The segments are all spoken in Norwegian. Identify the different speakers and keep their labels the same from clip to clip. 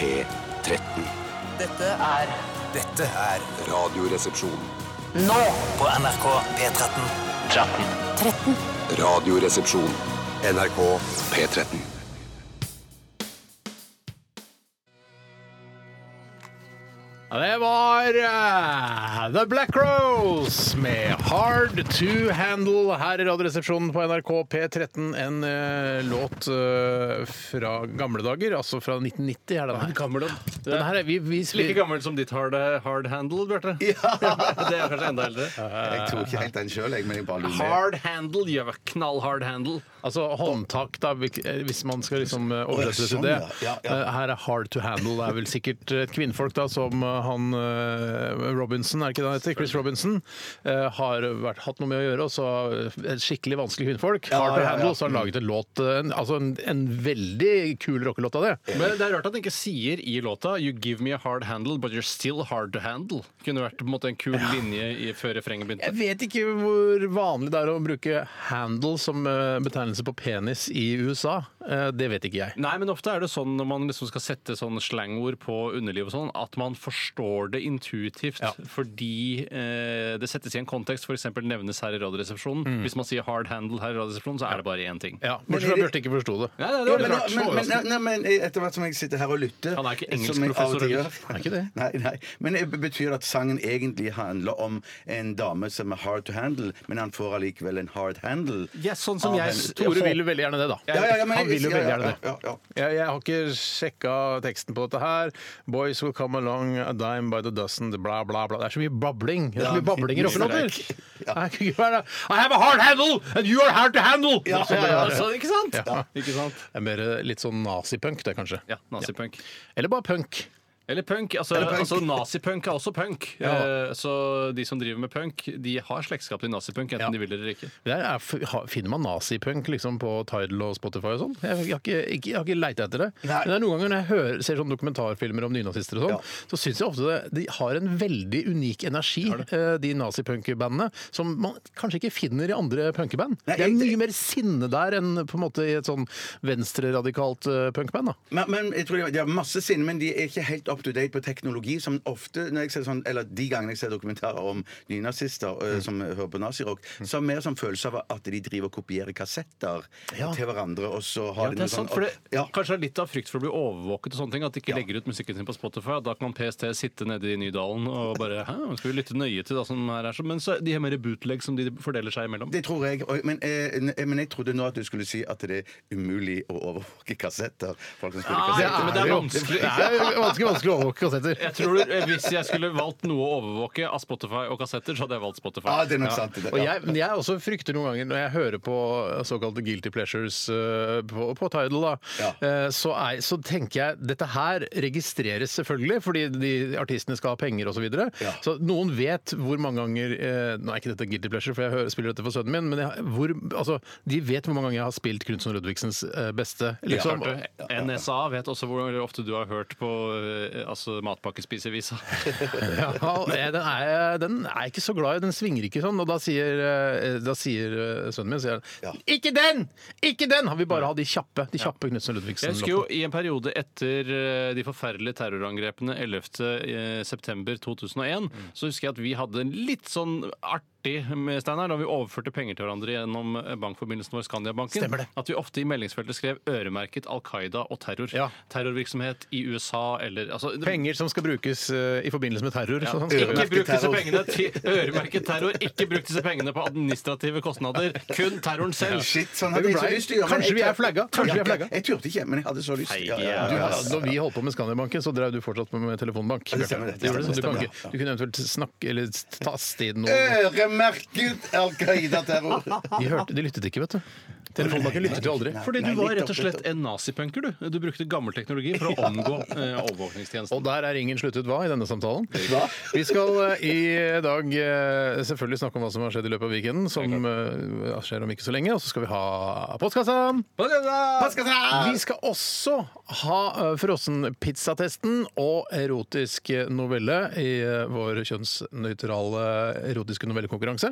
Speaker 1: P13.
Speaker 2: Dette er
Speaker 3: Dette er
Speaker 1: Radioresepsjon.
Speaker 2: nå
Speaker 3: på NRK P13.
Speaker 1: Radioresepsjon. NRK P13.
Speaker 4: Ja, Det var eh, The Black Rose med Hard To Handle her i Radioresepsjonen på NRK P13. En eh, låt eh, fra gamle dager, altså fra 1990 er den her.
Speaker 5: Gammel og
Speaker 4: Den her er vi, vi, vi,
Speaker 5: Like gammel som ditt hard, hard handle, Bjarte. Det er kanskje enda eldre.
Speaker 6: Jeg tror ikke helt den sjøl, jeg. Men jeg bare lurer.
Speaker 5: Hard handle, gjør knallhard handle.
Speaker 4: altså håndtak, da, hvil- eh, hvis man skal liksom eh, oversette det til
Speaker 6: sånn,
Speaker 4: det.
Speaker 6: ja. Ja, ja.
Speaker 4: Eh, Her er Hard To Handle. Det er vel sikkert et kvinnfolk da, som eh, han eh, Robinson, er det ikke det han heter? Chris Robinson. eh, Har vært, hatt noe med å gjøre, og så eh, et skikkelig vanskelig kvinnfolk. Hard To
Speaker 6: ja, ja.
Speaker 4: Handle, og så har han laget en låt, eh, en, altså en, en veldig kul rockelåt av det.
Speaker 5: Men det er rart at den ikke sier i låta 'You give me a hard handle, but you're still hard to handle'. Kunne vært på en måte en kul linje i, før refrenget begynte.
Speaker 4: Jeg vet ikke hvor vanlig det er å bruke 'handle' som eh, betegnelse på penis i USA. Eh, Det vet ikke jeg.
Speaker 5: Nei, men ofte er det sånn når man liksom skal sette sånn slangord på underliv og sånn, at man forstår det intuitivt
Speaker 4: Ja.
Speaker 5: fordi eh, det settes i en kontekst, f.eks. nevnes her i Radioresepsjonen. Hvis man sier 'hard handle' her i Radioresepsjonen, så er det bare én ting.
Speaker 4: Ja,
Speaker 6: Men
Speaker 4: Bortsett fra
Speaker 6: er det-
Speaker 4: Bjarte ikke forsto det.
Speaker 5: Nei, nei, det
Speaker 6: Jo,
Speaker 5: var
Speaker 6: men,
Speaker 5: litt rart.
Speaker 6: men, men, nei, nei, men etter hvert som jeg sitter her og lytter
Speaker 5: Han er ikke engelsk
Speaker 6: som jeg av og til
Speaker 5: professor,
Speaker 6: gjør.
Speaker 4: Han er ikke det.
Speaker 6: Nei, nei. Men det betyr at sangen egentlig handler om en dame som er hard to handle, men han får allikevel en hard handle?
Speaker 5: Ja, sånn som
Speaker 6: av
Speaker 5: jeg
Speaker 6: henne.
Speaker 4: Tore vil jo veldig gjerne det, da.
Speaker 6: Ja, ja, ja, men-
Speaker 4: Han vil jo
Speaker 6: ja, ja,
Speaker 4: veldig gjerne det.
Speaker 6: ja, ja, ja.
Speaker 4: Jeg, jeg har ikke sjekka teksten på dette her. Boys will come along, a dime by the dozen, bla, bla, bla. Det er så mye babling. Det er så mye babling i rockelåter. Det kan ikke være det. I have a hard handle, and you are hard to handle!
Speaker 5: Ja,
Speaker 4: Det er sånn det er.
Speaker 5: altså, ikke sant?
Speaker 4: Ja.
Speaker 5: Ikke sant?
Speaker 4: Det er mer eh, litt sånn nazipunk, det, kanskje.
Speaker 5: Ja, nazipunk.
Speaker 4: Eller bare punk.
Speaker 5: Eller punk. Altså,
Speaker 6: punk.
Speaker 5: altså nazipunk er også punk.
Speaker 4: Ja.
Speaker 5: Eh, så de som driver med punk, de har slektskap til nazipunk, enten
Speaker 4: Ja.
Speaker 5: de vil eller ikke.
Speaker 4: Det er, f- ha- finner man nazipunk liksom på Tidal og Spotify og sånn? Jeg, jeg har ikke, ikke, jeg har ikke leita etter det.
Speaker 6: Nei.
Speaker 4: Men det er noen ganger når jeg hører, ser sånne dokumentarfilmer om nynazister og sånn, så syns jeg ofte det, de har en veldig unik energi, eh, de nazipunkbandene, som man kanskje ikke finner i andre punkeband.
Speaker 6: Nei,
Speaker 4: Det er
Speaker 6: jeg-
Speaker 4: mye mer sinne der enn på en måte i et sånn venstreradikalt eh, punkband. da.
Speaker 6: Men, men jeg tror de, de har masse sinne, men de er ikke helt up to date på teknologi. Som ofte, når jeg ser sånn, eller De gangene jeg ser dokumentarer om nynazister øh,
Speaker 5: Mm.
Speaker 6: som hører på nazirock, så er det mer sånn følelse av at de driver og kopierer kassetter
Speaker 4: Ja.
Speaker 6: til hverandre. Og så
Speaker 5: Ja,
Speaker 6: har
Speaker 5: det
Speaker 6: de
Speaker 5: er
Speaker 6: noe sånn
Speaker 5: sant, for det,
Speaker 6: ja.
Speaker 5: Kanskje det er litt av frykt for å bli overvåket, og sånne ting, at de ikke
Speaker 6: Ja.
Speaker 5: legger ut musikken sin på Spotify. Da kan PST sitte nede i Nydalen og bare Hæ, nå skal vi lytte nøye til hva som her er sånn? Men så de har mer bootleg som de fordeler seg imellom.
Speaker 6: Det tror jeg. Og, men, eh, n- men jeg trodde nå at du skulle si at det er umulig å overvåke kassetter. Folk som spiller
Speaker 5: Nei,
Speaker 6: kassetter.
Speaker 5: Ah, men det er
Speaker 4: jo-
Speaker 5: vanskelig.
Speaker 4: Ah, Det er jo vanskelig, vanskelig å overvåke kassetter.
Speaker 5: Jeg tror eh, Hvis jeg skulle valgt noe å overvåke av Spotify og kassetter, så hadde jeg valgt Spotify.
Speaker 6: Ja, Ah, det er nok sant. Det,
Speaker 4: Og
Speaker 6: ja.
Speaker 4: jeg, men jeg også frykter noen ganger når jeg hører på eh, såkalte guilty pleasures eh, på, på Tidal, da,
Speaker 6: Ja.
Speaker 4: eh, så, er, så tenker jeg dette her registreres selvfølgelig, fordi de artistene skal ha penger osv. Så, videre.
Speaker 6: Ja.
Speaker 4: så noen vet hvor mange ganger eh, Nå er ikke dette guilty pleasure, for jeg hører, spiller dette for sønnen min, men jeg, hvor, altså, de vet hvor mange ganger jeg har spilt Knutson Ludvigsens eh, beste. Liksom.
Speaker 5: Klart det. NSA vet også hvor ofte du har hørt på eh, altså, matpakkespisevisa.
Speaker 4: Ja, den, er, den er jeg ikke så glad i. Den svinger ikke sånn. Og da sier, eh, da sier eh, sønnen min sier, han, Ikke den! Ikke den! Han vil bare ha de kjappe. De kjappe Knutsen
Speaker 5: Jeg husker jo
Speaker 4: Ludvigsen-låtene.
Speaker 5: i en periode etter eh, de forferdelige terrorangrepene eh, 11.9.2001,
Speaker 4: Mm.
Speaker 5: så husker jeg at vi hadde en litt sånn artig med Steinar da vi overførte penger til hverandre gjennom eh, bankforbindelsen vår Skandiabanken.
Speaker 4: Stemmer det.
Speaker 5: At vi ofte i meldingsfeltet skrev øremerket Al Qaida og terror.
Speaker 4: Ja.
Speaker 5: Terrorvirksomhet i USA eller altså,
Speaker 4: Penger som skal brukes eh, i forbindelse med terror.
Speaker 5: Ja.
Speaker 4: sånn.
Speaker 5: Ikke bruk disse
Speaker 6: terror.
Speaker 5: pengene til øremerket terror. Ikke bruk disse pengene på administrative kostnader. Kun terroren selv.
Speaker 6: Shit, sånn hadde jeg så lyst til å gjøre. men
Speaker 4: Kanskje
Speaker 6: jeg
Speaker 4: vi er
Speaker 6: tør-
Speaker 4: flagga. Kanskje vi er
Speaker 6: Ja,
Speaker 4: flagga.
Speaker 6: Jeg turte ikke, men jeg hadde så lyst. til-
Speaker 4: Du, altså, når vi holdt på med Skandiabanken, så drev du fortsatt på med telefonbank.
Speaker 6: Ja, det stemmer, det
Speaker 4: Bjarte. Gjorde
Speaker 6: stemmer, Eh,
Speaker 4: du, kan
Speaker 6: det
Speaker 4: ikke, du kunne eventuelt snakke eller taste inn noe.
Speaker 6: Øremerket Al Qaida-terror.
Speaker 4: De, hørte, de lyttet ikke, vet du. Telefonbanken lyttet jo aldri.
Speaker 5: Fordi du
Speaker 6: Nei,
Speaker 5: var
Speaker 6: litt
Speaker 5: rett og slett en nazipunker, du. Du brukte gammel teknologi for å omgå eh,
Speaker 4: Og
Speaker 5: overvåkningstjenesten.
Speaker 4: der er ingen sluttet hva i denne samtalen. Vi skal eh, i dag eh, selvfølgelig snakke om hva som har skjedd i løpet av weekenden, som eh, skjer om ikke så lenge. Og så skal vi ha postkassa. Vi skal også ha eh, frossenpizzatesten og erotisk novelle i eh, vår kjønnsnøytrale erotiske novellekonkurranse.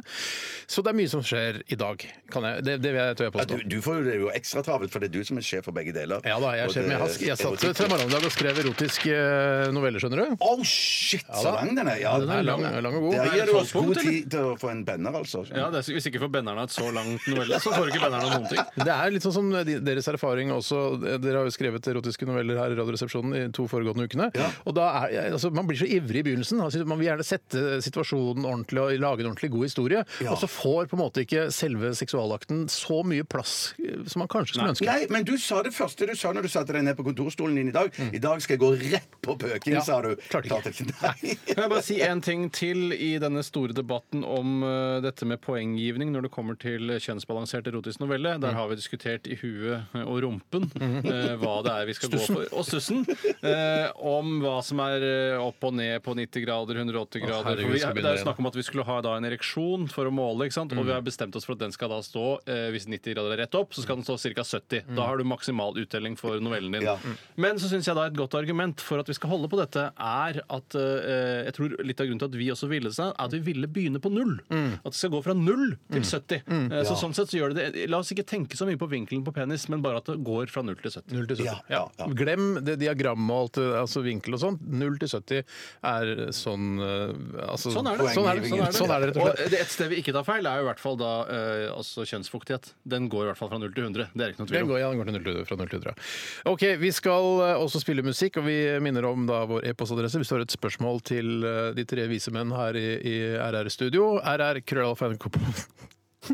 Speaker 4: Så det er mye som skjer i dag. Kan jeg, det, det vil jeg tør jeg
Speaker 6: du, du får jo det er jo ekstra travelt, for det er du som er sjef for begge deler.
Speaker 4: Ja da, jeg er
Speaker 6: Og
Speaker 4: sjef, men jeg, har, sk- jeg satt
Speaker 6: erotikk-
Speaker 4: til Trømmelandslag og skrev erotiske eh, noveller, skjønner du.
Speaker 6: Oh shit, så
Speaker 4: da.
Speaker 6: lang den er! Ja,
Speaker 4: Den er lang, lang og god.
Speaker 6: Der gir du oss god
Speaker 5: Tolvpunkt, eller?
Speaker 6: tid til å få en banner, altså.
Speaker 5: Ja, det er, Hvis ikke får bennerne et så langt novelle, så får ikke bennerne noen ting.
Speaker 4: Det er litt sånn som de- deres erfaring også. Dere har jo skrevet erotiske noveller her i Radioresepsjonen i to foregående ukene. Og da er, jeg- altså, man blir så ivrig i begynnelsen. Altså, man vil gjerne sette situasjonen ordentlig og lage en ordentlig god historie. Og så får på en måte ikke selve seksualakten så mye plass eh, som man kanskje skulle ønske.
Speaker 6: Nei, men du sa det første du sa når du satte deg ned på kontorstolen din i dag. I dag skal jeg gå rett på pøking,
Speaker 4: Mm. Ja,
Speaker 6: sa du.
Speaker 4: klarte ikke.
Speaker 6: Klarte Nei.
Speaker 5: Kan jeg bare si en ting til i denne store debatten om eh, dette med poenggivning når det kommer til kjønnsbalansert erotisk novelle?
Speaker 4: Mm.
Speaker 5: Der har vi diskutert i huet og rumpen
Speaker 4: Mm-hmm.
Speaker 5: eh, hva det er vi skal gå for. Og stussen. eh, om hva som er eh, opp og ned på 90 grader, 180 grader.
Speaker 4: herregud,
Speaker 5: For vi,
Speaker 4: vi skal
Speaker 5: det
Speaker 4: begynne Mm.
Speaker 5: er jo snakk om at vi skulle ha da en ereksjon for å måle, ikke sant? og vi har bestemt oss for at den skal da stå eh, Hvis 90 grader er rett opp, så skal den stå ca. 70.
Speaker 4: Mm.
Speaker 5: Da har du maksimal uttelling for novellen din.
Speaker 6: Ja.
Speaker 5: Men så syns jeg da et godt argument for at vi skal holde på dette, er at eh, jeg tror litt av grunnen til at vi også ville seg, er at vi ville begynne på null. At det skal gå fra null til 70. Eh, så sånn sett så gjør det det. La oss ikke tenke så mye på vinkelen på penis, men bare at det går fra null til 70.
Speaker 4: Null til 70.
Speaker 6: Ja, ja, ja.
Speaker 4: Glem det diagrammet og alt, eh, altså vinkel og sånt. 0 til 70 er sånn eh, altså,
Speaker 5: Sånn er det.
Speaker 4: Sånn er det, sånn er det. Sånn er det rett og slett.
Speaker 5: Og det- Et sted vi ikke tar feil, er jo i hvert fall da eh, altså kjønnsfuktighet. Den går i hvert fall fra null til 100. Det er ikke noe tvil
Speaker 4: Den
Speaker 5: om.
Speaker 4: går, ja, den går til 0 til, fra 0 til 100. ja. Ok, Vi skal eh, også spille musikk, og vi minner om da vår e-postadresse hvis du har et spørsmål til eh, de tre vise menn her i, i RR Studio. RR krøllalfa NRK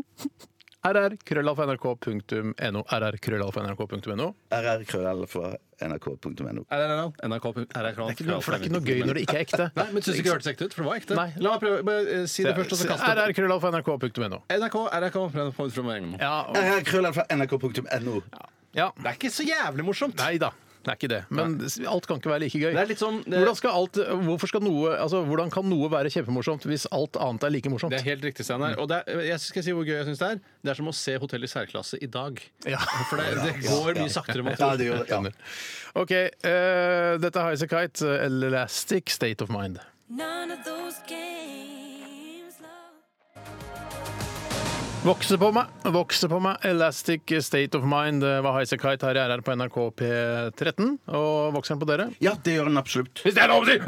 Speaker 4: RR krøllalfa nrk.no. RR krøllalfa nrk.no.
Speaker 6: RR krøll fra nrk.no.
Speaker 5: RRL, NRK, RRL.
Speaker 4: Det er ikke noe gøy når det ikke er ekte.
Speaker 5: Nei, men Syns du ikke det hørtes ekte ut? For det var ekte.
Speaker 4: Nei.
Speaker 5: La meg prøve. Bare, eh, si det først, og så kaste opp.
Speaker 4: RR krøllalfa nrk.no.
Speaker 5: NRK, NRK, prøv fra meg.
Speaker 4: Ja, og-
Speaker 6: RR krøll fra nrk.no.
Speaker 4: Eh, ja.
Speaker 5: Det er ikke så jævlig morsomt.
Speaker 4: Nei da. Det er ikke det. Men alt kan ikke være like gøy.
Speaker 5: Det er litt sånn- det-
Speaker 4: hvordan, skal alt, hvorfor skal noe, altså, hvordan kan noe være kjempemorsomt hvis alt annet er like morsomt?
Speaker 5: Det er helt riktig, Steinar. Og det er, jeg skal si hvor gøy jeg syns det er. Det er som å se Hotell i særklasse i dag.
Speaker 4: Ja.
Speaker 5: For det, det går mye saktere enn man
Speaker 6: Ja,
Speaker 5: tror.
Speaker 6: det gjør det. Ja.
Speaker 4: Ok, eh, dette er Highasakite, uh, Elastic State of Mind.
Speaker 7: None of those games, love.
Speaker 4: Vokse på meg, vokse på meg, Elastic State of Mind eh, det var Highasakite her i RR på NRK P13. Og vokser den på dere?
Speaker 6: ja, det gjør den absolutt.
Speaker 4: Hvis det er lov å si!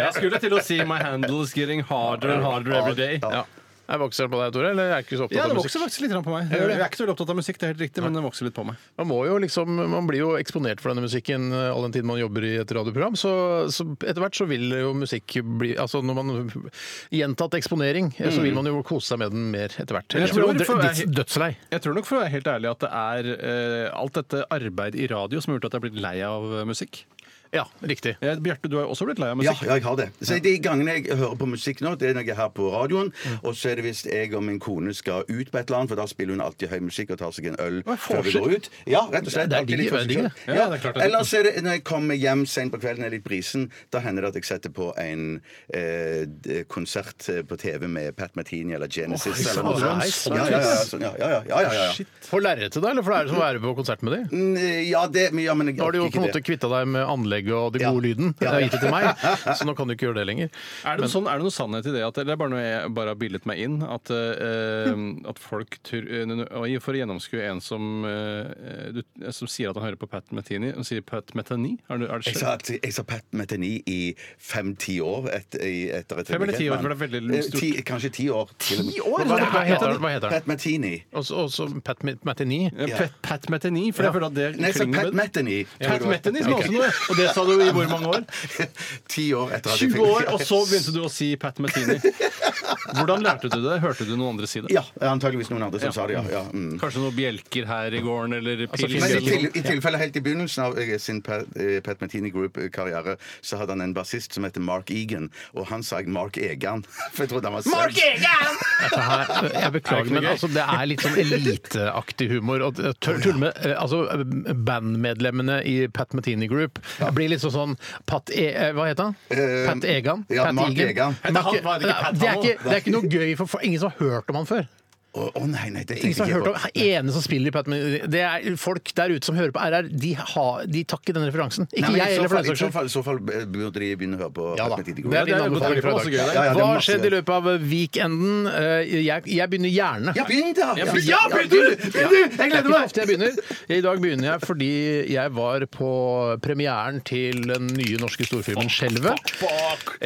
Speaker 5: Jeg skulle til å si My handle is getting harder and harder every day.
Speaker 4: Ja. Er vokser den på deg, Tore? Eller er jeg ikke så opptatt
Speaker 5: Ja, det
Speaker 4: av
Speaker 5: vokser
Speaker 4: musikk?
Speaker 5: faktisk litt grann på meg.
Speaker 4: Jeg gjør det.
Speaker 5: Jeg er ikke så veldig opptatt av musikk, det er helt riktig, men det vokser litt på meg.
Speaker 4: Man, må jo liksom, man blir jo eksponert for denne musikken eh, all den tid man jobber i et radioprogram, så, så etter hvert så vil jo musikk bli Altså når man gjentatt eksponering, eh, så vil man jo kose seg med den mer etter hvert.
Speaker 5: Men Mm. jeg
Speaker 4: Ellers blir
Speaker 5: tror
Speaker 4: man
Speaker 5: for-
Speaker 4: døds- dødslei.
Speaker 5: Jeg tror nok for å være helt ærlig at det er eh, alt dette arbeidet i radio som har gjort at jeg er blitt lei av eh, musikk.
Speaker 4: Ja, riktig.
Speaker 5: Eh, Bjarte, du har jo også blitt lei av
Speaker 6: Ja,
Speaker 5: musikk.
Speaker 6: ja, jeg har det. Så De gangene jeg hører på musikk nå, det er når jeg er her på radioen, og så er det hvis jeg og min kone skal ut på et eller annet, for da spiller hun alltid høy musikk og tar seg en øl før vi
Speaker 5: forskjell.
Speaker 6: går ut. Ja, rett og slett.
Speaker 4: Det er
Speaker 6: alltid
Speaker 4: digg,
Speaker 6: litt
Speaker 4: det er digg,
Speaker 6: forskjell.
Speaker 5: det. Ja, det er klart det
Speaker 6: Ja.
Speaker 5: er
Speaker 6: Eller så er det når jeg kommer hjem sent på kvelden, er litt brisen, da hender det at jeg setter på en eh, d- konsert eh, på TV med Pat Martini eller Genesis
Speaker 4: Oi,
Speaker 6: eller noe
Speaker 4: sånn,
Speaker 6: sånt.
Speaker 4: sånn,
Speaker 6: Ja, ja, ja, sånn, ja, ja, ja, ja, ja.
Speaker 4: For lerretet, da? Eller for det er det som å være på konsert med de?
Speaker 6: Mm, Ja, det, men- ja, men jeg
Speaker 4: Nå har du jo
Speaker 6: orker
Speaker 4: på en
Speaker 6: ikke
Speaker 4: måte
Speaker 6: det.
Speaker 4: kvitta deg med anlegget og den
Speaker 6: Ja.
Speaker 4: gode lyden. Det
Speaker 6: Ja.
Speaker 4: har gitt det til meg, så nå kan du ikke gjøre det lenger.
Speaker 5: Er det, noe sånn, er det noe sannhet i det, at, eller er det bare noe jeg bare har bildet meg inn? At, eh, at folk tur, eh, oi, For å gjennomskue en som, eh, du, som sier at han hører på Pat Metheny Han sier Pat Metheny? Er det, er det
Speaker 6: Jeg sa, jeg sa Pat Metheny i fem-ti år et, i, etter et
Speaker 5: Fem eller ti år, for det er veldig
Speaker 6: Eh,
Speaker 5: stort.
Speaker 6: ti, Kanskje ti år. til og med.
Speaker 5: år?
Speaker 6: Hva,
Speaker 4: Hva heter den? Hva
Speaker 6: heter
Speaker 4: heter
Speaker 6: han?
Speaker 4: den?
Speaker 6: Pat Metheny.
Speaker 4: Og så- og så Pat Matini.
Speaker 5: Eh, Pat, Pat Metheny? For jeg føler at det
Speaker 6: Nei, jeg sa
Speaker 5: klinger med-
Speaker 6: Pat Metheny.
Speaker 5: Pat Metheny som er også noe! Og det sa du i hvor mange år?
Speaker 6: Ti år etter at jeg
Speaker 5: 20 år, og så begynte du å si Pat Metheny. Hvordan lærte du det? Hørte du noen andre si det?
Speaker 6: Ja, antageligvis noen andre som sa det, ja. ja mm.
Speaker 5: Kanskje liksom- noen bjelker her i gården, eller pils?
Speaker 6: Men i,
Speaker 5: eller
Speaker 6: til, I tilfelle helt i begynnelsen av eh, sin Pat, eh, Pat Metheny Group-karriere så hadde han en bassist som heter Mark Egan, og han sa jeg Mark Egan. For jeg trodde han var Mark
Speaker 4: Dette her- Jeg beklager, men altså, det er litt sånn eliteaktig humor. Og tør- tull med eh, altså, bandmedlemmene i Pat Matini Group. Det blir litt sånn sånn Pat E... eh, Hva heter han?
Speaker 6: Eh,
Speaker 4: Pat Egan?
Speaker 6: ja,
Speaker 4: Pat
Speaker 6: Mark Egan.
Speaker 4: Mark-
Speaker 5: Han var det ikke Pat
Speaker 4: det, er
Speaker 5: han
Speaker 4: ikke, det er ikke noe gøy, for, for ingen som har hørt om han før.
Speaker 6: Å å, nei, nei, det
Speaker 4: Ingen
Speaker 6: tenkte
Speaker 4: som har
Speaker 6: jeg
Speaker 4: hørt
Speaker 6: ikke
Speaker 4: om ene som spiller i Pat Metheny- Det er folk der ute som hører på RR, de, har, de tar ikke den referansen. Ikke
Speaker 6: Nei, men
Speaker 4: jeg
Speaker 6: i så
Speaker 4: heller, for
Speaker 6: fall-
Speaker 4: den saks
Speaker 6: I så
Speaker 4: skyld.
Speaker 6: fall- i så fall burde de begynne å høre på
Speaker 4: Ja da.
Speaker 6: Ahmed
Speaker 4: Det
Speaker 6: Tidegård.
Speaker 4: er din
Speaker 5: det er godt
Speaker 4: anbefaling
Speaker 5: det
Speaker 4: for
Speaker 5: er
Speaker 4: i
Speaker 5: så gøy, det.
Speaker 4: dag.
Speaker 6: Ja, ja, det er
Speaker 4: altså, Hva har
Speaker 6: masse
Speaker 4: skjedd
Speaker 6: gøy.
Speaker 4: i løpet av weekenden? Eh, Jeg, jeg begynner gjerne.
Speaker 6: Ja, begynn, da!
Speaker 5: Ja,
Speaker 4: Ja, begynn du! Begynn du! Jeg gleder meg! Ofte jeg begynner. I dag begynner jeg fordi jeg var på premieren til den nye norske storfilmen 'Skjelvet'.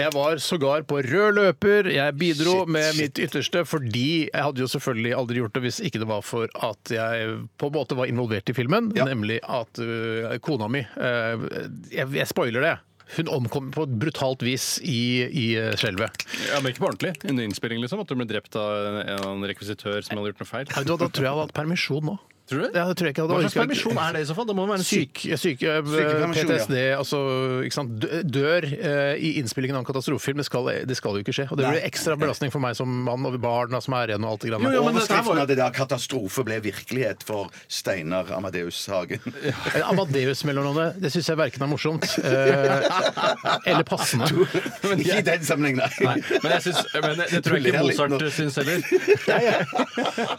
Speaker 4: Jeg var sågar på rød løper. Jeg bidro med mitt ytterste fordi jeg hadde jo selvfølgelig aldri gjort det hvis ikke det var for at jeg på en måte var involvert i filmen, nemlig at øh, kona mi øh, jeg, jeg spoiler det. Hun omkom på et brutalt vis i, i øh, 'Skjelvet'.
Speaker 5: Ja, men ikke på ordentlig. Under innspilling, liksom. At du ble drept av en, en rekvisitør som hadde gjort noe feil.
Speaker 4: Nei, Da, da tror jeg jeg hadde hatt permisjon nå.
Speaker 5: Tror du det?
Speaker 4: Ja, det tror jeg ikke jeg hadde
Speaker 5: Hva slags
Speaker 4: orket.
Speaker 5: permisjon er det i så fall? Det må jo være en syk...
Speaker 4: Syk, syk, eh,
Speaker 6: Sykepermisjon, ja.
Speaker 4: PTSD, altså ikke sant? dø- dør eh, i innspillingen av en katastrofefilm. Det skal, det skal jo ikke skje. Og det blir ekstra belastning for meg som mann og barna som er igjen og alt det grann.
Speaker 5: Jo, jo, men dette her var
Speaker 6: Overskriften
Speaker 5: jo-
Speaker 6: av det der 'Katastrofe' ble virkelighet for Steinar Amadeus Hagen.
Speaker 4: En Amadeus-mellomnavnet, det syns jeg verken er morsomt eh, eller passende.
Speaker 6: Ikke i den sammenheng, nei.
Speaker 5: Nei, men jeg synes, men det, det tror jeg ikke
Speaker 6: Du ler litt nå.
Speaker 5: Mozart syns heller.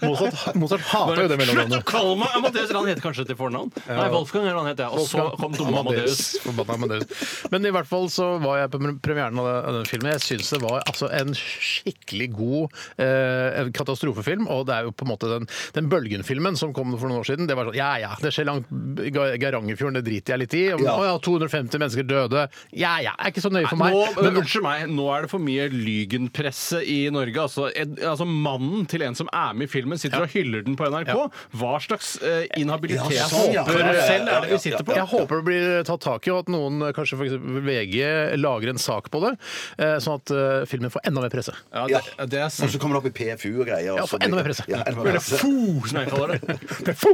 Speaker 4: Mozart, Mozart hater jo det
Speaker 5: Slutt å
Speaker 4: mellomnavnet.
Speaker 5: kalle meg Amadeus! eller Han heter kanskje til fornavn. Nei, Wolfgang eller han heter jeg. Og så kom dumme Amadeus.
Speaker 4: Forbanna Amadeus. Men i hvert fall så var jeg på premieren av den- av den filmen. Jeg syns det var altså, en skikkelig god eh, en katastrofefilm. Og det er jo på en måte den, den Bølgen-filmen som kom for noen år siden. Det var sånn ja ja, det skjer langt i Ga- Geirangerfjorden, det driter jeg litt i. Om,
Speaker 6: Ja.
Speaker 4: Å ja, 250 mennesker døde. Ja ja, er ikke så nøye for meg.
Speaker 5: Nå,
Speaker 4: Men-
Speaker 5: men, unnskyld meg, nå er det for mye lygenpresse i Norge. Altså, ed, altså Mannen til en som er med i filmen, sitter og hyller den på NRK. Hva slags eh, inhabilitet
Speaker 6: Ja, sånn, ja.
Speaker 5: håper dere selv er det vi sitter på?
Speaker 4: Jeg håper det blir tatt tak i, og at noen, kanskje for eksempel VG, lager en sak på det. eh, Sånn at eh, filmen får enda mer presse.
Speaker 5: Ja,
Speaker 6: Ja.
Speaker 5: det, det er
Speaker 6: Og
Speaker 5: sant.
Speaker 6: så kommer det opp i PFU og greier. og
Speaker 4: Ja,
Speaker 6: så
Speaker 4: for
Speaker 6: blir
Speaker 4: enda mer
Speaker 6: det-
Speaker 4: presse.
Speaker 6: Ja, enda mer
Speaker 5: Eller
Speaker 6: presse.
Speaker 5: fo, som jeg kaller det.
Speaker 4: Fo!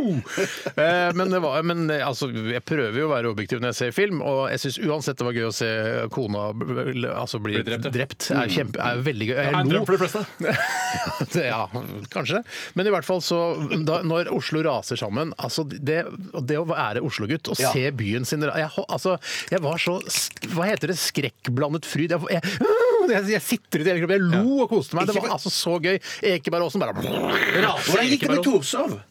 Speaker 4: Eh, Men, det var, men eh, altså, jeg prøver jo å være objektiv når jeg ser film, og jeg syns uansett det var gøy å se kona b- l- altså, bli
Speaker 5: Bli drept,
Speaker 4: drept.
Speaker 5: ja.
Speaker 4: er, kjempe, er veldig gøy.
Speaker 5: Er
Speaker 4: Jeg
Speaker 5: en
Speaker 4: lo.
Speaker 5: drøm for de fleste.
Speaker 4: Det- Ja, kanskje. Men i hvert fall så da, Når Oslo raser sammen altså Det, og det å være Oslo-gutt og
Speaker 6: Ja.
Speaker 4: se byen sin jeg, ho- altså, jeg var så sk- Hva heter det? Skrekkblandet fryd. Jeg, jeg, jeg, jeg sitret i hele kroppen. Jeg lo og koste meg. Det var altså så gøy. Ekebergåsen bare
Speaker 6: Hvordan gikk det med Torshov?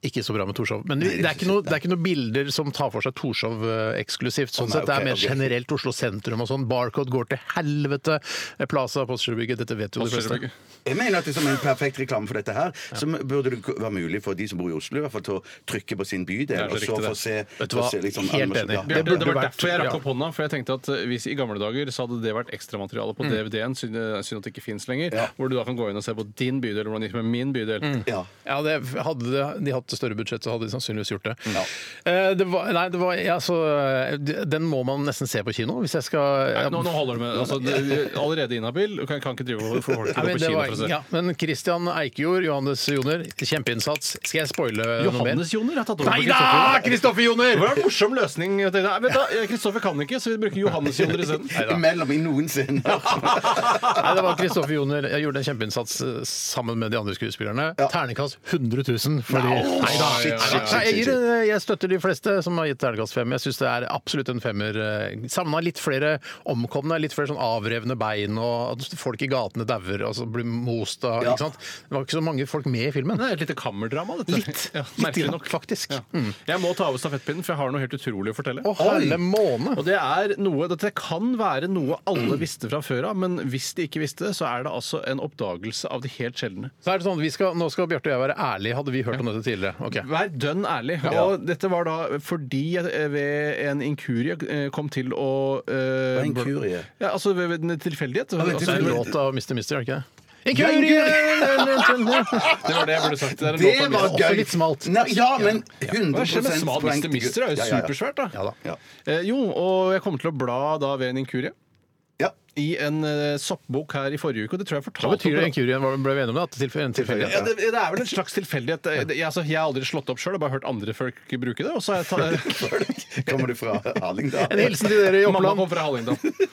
Speaker 4: Ikke så bra med Torshov. Men det, er ikke noe, det er ikke noen bilder som tar for seg Torshov eh, eksklusivt. sånn
Speaker 6: Å, nei,
Speaker 4: sett. Det
Speaker 6: ok,
Speaker 4: er mer
Speaker 6: ok.
Speaker 4: generelt Oslo sentrum og sånn. Barcode går til helvete. Eh, Plaza, Postgirobygget, dette vet jo de fleste.
Speaker 6: Jeg mener at det som en perfekt reklame for dette her, så burde det være mulig for de som bor i Oslo, i hvert fall til å trykke på sin
Speaker 5: er
Speaker 6: bydel,
Speaker 5: så
Speaker 6: og så
Speaker 5: riktig,
Speaker 6: få
Speaker 5: det.
Speaker 6: se,
Speaker 4: Vet du
Speaker 6: få
Speaker 4: hva?
Speaker 6: se liksom
Speaker 4: Helt
Speaker 6: animasjon-
Speaker 4: enig.
Speaker 6: Ja.
Speaker 4: Det
Speaker 5: Bjarte,
Speaker 4: burde
Speaker 5: det var
Speaker 4: vært-
Speaker 5: derfor jeg rakk
Speaker 4: ja.
Speaker 5: opp hånda. For jeg tenkte at eh, hvis i gamle dager så hadde det vært ekstramateriale
Speaker 4: Mm.
Speaker 5: på DVD-en, synd det- synd at det ikke fins lenger,
Speaker 6: Ja.
Speaker 5: hvor du da kan gå inn og se på din bydel, hvordan det gikk med min bydel.
Speaker 6: Ja.
Speaker 4: Mm. Ja, det, Hadde de- de hatt større budsjett, så hadde de sannsynligvis gjort det.
Speaker 6: Ja.
Speaker 4: Eh, det var, nei, det var ja, så, eh, Den må man nesten se på kino hvis jeg skal
Speaker 5: Nei, Nå, nå holder det med altså, det- Allerede inhabil. Du kan, kan ikke drive og få
Speaker 4: Nei,
Speaker 5: folk til å gå
Speaker 4: men,
Speaker 5: på
Speaker 4: det
Speaker 5: kino
Speaker 4: var,
Speaker 5: for å se.
Speaker 4: ja, men Christian Eikejord, Johannes Joner, kjempeinnsats. Skal jeg spoile
Speaker 5: Eh,
Speaker 4: noe mer?
Speaker 5: Johannes Joner har tatt over
Speaker 4: Nei da! Kristoffer Joner!
Speaker 5: Det var en morsom løsning. jeg tenkte. Nei, vet du hva, Kristoffer kan ikke, så vi bruker Johannes Joner isteden.
Speaker 6: Imellom i noensinne.
Speaker 4: Nei, det var Kristoffer Joner. Jeg gjorde en kjempeinnsats eh, sammen med de andre skuespillerne. Ternekast 100 000. Fordi... Nei da,
Speaker 5: shit,
Speaker 4: nei da.
Speaker 5: shit, shit,
Speaker 4: Nei, Jeg, gir, eh, jeg støtter de fleste som har gitt ternekast fem. Jeg syns det er absolutt en femmer. eh, Savna litt flere omkomne, litt flere sånn avrevne bein, og at folk i gatene dauer og så blir most av
Speaker 6: Ja.
Speaker 4: ikke sant? Det var ikke så mange folk med i filmen.
Speaker 5: Det er et lite kammerdrama, dette.
Speaker 4: Litt.
Speaker 5: Ja,
Speaker 4: Litt
Speaker 5: merkelig
Speaker 4: grann, Mm.
Speaker 5: nok.
Speaker 4: faktisk.
Speaker 5: Ja. Jeg må ta over stafettpinnen, for jeg har noe helt utrolig å fortelle.
Speaker 4: Å, halve måne!
Speaker 5: Og det er noe, Dette kan være noe alle visste fra før av, men hvis de ikke visste det, så er det altså en oppdagelse av det helt sjeldne.
Speaker 4: Så er det sånn, at vi skal, nå skal Bjarte og jeg være ærlige. Hadde vi hørt om dette tidligere? Ok.
Speaker 5: Vær dønn ærlig. Og dette var da fordi jeg eh, ved en inkurie eh, kom til å eh,
Speaker 6: En kurie.
Speaker 5: Ja, altså ved ved en tilfeldighet. Altså,
Speaker 4: Det er en låt av Mr. Mister, er det ikke det? Inkurie!
Speaker 5: det var det jeg burde sagt. Det, er en
Speaker 6: Det
Speaker 5: låt av
Speaker 6: var
Speaker 5: Mr.
Speaker 6: gøy!
Speaker 4: Også litt smalt.
Speaker 6: Nei, ja, men 100
Speaker 5: Hva skjer med smal
Speaker 6: poeng
Speaker 5: Mr.
Speaker 6: til
Speaker 5: Mister? Det er jo
Speaker 6: Ja, ja, ja.
Speaker 5: supersvært, da.
Speaker 4: Ja da.
Speaker 6: Ja.
Speaker 5: Eh, jo, og jeg kommer til å bla da ved en inkurie.
Speaker 6: Ja.
Speaker 5: I en eh, soppbok her i forrige uke, og det tror jeg jeg
Speaker 4: Hva
Speaker 5: fortalte
Speaker 4: betyr det
Speaker 5: om på-
Speaker 4: inkurien? Hva Ble vi enige om det? At det tilfell- en tilfeldighet?
Speaker 5: Ja, det, det er vel en slags tilfeldighet. Eh, det- Jeg, altså, jeg har aldri slått opp sjøl, har bare hørt andre folk bruke det. Og så har jeg tatt,
Speaker 6: Kommer du fra Hallingdal?
Speaker 4: En hilsen til dere i
Speaker 5: mamma
Speaker 4: Oppland.
Speaker 5: kom fra Hallingdal.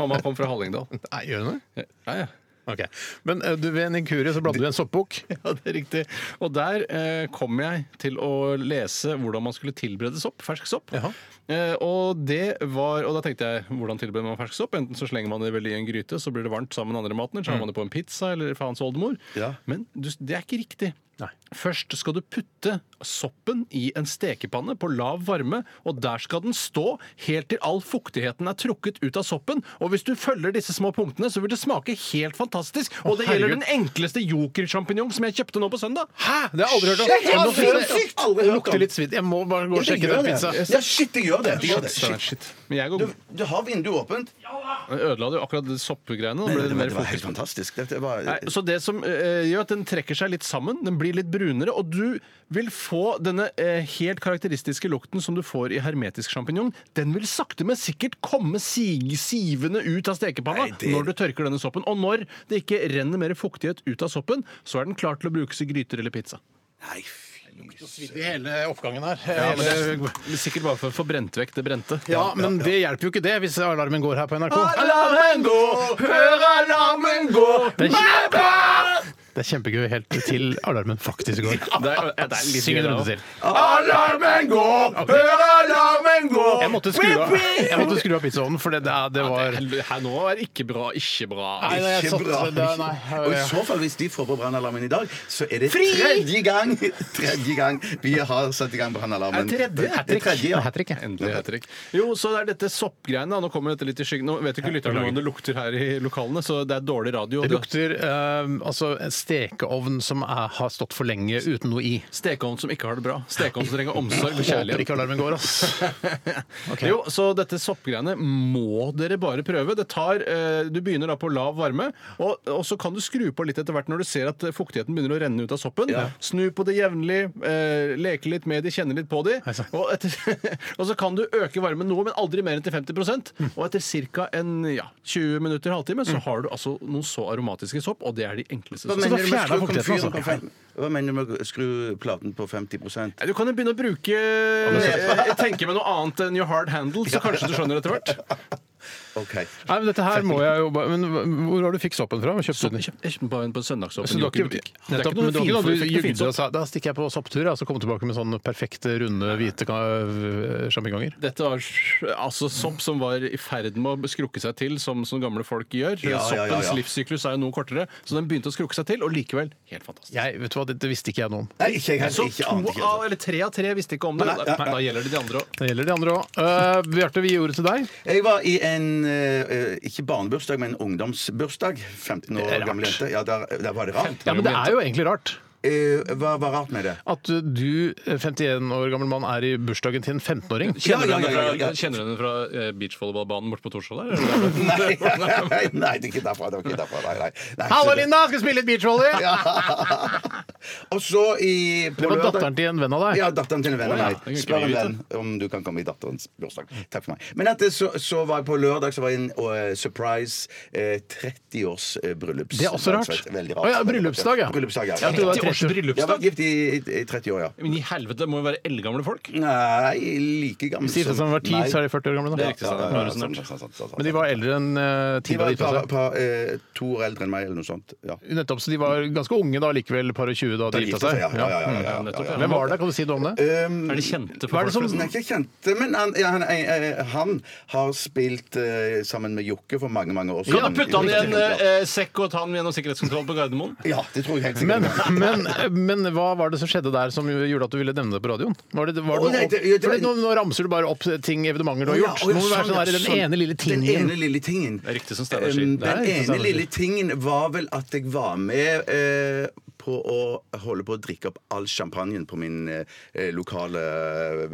Speaker 5: Mamma kom fra Hallingdal.
Speaker 4: Nei, gjør hun det?
Speaker 5: Ja, ja.
Speaker 4: Ok. Men eh, du, ved en inkurie så bladde du i en soppbok.
Speaker 5: Ja, det er riktig. Og der eh, kom jeg til å lese hvordan man skulle tilberede sopp, fersk sopp.
Speaker 4: Jaha.
Speaker 5: Eh, og det var, og da tenkte jeg hvordan tilbereder man fersk sopp? Enten så slenger man det vel i en gryte, så blir det varmt sammen med andre maten,
Speaker 4: Mm.
Speaker 5: eller så har man det på en pizza eller faens oldemor.
Speaker 6: Ja.
Speaker 5: Men du, det er ikke riktig.
Speaker 4: Nei.
Speaker 5: Først skal du putte soppen i en stekepanne på lav varme, og der skal den stå helt til all fuktigheten er trukket ut av soppen. Og hvis du følger disse små punktene, så vil det smake helt fantastisk. Og det gjelder
Speaker 4: herregud.
Speaker 5: den enkleste jokersjampinjong som jeg kjøpte nå på søndag.
Speaker 4: Hæ?! Det har jeg aldri hørt om.
Speaker 6: Shit,
Speaker 4: Jeg må
Speaker 6: det er
Speaker 4: finne-
Speaker 6: sykt! Aldri hørt
Speaker 4: Det
Speaker 6: om.
Speaker 4: lukter litt svidd. Jeg må bare gå og
Speaker 6: Jeg
Speaker 4: sjekke
Speaker 6: gjør
Speaker 4: den pizza.
Speaker 6: Ja, shit, det gjør det. det, gjør det.
Speaker 5: Shit,
Speaker 6: Shit.
Speaker 5: shit. Men jeg går
Speaker 6: Du, du har vinduet åpent.
Speaker 5: Ødela du akkurat det soppgreiene? Da
Speaker 6: Nei,
Speaker 5: ble
Speaker 6: det,
Speaker 5: det
Speaker 6: var,
Speaker 5: mer
Speaker 6: det var helt
Speaker 5: fokus på
Speaker 6: fantastisk. Dette var,
Speaker 5: Nei, så det som eh, gjør at den trekker seg litt sammen, den blir litt brunere, og du vil få denne eh, helt karakteristiske lukten som du får i hermetisk sjampinjong. Den vil sakte, men sikkert komme sig sivende ut av stekepanna
Speaker 6: Nei, det-
Speaker 5: når du tørker denne soppen. Og når det ikke renner mer fuktighet ut av soppen, så er den klar til å brukes i gryter eller pizza.
Speaker 6: Nei, fy
Speaker 4: I hele oppgangen her. Hele-
Speaker 5: Sikkert bare for å få brent vekk det brente.
Speaker 4: Ja, Ah! men det hjelper jo ikke det hvis alarmen går her på NRK.
Speaker 5: Alarmen gå! Hør alarmen gå!
Speaker 4: Det er, kjempe- det er kjempegøy helt til alarmen faktisk går.
Speaker 5: Det er, det er litt
Speaker 4: Syng en
Speaker 5: gøy,
Speaker 4: runde
Speaker 5: det
Speaker 4: til.
Speaker 6: Alarmen går! Hør alarmen gå!
Speaker 4: Jeg måtte skru av, jeg måtte skru av pizzaovnen, for det, det, det var
Speaker 5: også. Her nå er det ikke bra, ikke bra.
Speaker 4: Nei, nei, jeg
Speaker 6: Ikke
Speaker 4: satt
Speaker 6: bra.
Speaker 4: det, nei,
Speaker 6: Og i så fall, hvis de får på brannalarmen i dag, så er det tredje gang Tredje gang vi har satt i gang brannalarmen.
Speaker 5: Er det tredje?
Speaker 6: Det er tredje, ja.
Speaker 4: Hat trick.
Speaker 5: Endelig hat trick. Jo, så det er dette soppgreiene. da. Nå kommer dette litt i skyggen. Nå vet jo ikke lytterne hvordan det lukter her i lokalene, så det er dårlig radio.
Speaker 4: Det lukter eh, altså en stekeovn som er, har stått for lenge uten noe i.
Speaker 5: Stekeovn som ikke har det bra. Stekeovn som trenger omsorg og
Speaker 4: Håper
Speaker 5: kjærlighet.
Speaker 4: ikke alarmen går, ass. Ok.
Speaker 5: Jo, så dette soppgreiene må dere bare prøve. Det tar, eh, du begynner da på lav varme, og, og så kan du skru på litt etter hvert når du ser at eh, fuktigheten begynner å renne ut av soppen. Snu på det jevnlig, eh, leke litt med de, kjenne litt på de.
Speaker 4: Nei, sant.
Speaker 5: Og, etter, og så kan du øke varmen noe, men aldri mer enn til 50
Speaker 6: Mm.
Speaker 5: Og etter ca. Ja, 20 minutter, halvtime, så har du altså noen så aromatiske sopp, og det er de enkleste.
Speaker 6: Hva
Speaker 5: soppene.
Speaker 6: mener
Speaker 4: da
Speaker 6: du med å
Speaker 4: fjerner
Speaker 6: skru
Speaker 4: fuktigheten,
Speaker 6: komfyren
Speaker 4: altså.
Speaker 6: på fem- Hva mener du med å skru platen på 50
Speaker 5: Nei, Du kan jo begynne å bruke Jeg tenker med noe annet enn your hard handle, så kanskje du skjønner etter hvert.
Speaker 6: OK.
Speaker 4: Nei, men dette her må jeg jo bare Men hva- hvor har du fikk soppen fra? Kjøpte du den?
Speaker 5: Jeg kjøpte den på en, på en søndagsåpen
Speaker 4: Så du har ikke,
Speaker 5: jokerbutikk. Det er
Speaker 4: nettopp,
Speaker 5: ikke
Speaker 4: men
Speaker 5: noe
Speaker 4: du har ikke
Speaker 5: finfor-
Speaker 4: noe du
Speaker 5: ikke noe
Speaker 4: jugde og
Speaker 5: finsopp.
Speaker 4: sa da stikker jeg på sopptur ja, så kom tilbake med sånne perfekte, runde, hvite ka- sjampinjonger?
Speaker 5: Dette var altså sopp som var i ferd med å skrukke seg til, som, som gamle folk gjør.
Speaker 6: Ja, ja, ja, ja.
Speaker 5: Soppens livssyklus er jo noe kortere, så den begynte å skrukke seg til, og likevel helt fantastisk.
Speaker 4: Jeg, vet du hva, Dette visste ikke jeg noe om.
Speaker 6: Nei, ikke jeg
Speaker 5: Så
Speaker 6: heller. Ikke
Speaker 5: to
Speaker 6: ante ikke.
Speaker 5: av, eller tre av tre visste ikke om det. Da, da gjelder det de andre òg.
Speaker 4: Det gjelder de andre òg. Bjarte, vi gir ordet til deg.
Speaker 6: Jeg var i en eh, ikke barnebursdag, men ungdomsbursdag. 15
Speaker 4: Det er
Speaker 6: år
Speaker 4: rart.
Speaker 6: gammel jente. Ja, der, der var det rart.
Speaker 4: Ja, Men det er jo egentlig rart
Speaker 6: Eh, hva var rart med det?
Speaker 4: at du, eh, 51 år gammel mann, er i bursdagen til en 15-åring.
Speaker 5: Kjenner du
Speaker 6: Ja, ja,
Speaker 5: henne
Speaker 6: ja, ja,
Speaker 5: fra,
Speaker 6: ja.
Speaker 5: kjenner du henne fra eh, beachvolleyballbanen borte på Torshov der? eller?
Speaker 6: Nei, nei, nei, det er ikke derfra. Det er ikke derfra. Nei, nei. nei
Speaker 4: Hallo, Linda! Skal spille litt beachvolley!
Speaker 6: Og så i på
Speaker 4: Det var
Speaker 6: lørdag-
Speaker 4: datteren til en venn av deg.
Speaker 6: Ja, datteren til en venn av
Speaker 5: Å, ja. Det
Speaker 6: meg.
Speaker 5: kan
Speaker 6: Spør
Speaker 5: ikke
Speaker 6: en
Speaker 5: jeg
Speaker 6: venn om du kan komme i datterens bursdag. Takk for meg. Men at det, så, så var jeg på lørdag så var jeg i en eh, surprise eh, 30-års eh, bryllups...
Speaker 4: Det er også rart.
Speaker 6: Veldig
Speaker 4: Å ja, bryllupsdag, ja.
Speaker 6: Bryllupsdag,
Speaker 4: Ja,
Speaker 6: ja.
Speaker 4: du var
Speaker 5: 30 års
Speaker 6: Jeg har vært
Speaker 5: bryllupsdag?
Speaker 6: gift i, i, i 30 år, ja.
Speaker 5: Men i helvete, må jo være eldgamle folk?
Speaker 6: Nei, like gammel
Speaker 4: Hvis de som var 10,
Speaker 6: Nei.
Speaker 4: så er de 40 år gamle.
Speaker 6: Ja,
Speaker 4: da.
Speaker 6: ja, ja, ja, sånn, sånn, sånn, sånn,
Speaker 4: Men de var eldre enn eh,
Speaker 6: De
Speaker 4: ti da
Speaker 6: var
Speaker 4: de
Speaker 6: et par,
Speaker 4: gifta seg.
Speaker 6: par, eh, to år eldre enn meg, eller noe sånt. Ja.
Speaker 4: Nettopp, så de var ganske unge da, likevel par og 20 da de gifta seg. Mm,
Speaker 6: Ja, ja, ja, ja, ja,
Speaker 5: nettopp,
Speaker 6: ja, ja.
Speaker 5: ja.
Speaker 4: Hvem var det? Kan du si noe om det?
Speaker 6: Um,
Speaker 5: Er de kjente
Speaker 4: Hva er
Speaker 5: for
Speaker 4: det
Speaker 5: folk?
Speaker 4: som-
Speaker 5: flest?
Speaker 6: Nei, ikke kjente, men han, ja, han, eh, han har spilt eh, sammen med Jokke for mange, mange år
Speaker 5: Kan du putte han i en eh, sekk og ta han gjennom sikkerhetskontroll på Gardermoen?
Speaker 6: Ja, det tror jeg helt sikkert.
Speaker 4: Men, men, men hva var det som skjedde der som gjorde at du ville nevne det på radioen? Var det, var det,
Speaker 6: Å, nei, det- det-
Speaker 4: fordi nå, nå ramser du bare opp ting, evenementer du har
Speaker 6: Ja,
Speaker 4: gjort.
Speaker 6: og
Speaker 4: Nå må du
Speaker 6: sånn,
Speaker 4: være sånn der, i den
Speaker 6: sånn.
Speaker 4: ene lille tingen.
Speaker 6: Den ene lille tingen.
Speaker 5: Det er riktig som Steinar sier.
Speaker 6: Um,
Speaker 4: Det er riktig
Speaker 6: Den
Speaker 4: som
Speaker 6: ene
Speaker 4: Steinar
Speaker 6: lille tingen var vel at jeg var med eh, på å holde på å drikke opp all champagnen på min eh, lokale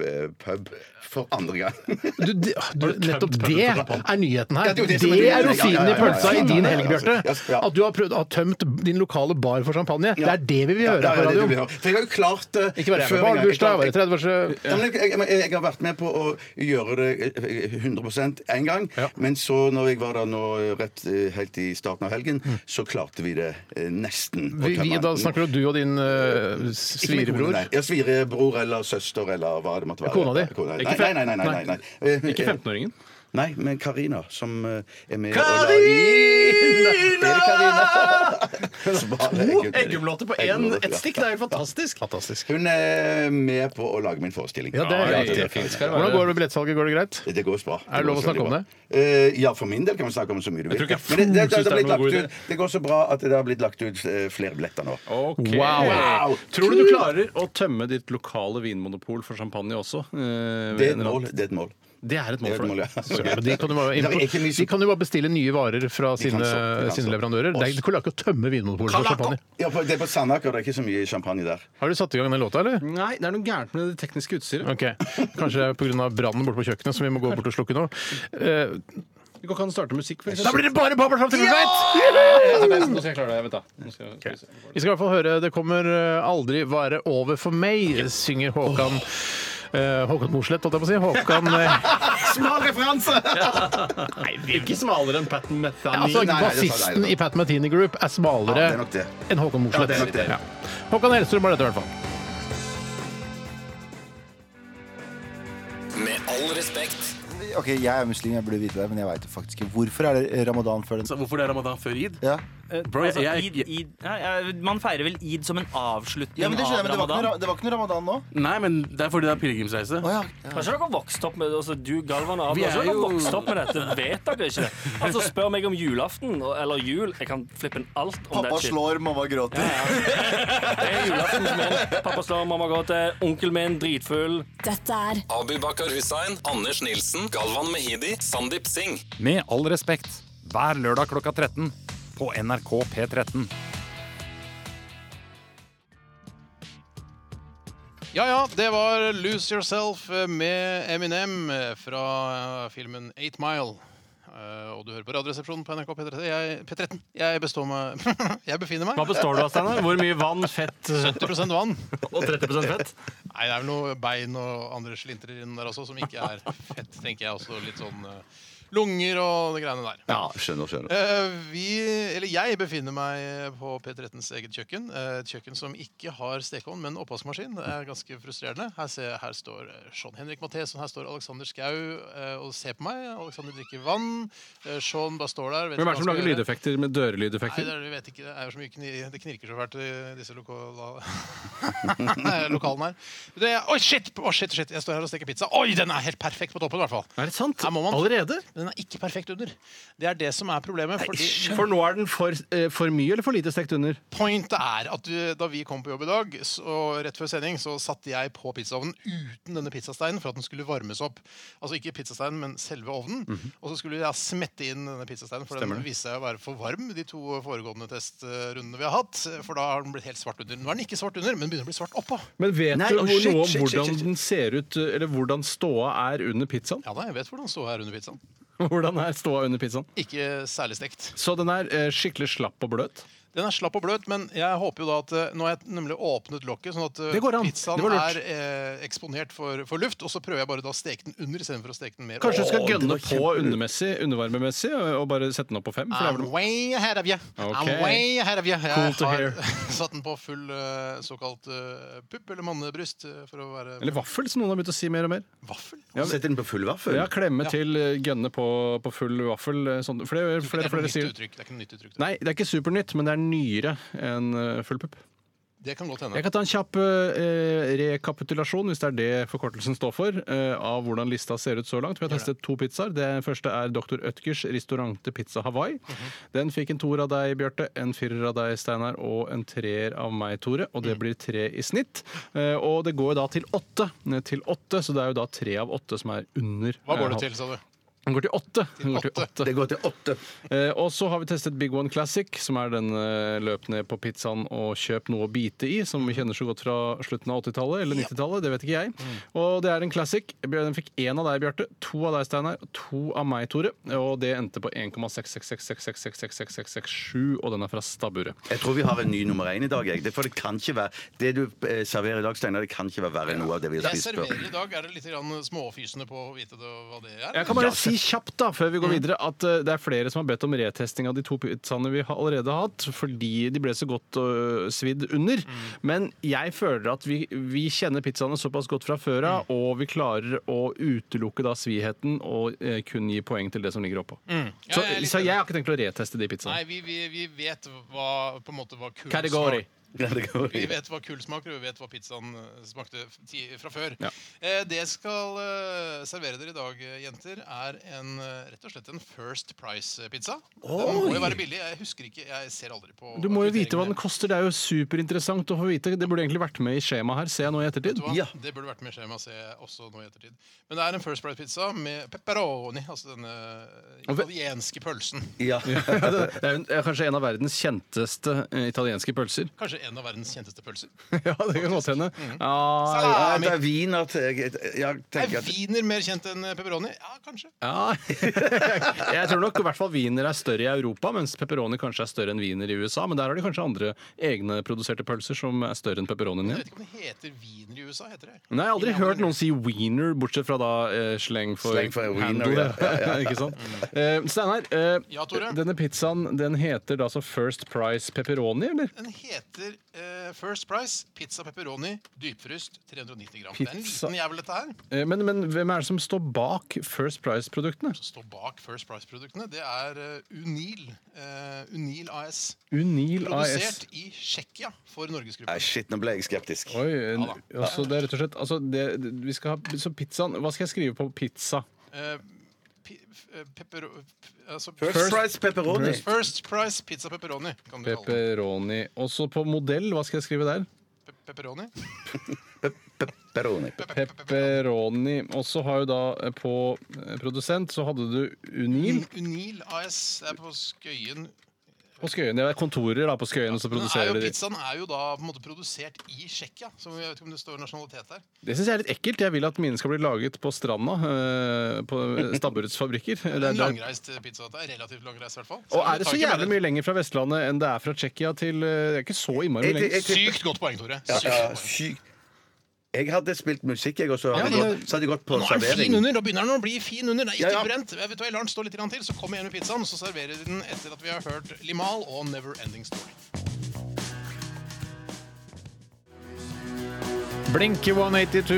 Speaker 6: eh, pub for andre gang.
Speaker 4: Du, det- du, nettopp det er nyheten her.
Speaker 6: Ja, det er jo
Speaker 4: det
Speaker 6: det som er
Speaker 4: er
Speaker 6: nyheten. Ja,
Speaker 4: rosinen
Speaker 6: ja,
Speaker 4: i
Speaker 6: ja, ja,
Speaker 4: pølsa
Speaker 6: ja,
Speaker 4: i
Speaker 6: ja,
Speaker 4: din
Speaker 6: ja, ja,
Speaker 4: helg,
Speaker 6: ja,
Speaker 4: Bjarte.
Speaker 6: ja, ja.
Speaker 4: At du har prøvd å ha tømt din lokale bar for champagne. Det er det vi vil
Speaker 6: Ja,
Speaker 4: høre her på
Speaker 6: det er det du
Speaker 4: radioen.
Speaker 6: vil ha. For jeg har jo klart det
Speaker 4: Ikke bare jeg,
Speaker 6: før
Speaker 4: men
Speaker 6: en gang.
Speaker 4: barnebursdag,
Speaker 6: Jeg-
Speaker 4: var det 30-årsdag
Speaker 6: Ja, men jeg, jeg, jeg, jeg har vært med på å gjøre det eh, 100 én gang, men så når jeg var der nå eh, rett eh, helt i starten av helgen, så klarte vi det eh, nesten. å
Speaker 4: Vi- vi-
Speaker 6: tømme
Speaker 4: Da
Speaker 6: den.
Speaker 4: snakker du og din eh,
Speaker 6: Ikke min kone,
Speaker 4: svirebror.
Speaker 6: nei. Ja, svirebror eller søster eller hva det måtte være.
Speaker 4: Kona di?
Speaker 6: Kona.
Speaker 5: Ikke fem-
Speaker 6: Nei, nei, nei. nei, nei, nei. Eh,
Speaker 5: Ikke 15-åringen.
Speaker 6: Nei, men Karina, som eh, er med
Speaker 5: Karina!
Speaker 6: To
Speaker 5: To Eggum-låter på én, ett stikk! Det er jo fantastisk!
Speaker 4: Fantastisk.
Speaker 6: Hun er med på å lage min forestilling.
Speaker 4: Ja, det er
Speaker 5: Ja,
Speaker 4: riktig.
Speaker 5: det er fint. Skal det være.
Speaker 4: Hvordan går det med billettsalget? Går det greit?
Speaker 6: Det går bra.
Speaker 4: Er det lov å snakke om det?
Speaker 6: Eh, ja, for min del kan vi snakke om så mye du vil.
Speaker 5: tror ikke jeg
Speaker 6: Men det, det, det,
Speaker 5: synes det er
Speaker 6: har blitt
Speaker 5: noen
Speaker 6: lagt
Speaker 5: god
Speaker 6: ut, det går så bra at det har blitt lagt ut eh, flere billetter nå.
Speaker 5: Ok.
Speaker 4: Wow.
Speaker 5: Tror du du klarer å tømme ditt lokale vinmonopol for champagne også? Eh,
Speaker 6: Det er
Speaker 5: ved en
Speaker 6: et
Speaker 5: eller
Speaker 6: mål.
Speaker 5: annen-
Speaker 6: Det er et mål.
Speaker 5: Det er et
Speaker 6: Det
Speaker 5: mål
Speaker 6: er et
Speaker 5: for
Speaker 6: mål,
Speaker 5: deg.
Speaker 6: ja.
Speaker 4: Men de kan, jo bare
Speaker 6: Det er ikke mye
Speaker 4: de
Speaker 6: som-
Speaker 4: kan jo bare bestille nye varer fra sine,
Speaker 6: så, de kan
Speaker 4: sine
Speaker 6: så.
Speaker 4: leverandører. Det er- Du klarer ikke å tømme Vinmonopolet for champagne.
Speaker 6: Ja, for det er på Sandaker, det er ikke så mye champagne der.
Speaker 4: Har du satt i gang den låta, eller?
Speaker 5: Nei, det er noe gærent med det tekniske utstyret.
Speaker 4: Ok, Kanskje det er pga. brannen borte på kjøkkenet, så vi må gå bort og slukke nå. Eh,
Speaker 5: Du kan ikke starte musikk, for
Speaker 4: da
Speaker 5: eksempel.
Speaker 4: blir det bare babler fram til vi vet!
Speaker 5: Nå skal jeg klare det. Vent, da. Nå skal jeg- skal vi se.
Speaker 4: Vi skal i hvert fall høre 'Det kommer eh, aldri være over for meg', synger Håkan eh, Håkan Mosleth, holdt jeg på å si. Håkan eh,
Speaker 6: Smal referanse!
Speaker 5: Ikke smalere enn Pat
Speaker 4: Altså,
Speaker 5: Metheny.
Speaker 6: nei, det er
Speaker 4: bassisten
Speaker 6: sant, nei, det er sant.
Speaker 4: i Pat Metheny Group er smalere
Speaker 6: Ja, det er nok det.
Speaker 4: enn Håkan
Speaker 6: Ja, det er nok
Speaker 4: Mosleth.
Speaker 6: det.
Speaker 4: Ja. Håkan Hellstrøm var dette, i hvert fall.
Speaker 3: Med all respekt.
Speaker 8: Ok, Jeg er muslim, jeg burde vite det, men jeg veit faktisk ikke. Hvorfor er det ramadan før den?
Speaker 9: Så hvorfor det er ramadan før id?
Speaker 8: Ja,
Speaker 9: Bro,
Speaker 10: Altså,
Speaker 9: jeg-
Speaker 10: id, id, ja, ja, man feirer vel id som en avslutning
Speaker 8: ja men Det
Speaker 10: av
Speaker 8: skjønner jeg, men det var, ikke
Speaker 10: ramadan.
Speaker 8: noe, det var ikke noe ramadan nå?
Speaker 9: Nei, men det er fordi det er pilegrimsreise.
Speaker 8: Å ja.
Speaker 11: Kanskje dere har vokst opp med altså, Du, Galvan og
Speaker 9: Vi
Speaker 11: Adrian,
Speaker 9: er
Speaker 11: kanskje dere
Speaker 9: jo-
Speaker 11: har vokst opp med dette? Vet dere ikke? Altså, spør meg om julaften og- eller jul. Jeg kan flippe en alt om
Speaker 8: Pappa
Speaker 11: det shit.
Speaker 8: slår, mamma gråter.
Speaker 11: Det er julaften som er Pappa slår, mamma gråter, onkelen min dritfull.
Speaker 7: Dette er
Speaker 3: Abu Bakar Hussein, Anders Nilsen, Galvan Mehidi, Sandeep Singh.
Speaker 12: Med all respekt, hver lørdag klokka 13 på NRK P13.
Speaker 4: Ja ja, det var 'Lose Yourself' eh, med Eminem eh, fra filmen 8 Mile. Eh, Og du hører på Radioresepsjonen på NRK P13. Jeg, P13. jeg består meg Jeg befinner meg
Speaker 5: Hva består du av, Steinar? Hvor mye vann, fett
Speaker 4: 70 vann.
Speaker 5: og 30 fett?
Speaker 4: Nei, det er vel noe bein og andre slintrer inn der også, som ikke er fett, tenker jeg også. Litt sånn eh, lunger og de greiene der.
Speaker 6: Ja, skjønner, skjønner.
Speaker 4: Eh, Vi, eller jeg befinner meg på P13s eget kjøkken. Eh, Et kjøkken som ikke har stekeovn, men oppvaskmaskin. Det er ganske frustrerende. Her, ser, her står eh, Sean-Henrik Matheson, her står Alexander Skau eh, og ser på meg. Alexander drikker vann. Eh, Sean bare står der. vet ikke
Speaker 5: Hvem er det
Speaker 4: hva
Speaker 5: som
Speaker 4: han
Speaker 5: lager
Speaker 4: skal gjøre.
Speaker 5: lydeffekter med
Speaker 4: Nei, det
Speaker 5: dørlydeffekter?
Speaker 4: er, vi vet ikke. Det er jo så mye kni, Det knirker så fælt i disse lokala lokalene her. Det, oi, shit! Å, shit, shit! Jeg står her og steker pizza. Oi, den er helt perfekt på toppen, i hvert fall.
Speaker 5: Er det sant?
Speaker 4: Her må man-
Speaker 5: Allerede?
Speaker 4: Men den er ikke perfekt under. Det er det som er problemet. Fordi
Speaker 5: For nå er den for, eh, for mye eller for lite stekt under?
Speaker 4: Pointet er at du, da vi kom på jobb i dag, så, rett før sending, så satte jeg på pizzaovnen uten denne pizzasteinen for at den skulle varmes opp. Altså ikke pizzasteinen, men selve ovnen. Og så skulle jeg smette inn denne pizzasteinen, for den viste seg å være for varm de to foregående testrundene vi har hatt. For da har den blitt helt svart under. Nå er den ikke svart under, men begynner å bli svart oppå.
Speaker 5: Men vet
Speaker 6: Nei,
Speaker 5: du
Speaker 6: oh,
Speaker 5: hvor,
Speaker 6: shit,
Speaker 5: noe om
Speaker 6: shit, shit,
Speaker 5: hvordan
Speaker 6: shit.
Speaker 5: den ser ut, eller hvordan ståa er under pizzaen?
Speaker 4: Ja da, jeg vet hvordan ståa er under pizzaen.
Speaker 5: Hvordan er ståa under pizzaen?
Speaker 4: Ikke særlig stekt.
Speaker 5: Så den er eh, skikkelig slapp og bløt?
Speaker 4: Den er slapp og bløt, men jeg håper jo da at eh, Nå har jeg nemlig åpnet lokket, sånn at eh,
Speaker 5: Det går an.
Speaker 4: pizzaen
Speaker 5: Det var lurt.
Speaker 4: er eh, eksponert for, for luft. Og så prøver jeg bare da å steke den under istedenfor å steke den mer
Speaker 5: Kanskje du skal
Speaker 4: opp.
Speaker 5: gønne på undermessig, undervarmemessig og bare sette den opp på fem? For det er
Speaker 4: I'm
Speaker 5: vel
Speaker 4: way ahead of you.
Speaker 5: Ok.
Speaker 4: I'm way ahead of you. Jeg
Speaker 5: Cool to
Speaker 4: har
Speaker 5: hear.
Speaker 4: satt den på full eh, såkalt eh, pupp eller mannebryst eh, for å være
Speaker 5: eller vaffel, som noen har begynt å si mer og mer.
Speaker 4: vaffel.
Speaker 6: Sett den på full vaffel.
Speaker 5: Ja, Klemme til, eh, gønne på, på full vaffel. eh, Sånn. For det er
Speaker 4: Det
Speaker 5: flere
Speaker 4: er
Speaker 5: og
Speaker 4: ikke
Speaker 5: flere
Speaker 4: noe
Speaker 5: sier.
Speaker 4: nytt uttrykk. Det er ikke noe nytt uttrykk.
Speaker 5: Nei, det er ikke supernytt, men det er nyere enn eh, full pupp.
Speaker 4: Det kan godt
Speaker 5: Jeg
Speaker 4: hende.
Speaker 5: kan ta en kjapp eh, rekapitulasjon, hvis det er det forkortelsen står for, eh, av hvordan lista ser ut så langt. Vi har testet to pizzaer. Den første er Dr. Ødgers Restaurante Pizza Hawaii.
Speaker 4: Mhm.
Speaker 5: Den fikk en toer av deg, Bjarte, en firer av deg, Steinar, og en treer av meg, Tore. Og
Speaker 4: Mm.
Speaker 5: det blir tre i snitt. Eh, og det går da til åtte. Ned Til åtte, så det er jo da tre av åtte som er under.
Speaker 4: Hva går det
Speaker 5: eh,
Speaker 4: til, sa du?
Speaker 5: Den går til åtte. Den går til åtte.
Speaker 6: Det går til åtte.
Speaker 5: Eh, og så har vi testet Big One Classic, som er den eh, løp ned på pizzaen og kjøp noe å bite i, som vi kjenner så godt fra slutten av 80-tallet eller 90-tallet. Det vet ikke jeg. Og det er en classic. Den fikk én av deg, Bjarte, to av deg, Steinar, og to av meg, Tore. Og det endte på 1,666666667, og den er fra stabburet.
Speaker 6: Jeg tror vi har en ny nummer én i dag. Jeg. Det, for det kan ikke være Det du eh, serverer i dag, Steinar, det kan ikke være verre enn noe av det vi har
Speaker 4: Jeg
Speaker 6: spist før.
Speaker 4: serverer i dag. Er det litt grann småfysende på å vite det, hva det er?
Speaker 5: Jeg kan bare
Speaker 6: Ja,
Speaker 5: si kjapt da, før vi går
Speaker 13: Mm.
Speaker 5: videre, at eh, det er flere som har bedt om retesting av de to pizzaene vi har allerede har hatt, fordi de ble så godt øh, svidd under.
Speaker 13: Mm.
Speaker 5: Men jeg føler at vi, vi kjenner pizzaene såpass godt fra før av,
Speaker 13: Mm.
Speaker 5: og vi klarer å utelukke da sviheten og eh, kun gi poeng til det som ligger oppå.
Speaker 13: Mm. Ja,
Speaker 5: så,
Speaker 13: jeg er litt
Speaker 5: så
Speaker 13: enig.
Speaker 5: jeg har ikke tenkt å reteste de
Speaker 13: Nei,
Speaker 5: pizzaene.
Speaker 13: vi, vi, vi vet hva på en måte hva kull
Speaker 5: Category. Category.
Speaker 13: Vi vet hva kull smaker, og vi vet hva pizzaen eh, smakte f- ti- fra før.
Speaker 5: Ja.
Speaker 13: Eh, det jeg skal eh, servere dere i dag, eh, jenter, er en, eh, rett og slett en First Price-pizza. Den må
Speaker 5: Oi!
Speaker 13: jo være billig. Jeg husker ikke, jeg ser aldri på
Speaker 5: Du må jo vite hva den koster, det er jo superinteressant å få vite. Det burde egentlig vært med i skjemaet her, ser jeg nå i ettertid.
Speaker 13: Vet du hva? Det burde vært med i skjema, ser jeg også nå i ettertid. Men det er en First Price-pizza med pepperoni, altså denne italienske pølsen.
Speaker 5: Ja. det er jo en- er kanskje en av verdens kjenteste eh, italienske pølser.
Speaker 13: Kanskje en av verdens kjenteste pølser.
Speaker 5: ja, det kan godt hende.
Speaker 13: Salami.
Speaker 5: Ja,
Speaker 13: Ja, det er
Speaker 5: wiener Jeg
Speaker 13: Er wiener mer kjent enn pepperoni? Ja, kanskje.
Speaker 5: ja. Jeg tror nok i hvert fall wiener er større i Europa, mens pepperoni kanskje er større enn wiener i USA. Men der har de kanskje andre egenproduserte pølser som er større enn pepperonien
Speaker 13: Jeg
Speaker 5: igjen.
Speaker 13: vet ikke om det heter wiener i USA. heter det?
Speaker 5: Nei, jeg har aldri hørt noen si wiener, bortsett fra da eh, sleng for,
Speaker 13: Sleng for wiener,
Speaker 5: handle.
Speaker 13: ja. Ja, ja.
Speaker 5: ikke sant? Eh, Steinar, eh,
Speaker 13: Ja, Tore?
Speaker 5: denne pizzaen den heter da altså First Price Pepperoni, eller?
Speaker 13: Den heter eh, First Price pizza pepperoni dypfryst 390 gram. Det er en
Speaker 5: Pizza-
Speaker 13: liten jævel, dette her.
Speaker 5: Eh, Men, men hvem er det som står bak First Price-produktene?
Speaker 13: Står bak First Price-produktene. Det er eh, Unil. eh, Unil AS.
Speaker 5: Unil AS.
Speaker 13: Produsert i Tsjekkia for Norgesgruppen.
Speaker 6: Nei, shit, nå ble jeg skeptisk.
Speaker 5: Oi, en, altså, det er rett og slett altså, det, det- vi skal ha, Så pizzaen Hva skal jeg skrive på pizza?
Speaker 13: Eh, pi- f- eh, pepper- f- altså-
Speaker 5: First First- Price pepperoni.
Speaker 13: First Price pizza pepperoni, kan du kalle det.
Speaker 5: Pepperoni. Også på modell, hva skal jeg skrive der?
Speaker 13: Pepperoni.
Speaker 5: Pepperoni. Pepperoni. Og så har jo da eh, på eh, produsent så hadde du Unil
Speaker 13: Unil AS det er på Skøyen.
Speaker 5: og Skøyen. Det er kontorer da på Skøyen som
Speaker 13: Den er
Speaker 5: produserer
Speaker 13: jo,
Speaker 5: de.
Speaker 13: pizzaen er jo da på en måte produsert i Tsjekkia. Så jeg vet ikke om det står nasjonalitet der.
Speaker 5: Det syns jeg er litt ekkelt. Jeg vil at mine skal bli laget på stranda eh, på Stabburets fabrikker.
Speaker 13: Det
Speaker 5: Det
Speaker 13: er
Speaker 5: er
Speaker 13: en
Speaker 5: der-
Speaker 13: langreist pizza. dette er Relativt langreist, i hvert fall.
Speaker 5: Og er det
Speaker 13: tar
Speaker 5: så
Speaker 13: ikke mer
Speaker 5: jævlig mye lenger fra Vestlandet enn det er fra Tsjekkia til eh, Det er ikke så innmari
Speaker 13: Jeg- jeg-
Speaker 5: lenger.
Speaker 13: jeg- Sykt godt poeng, Tore.
Speaker 6: Ja,
Speaker 13: Sykt
Speaker 6: ja,
Speaker 13: godt poeng.
Speaker 6: sykt. Jeg hadde spilt musikk, jeg, og så
Speaker 13: Ja,
Speaker 6: hadde, jeg
Speaker 13: men-
Speaker 6: gått- så hadde jeg gått på
Speaker 13: Nå er den fin
Speaker 6: servering.
Speaker 13: under! Nå begynner den å bli fin under. Det er
Speaker 6: Ja,
Speaker 13: ikke
Speaker 6: ja.
Speaker 13: brent. Jeg vet du hva, Jeg lar den stå litt grann til, så kommer jeg igjen med pizzaen, så serverer vi den etter at vi har hørt Limal og Never Ending Story.
Speaker 4: Blink 182,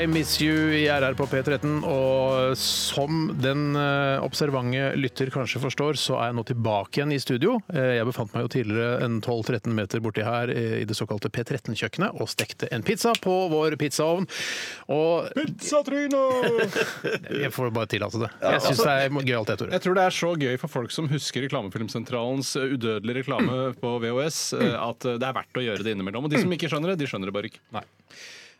Speaker 4: I Miss You i RR på P13. Og som den eh, observante lytter kanskje forstår, så er jeg nå tilbake igjen i studio. Eh, Jeg befant meg jo tidligere en 12-13 meter borti her eh, i det såkalte P13-kjøkkenet og stekte en pizza på vår pizzaovn. Og Jeg får bare tillate det. Jeg
Speaker 6: Altså,
Speaker 4: syns det er gøyalt, det, Tore.
Speaker 5: Jeg tror det er så gøy for folk som husker Reklamefilmsentralens eh, udødelige reklame på VHS, eh, at eh, det er verdt å gjøre det innimellom. Og de som ikke skjønner det, de skjønner det bare ikke.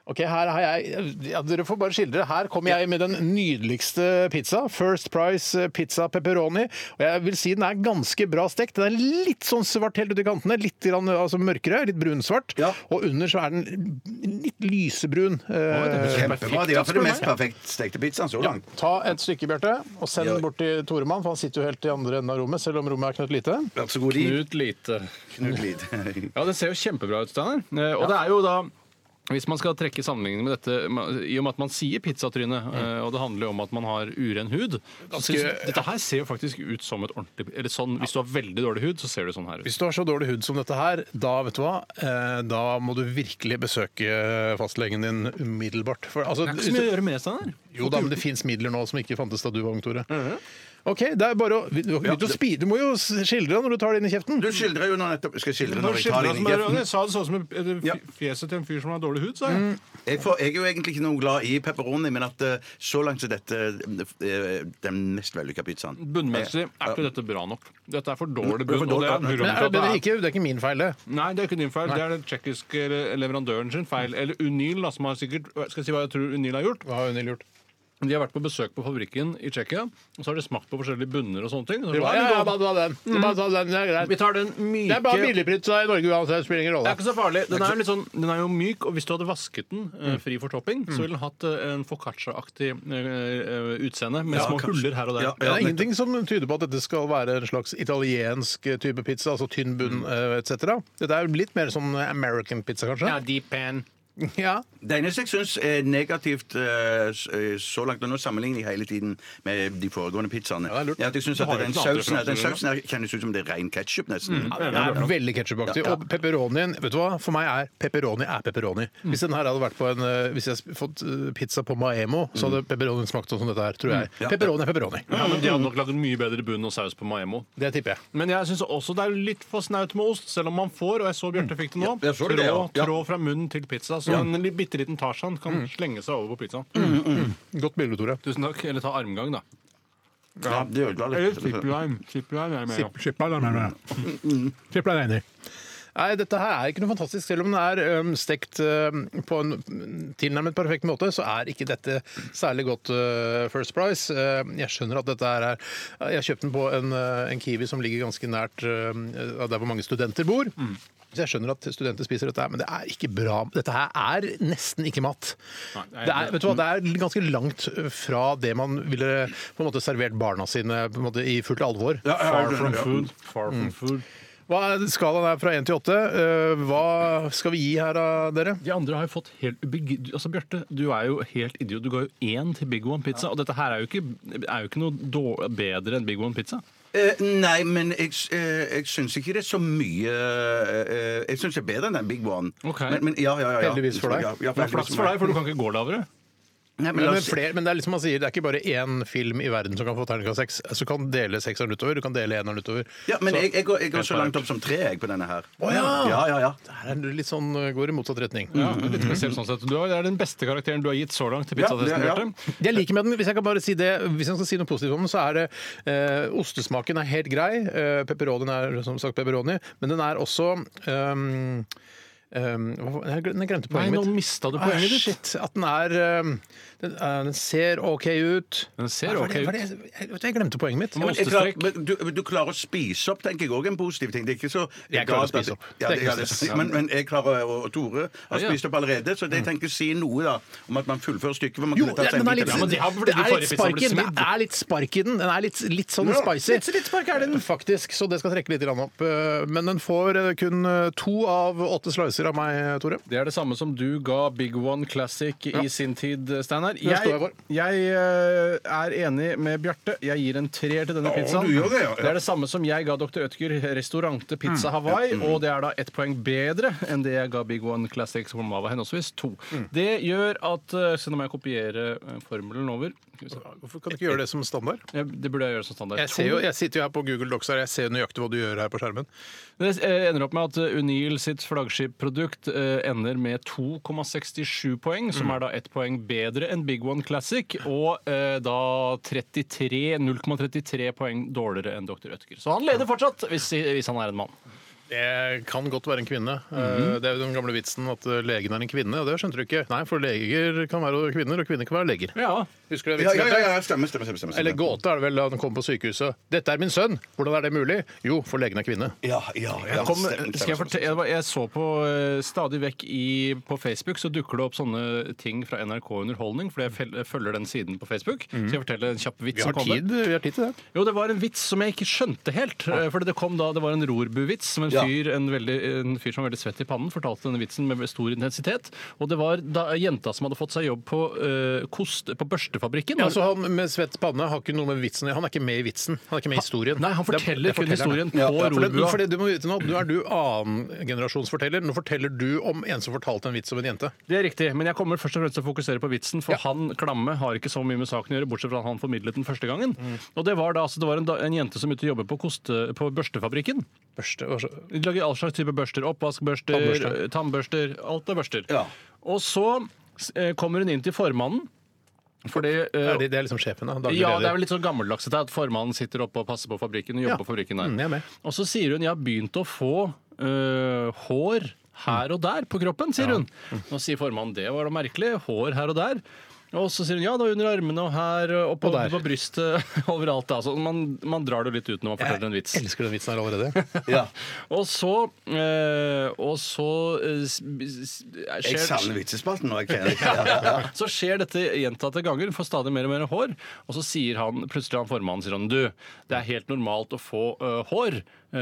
Speaker 4: Ok, her har jeg ja, Dere får bare skildre. Her kommer jeg med den nydeligste pizza. First Price eh, pizza pepperoni. Og jeg vil si den er ganske bra stekt. Den er litt sånn svart helt ut i kantene. Litt grann, altså mørkere, litt brunsvart. Og under så er den litt lysebrun. Eh,
Speaker 6: Kjempebra. Det er i hvert fall
Speaker 4: spør
Speaker 6: den
Speaker 4: du
Speaker 6: mest
Speaker 4: meg.
Speaker 6: perfekt stekte pizzaen så
Speaker 4: Ja,
Speaker 6: langt.
Speaker 4: ta et stykke, Bjarte, og send den bort til Toremann, for han sitter jo helt i andre enden av rommet, selv om rommet er knøtt lite.
Speaker 6: Vær så god,
Speaker 5: Knut Lite.
Speaker 6: Knut Lite.
Speaker 5: ja, det ser jo kjempebra ut, Steinar. Eh, Og det er jo da hvis man skal trekke sammenligningen med dette, ma- i og med at man sier pizzatryne, eh, og det handler jo om at man har uren hud
Speaker 4: Mm. Ganske-
Speaker 5: så liksom, Dette her ser jo faktisk ut som et ordentlig Eller sånn, hvis du har veldig dårlig hud, så ser det sånn her ut.
Speaker 4: Hvis du har så dårlig hud som dette her, da vet du hva, eh, da må du virkelig besøke fastlegen din umiddelbart. For, altså,
Speaker 5: Det er ikke så mye å gjøre med, Steinar.
Speaker 4: Jo da, men det fins midler nå som ikke fantes da du var ung, Tore. OK, det er bare å Du, du,
Speaker 6: det-
Speaker 4: spi- du må jo skildre når du tar det inn i kjeften.
Speaker 6: Du skildrer jo nå nettopp Skal jeg skildre
Speaker 4: Nå
Speaker 6: når jeg tar
Speaker 4: skildrer
Speaker 6: det inn i
Speaker 4: jeg
Speaker 6: kjeften?
Speaker 5: sa det sånn som fjeset til en fyr som har dårlig hud, sa
Speaker 4: Mm.
Speaker 5: jeg.
Speaker 6: Jeg, får, jeg er jo egentlig ikke noe glad i pepperoni, men at eh, så langt så dette eh, den mest vellykka pizzaen.
Speaker 5: Bunnmessig er ikke dette bra nok. Dette er for dårlig
Speaker 6: Det er for
Speaker 5: bunn. Og det er
Speaker 6: dårlig, ja.
Speaker 5: grunnen
Speaker 6: Men er
Speaker 5: til
Speaker 6: det
Speaker 5: at det
Speaker 6: bedre
Speaker 5: er
Speaker 4: Ikke, det er ikke min feil, det.
Speaker 5: Nei, det er ikke din feil.
Speaker 4: Nei.
Speaker 5: Det er den tsjekkiske le- leverandøren sin feil. Eller Unil, da, som har sikkert Skal jeg si hva jeg tror Unil har gjort?
Speaker 4: Hva har Unil gjort?
Speaker 5: De har vært på besøk på fabrikken i Tsjekkia, og så har de smakt på forskjellige bunner og sånne ting. Så
Speaker 4: Det var,
Speaker 5: «Nei,
Speaker 4: ja,
Speaker 5: vi
Speaker 4: ja,
Speaker 5: går-
Speaker 4: bare ta den. Bare ta den, det er greit.
Speaker 5: Vi tar den myke
Speaker 4: Det er bare billigpizza i Norge uansett, spiller ingen
Speaker 5: det
Speaker 4: rolle.
Speaker 5: er ikke så farlig. Den er, jo litt sånn, den er jo myk, og hvis du hadde vasket den eh, fri for topping, så ville den hatt eh, en foccaccia-aktig eh, eh, utseende med
Speaker 4: Ja,
Speaker 5: små
Speaker 4: kanskje.
Speaker 5: huller her og der.
Speaker 4: Ja, det er ingenting som tyder på at dette skal være en slags italiensk eh, type eh, pizza, altså tynn bunn etc. Dette er litt mer sånn American pizza, kanskje?
Speaker 5: deep pan.
Speaker 4: Ja.
Speaker 6: Det eneste jeg syns er negativt eh, s- eh, så langt, og nå sammenligner jeg hele tiden med de foregående pizzaene, er at jeg syns
Speaker 4: Du
Speaker 6: at
Speaker 4: har jo
Speaker 6: den
Speaker 4: ikke noen andre
Speaker 6: sausen, her- den
Speaker 4: preferanser,
Speaker 6: sausen her kjennes ut som det er ren ketsjup, nesten.
Speaker 4: Mm. Det er veldig ketsjupaktig.
Speaker 6: Ja, ja.
Speaker 4: Og pepperonien vet du hva? For meg er pepperoni er pepperoni. Hvis den her hadde vært på en eh, Hvis jeg hadde fått eh, pizza på Maemo, så hadde pepperonien smakt sånn som dette her, tror jeg.
Speaker 5: Ja.
Speaker 4: Pepperoni er pepperoni.
Speaker 5: Ja, men De hadde nok lagd en mye bedre bunn og saus på Maemmo.
Speaker 4: Det tipper jeg.
Speaker 5: Men jeg syns også det er litt for snaut med ost, selv om man får, og jeg så Bjarte fikk det nå,
Speaker 6: Mm. Ja, jeg så det,
Speaker 5: trå,
Speaker 6: ja. Ja.
Speaker 5: trå fra munnen til pizza. Så
Speaker 6: Ja. Mm.
Speaker 5: en bitte liten Tarzan kan slenge seg over på pizzaen.
Speaker 4: Godt bilde, Tore.
Speaker 5: Mm. Tusen takk. Eller ta armgang, da.
Speaker 6: Ja, det ødela
Speaker 5: Eller
Speaker 6: litt.
Speaker 5: zipline. Zipline er jeg med, ja.
Speaker 4: Nei, dette her er ikke noe fantastisk. Selv om den er øhm, stekt øhm, på en mm, tilnærmet perfekt måte, så er ikke dette særlig godt øh, First Price. Eh, jeg skjønner at dette her er Jeg kjøpte den på en, øh, en Kiwi som ligger ganske nært øh, der hvor mange studenter bor. Så jeg skjønner at studenter spiser dette, her, men det er ikke bra. Dette her er nesten ikke mat.
Speaker 5: nei,
Speaker 4: det, er, vet du hva, det er ganske langt øh, fra det man ville på en måte servert barna sine på en måte, i fullt alvor.
Speaker 5: Far from food. Far from food.
Speaker 4: Hva er skalaen er fra 1 til 8? Eh, Hva skal vi gi her da, dere?
Speaker 5: De andre har jo fått helt ubegri- Altså, Bjarte, du er jo helt idiot. Du ga jo én til Big One Pizza, og dette her er jo ikke, er jo ikke noe dår- bedre enn Big One Pizza.
Speaker 6: Eh, nei, men jeg, s- eh, jeg syns ikke det er så mye eh, Jeg syns det er bedre enn den Big One. Men, men, ja, ja, ja, ja.
Speaker 4: Heldigvis for deg.
Speaker 6: Ja, ja,
Speaker 4: Det er flaks for deg, for du kan
Speaker 5: ikke gå lavere.
Speaker 6: Nei, men
Speaker 4: men,
Speaker 6: la
Speaker 4: men,
Speaker 6: oss-
Speaker 4: flere, men det er liksom man sier, det er ikke bare én film i verden som kan få terningkast seks. Så kan du dele sekseren utover, du kan dele eneren utover.
Speaker 6: Ja, men
Speaker 4: Så-
Speaker 6: jeg, jeg, går, jeg går så langt opp som tre jeg, på denne her.
Speaker 4: Å ja!
Speaker 6: Ja, ja, ja.
Speaker 4: Det her er litt sånn, eh, går i motsatt retning.
Speaker 5: Ja, litt spesielt sånn sett. Du er, det er den beste karakteren du har gitt så langt til pizzatesten, Bjarte.
Speaker 4: Det jeg liker med den, hvis jeg kan bare si det, hvis jeg skal si noe positivt om den, så er det eh, ostesmaken er helt grei. Eh, pepperonien er som sagt pepperoni, men den er også ehm, ehm, hva- jeg glem- jeg glemte poenget
Speaker 5: Nei, nå
Speaker 4: mitt.
Speaker 5: mistet du poenget
Speaker 4: Ah,
Speaker 5: ditt.
Speaker 4: Shit, at den er ehm, den, eh, den ser OK ut.
Speaker 5: Den ser
Speaker 4: Hva er det-
Speaker 5: ok
Speaker 4: hva er det- Jeg, vet du, jeg glemte poenget mitt.
Speaker 6: Ja, men jeg klarer, men du, du klarer å spise opp, tenker jeg òg, en positiv ting. Det er ikke så
Speaker 4: Jeg klarer å
Speaker 6: galt at-
Speaker 4: spise opp. Det
Speaker 6: Ja, det,
Speaker 4: er ikke
Speaker 6: ja,
Speaker 4: noe
Speaker 6: det,
Speaker 4: stress.
Speaker 6: men, men jeg klarer, og og Tore
Speaker 4: Ja,
Speaker 6: har
Speaker 4: Mm. ja.
Speaker 6: spist opp allerede, så det jeg tenker si noe da om at man fullfører stykket. for man
Speaker 4: Jo,
Speaker 6: kunne tatt seg
Speaker 4: den
Speaker 6: en
Speaker 4: er litt,
Speaker 6: bit av
Speaker 4: det er litt spark i den. Det er litt spark i den. Den er litt, litt sånn
Speaker 6: Ja,
Speaker 4: spicy.
Speaker 6: litt- litt spark er den.
Speaker 4: Faktisk, så det skal trekke litt grann opp. Eh, Men den får eh, kun eh, to av åtte slicer av meg, Tore.
Speaker 5: Det er det samme som du ga Big One Classic i sin tid, Steinar.
Speaker 4: står jeg for.
Speaker 5: Jeg, jeg eh, er enig med Bjarte. Jeg gir en treer til denne
Speaker 4: Ja,
Speaker 5: pizzaen.
Speaker 4: du gjør det, ja, ja.
Speaker 5: er det samme som jeg ga Dr. Ødger Restaurante Pizza
Speaker 4: Mm.
Speaker 5: Hawaii,
Speaker 4: Ja, mm.
Speaker 5: og det er da ett poeng bedre enn det jeg ga Big One Classic, som var henholdsvis to.
Speaker 4: Mm.
Speaker 5: Det gjør at eh, Se, nå må jeg kopiere eh, formelen over. Hvorfor
Speaker 4: kan du ikke gjøre det som standard?
Speaker 5: Det burde jeg gjøre som standard.
Speaker 4: Jeg, ser
Speaker 5: To.
Speaker 4: jo, jeg sitter jo her på Google Docs her, jeg ser jo nøyaktig hva du gjør her på skjermen.
Speaker 5: Det eh, ender opp med at eh, Unil sitt flaggskipprodukt eh, ender med 2,67 poeng, som
Speaker 4: Mm.
Speaker 5: er da ett poeng bedre enn Big One Classic, og eh, da 33 0,33 poeng dårligere enn Dr. Ødger. Så han leder fortsatt, hvis, hvis han er en mann.
Speaker 4: Det kan godt være en kvinne.
Speaker 5: Mhm.
Speaker 4: Eh, Det er jo den gamle vitsen at eh, legen er en kvinne, og det skjønte du ikke. Nei, for leger kan være kvinner, og kvinner kan være leger. Husker du den
Speaker 6: Ja,
Speaker 4: vitsen?
Speaker 6: ja, ja,
Speaker 4: Bjarte?
Speaker 6: ja, stemmer, stemmer, stemmer, stemmer.
Speaker 4: Eller gåte er det vel da han kom på sykehuset. 'Dette er min sønn'. Hvordan er det mulig? Jo, for legen er kvinne.
Speaker 6: Ja, ja, ja.
Speaker 5: Jeg, kom,
Speaker 6: stemmer,
Speaker 5: skal jeg,
Speaker 6: stemmer.
Speaker 5: fortelle, jeg, var- jeg så på eh, stadig vekk i, på Facebook så dukker det opp sånne ting fra NRK Underholdning, fordi jeg fel- følger den siden på Facebook.
Speaker 4: Mhm.
Speaker 5: Skal jeg fortelle en kjapp vits?
Speaker 4: Vi har
Speaker 5: som kommer?
Speaker 4: tid, vi har tid til det.
Speaker 5: Jo, det var en vits som jeg ikke skjønte helt. eh, Fordi det kom da, det var en rorbu-vits som en
Speaker 4: Ja.
Speaker 5: fyr, en, veldig, en fyr som var veldig svett i pannen, fortalte denne vitsen med stor intensitet. Og det var da jenta som hadde fått seg jobb på, eh, kost, på børstefabrikken. altså
Speaker 4: Ja, så Altså, han med svett panne har ikke noe med vitsen å gjøre. Han er ikke med i vitsen. Han er ikke med i historien. Nei,
Speaker 5: han forteller kun historien på
Speaker 4: rorbua.
Speaker 5: rorbua.
Speaker 4: For det du må vite nå, nå er du annengenerasjonsforteller. Nå forteller du om en som fortalte en vits om en jente.
Speaker 5: Det er riktig, men jeg kommer først og fremst til å fokusere på vitsen, for han klamme har ikke så mye med saken å gjøre, bortsett fra at han formidlet den første gangen.
Speaker 4: Mm.
Speaker 5: Og det var da, altså, det var en, da- en jente som ute og jobbet på, koste, på børstefabrikken.
Speaker 4: Børste,
Speaker 5: De lager all slags type børster. Oppvaskbørster,
Speaker 4: Tannbørste.
Speaker 5: eh, tannbørster, alt er børster. Og så eh, kommer hun inn til formannen. Fordi, eh,
Speaker 4: er det, det er liksom sjefen, da. Daglig
Speaker 5: ja,
Speaker 4: leder.
Speaker 5: det er vel litt sånn gammeldags dette, at formannen sitter oppe og passer på fabrikken. og jobber på fabrikken der.
Speaker 4: Mm, jeg er med.
Speaker 5: Og så sier hun 'jeg har begynt å få øh, hår her og der på kroppen'. sier hun. Nå sier formannen 'det var da merkelig', hår her og der'. Og så sier hun ja, det var under armene og her øh, og på, på brystet. Overalt. Altså. Man, man drar det litt ut når man forteller en vits. Jeg
Speaker 4: elsker den vitsen her allerede.
Speaker 5: og så eh, Og så eh, s- s- skjer-
Speaker 6: Jeg savner vitsespalten nå. Jeg
Speaker 5: ja. Så skjer dette gjentatte ganger, hun får stadig mer og mer hår. Og så sier han plutselig han formannen sier han, du, det er helt normalt å få ø, hår. ø,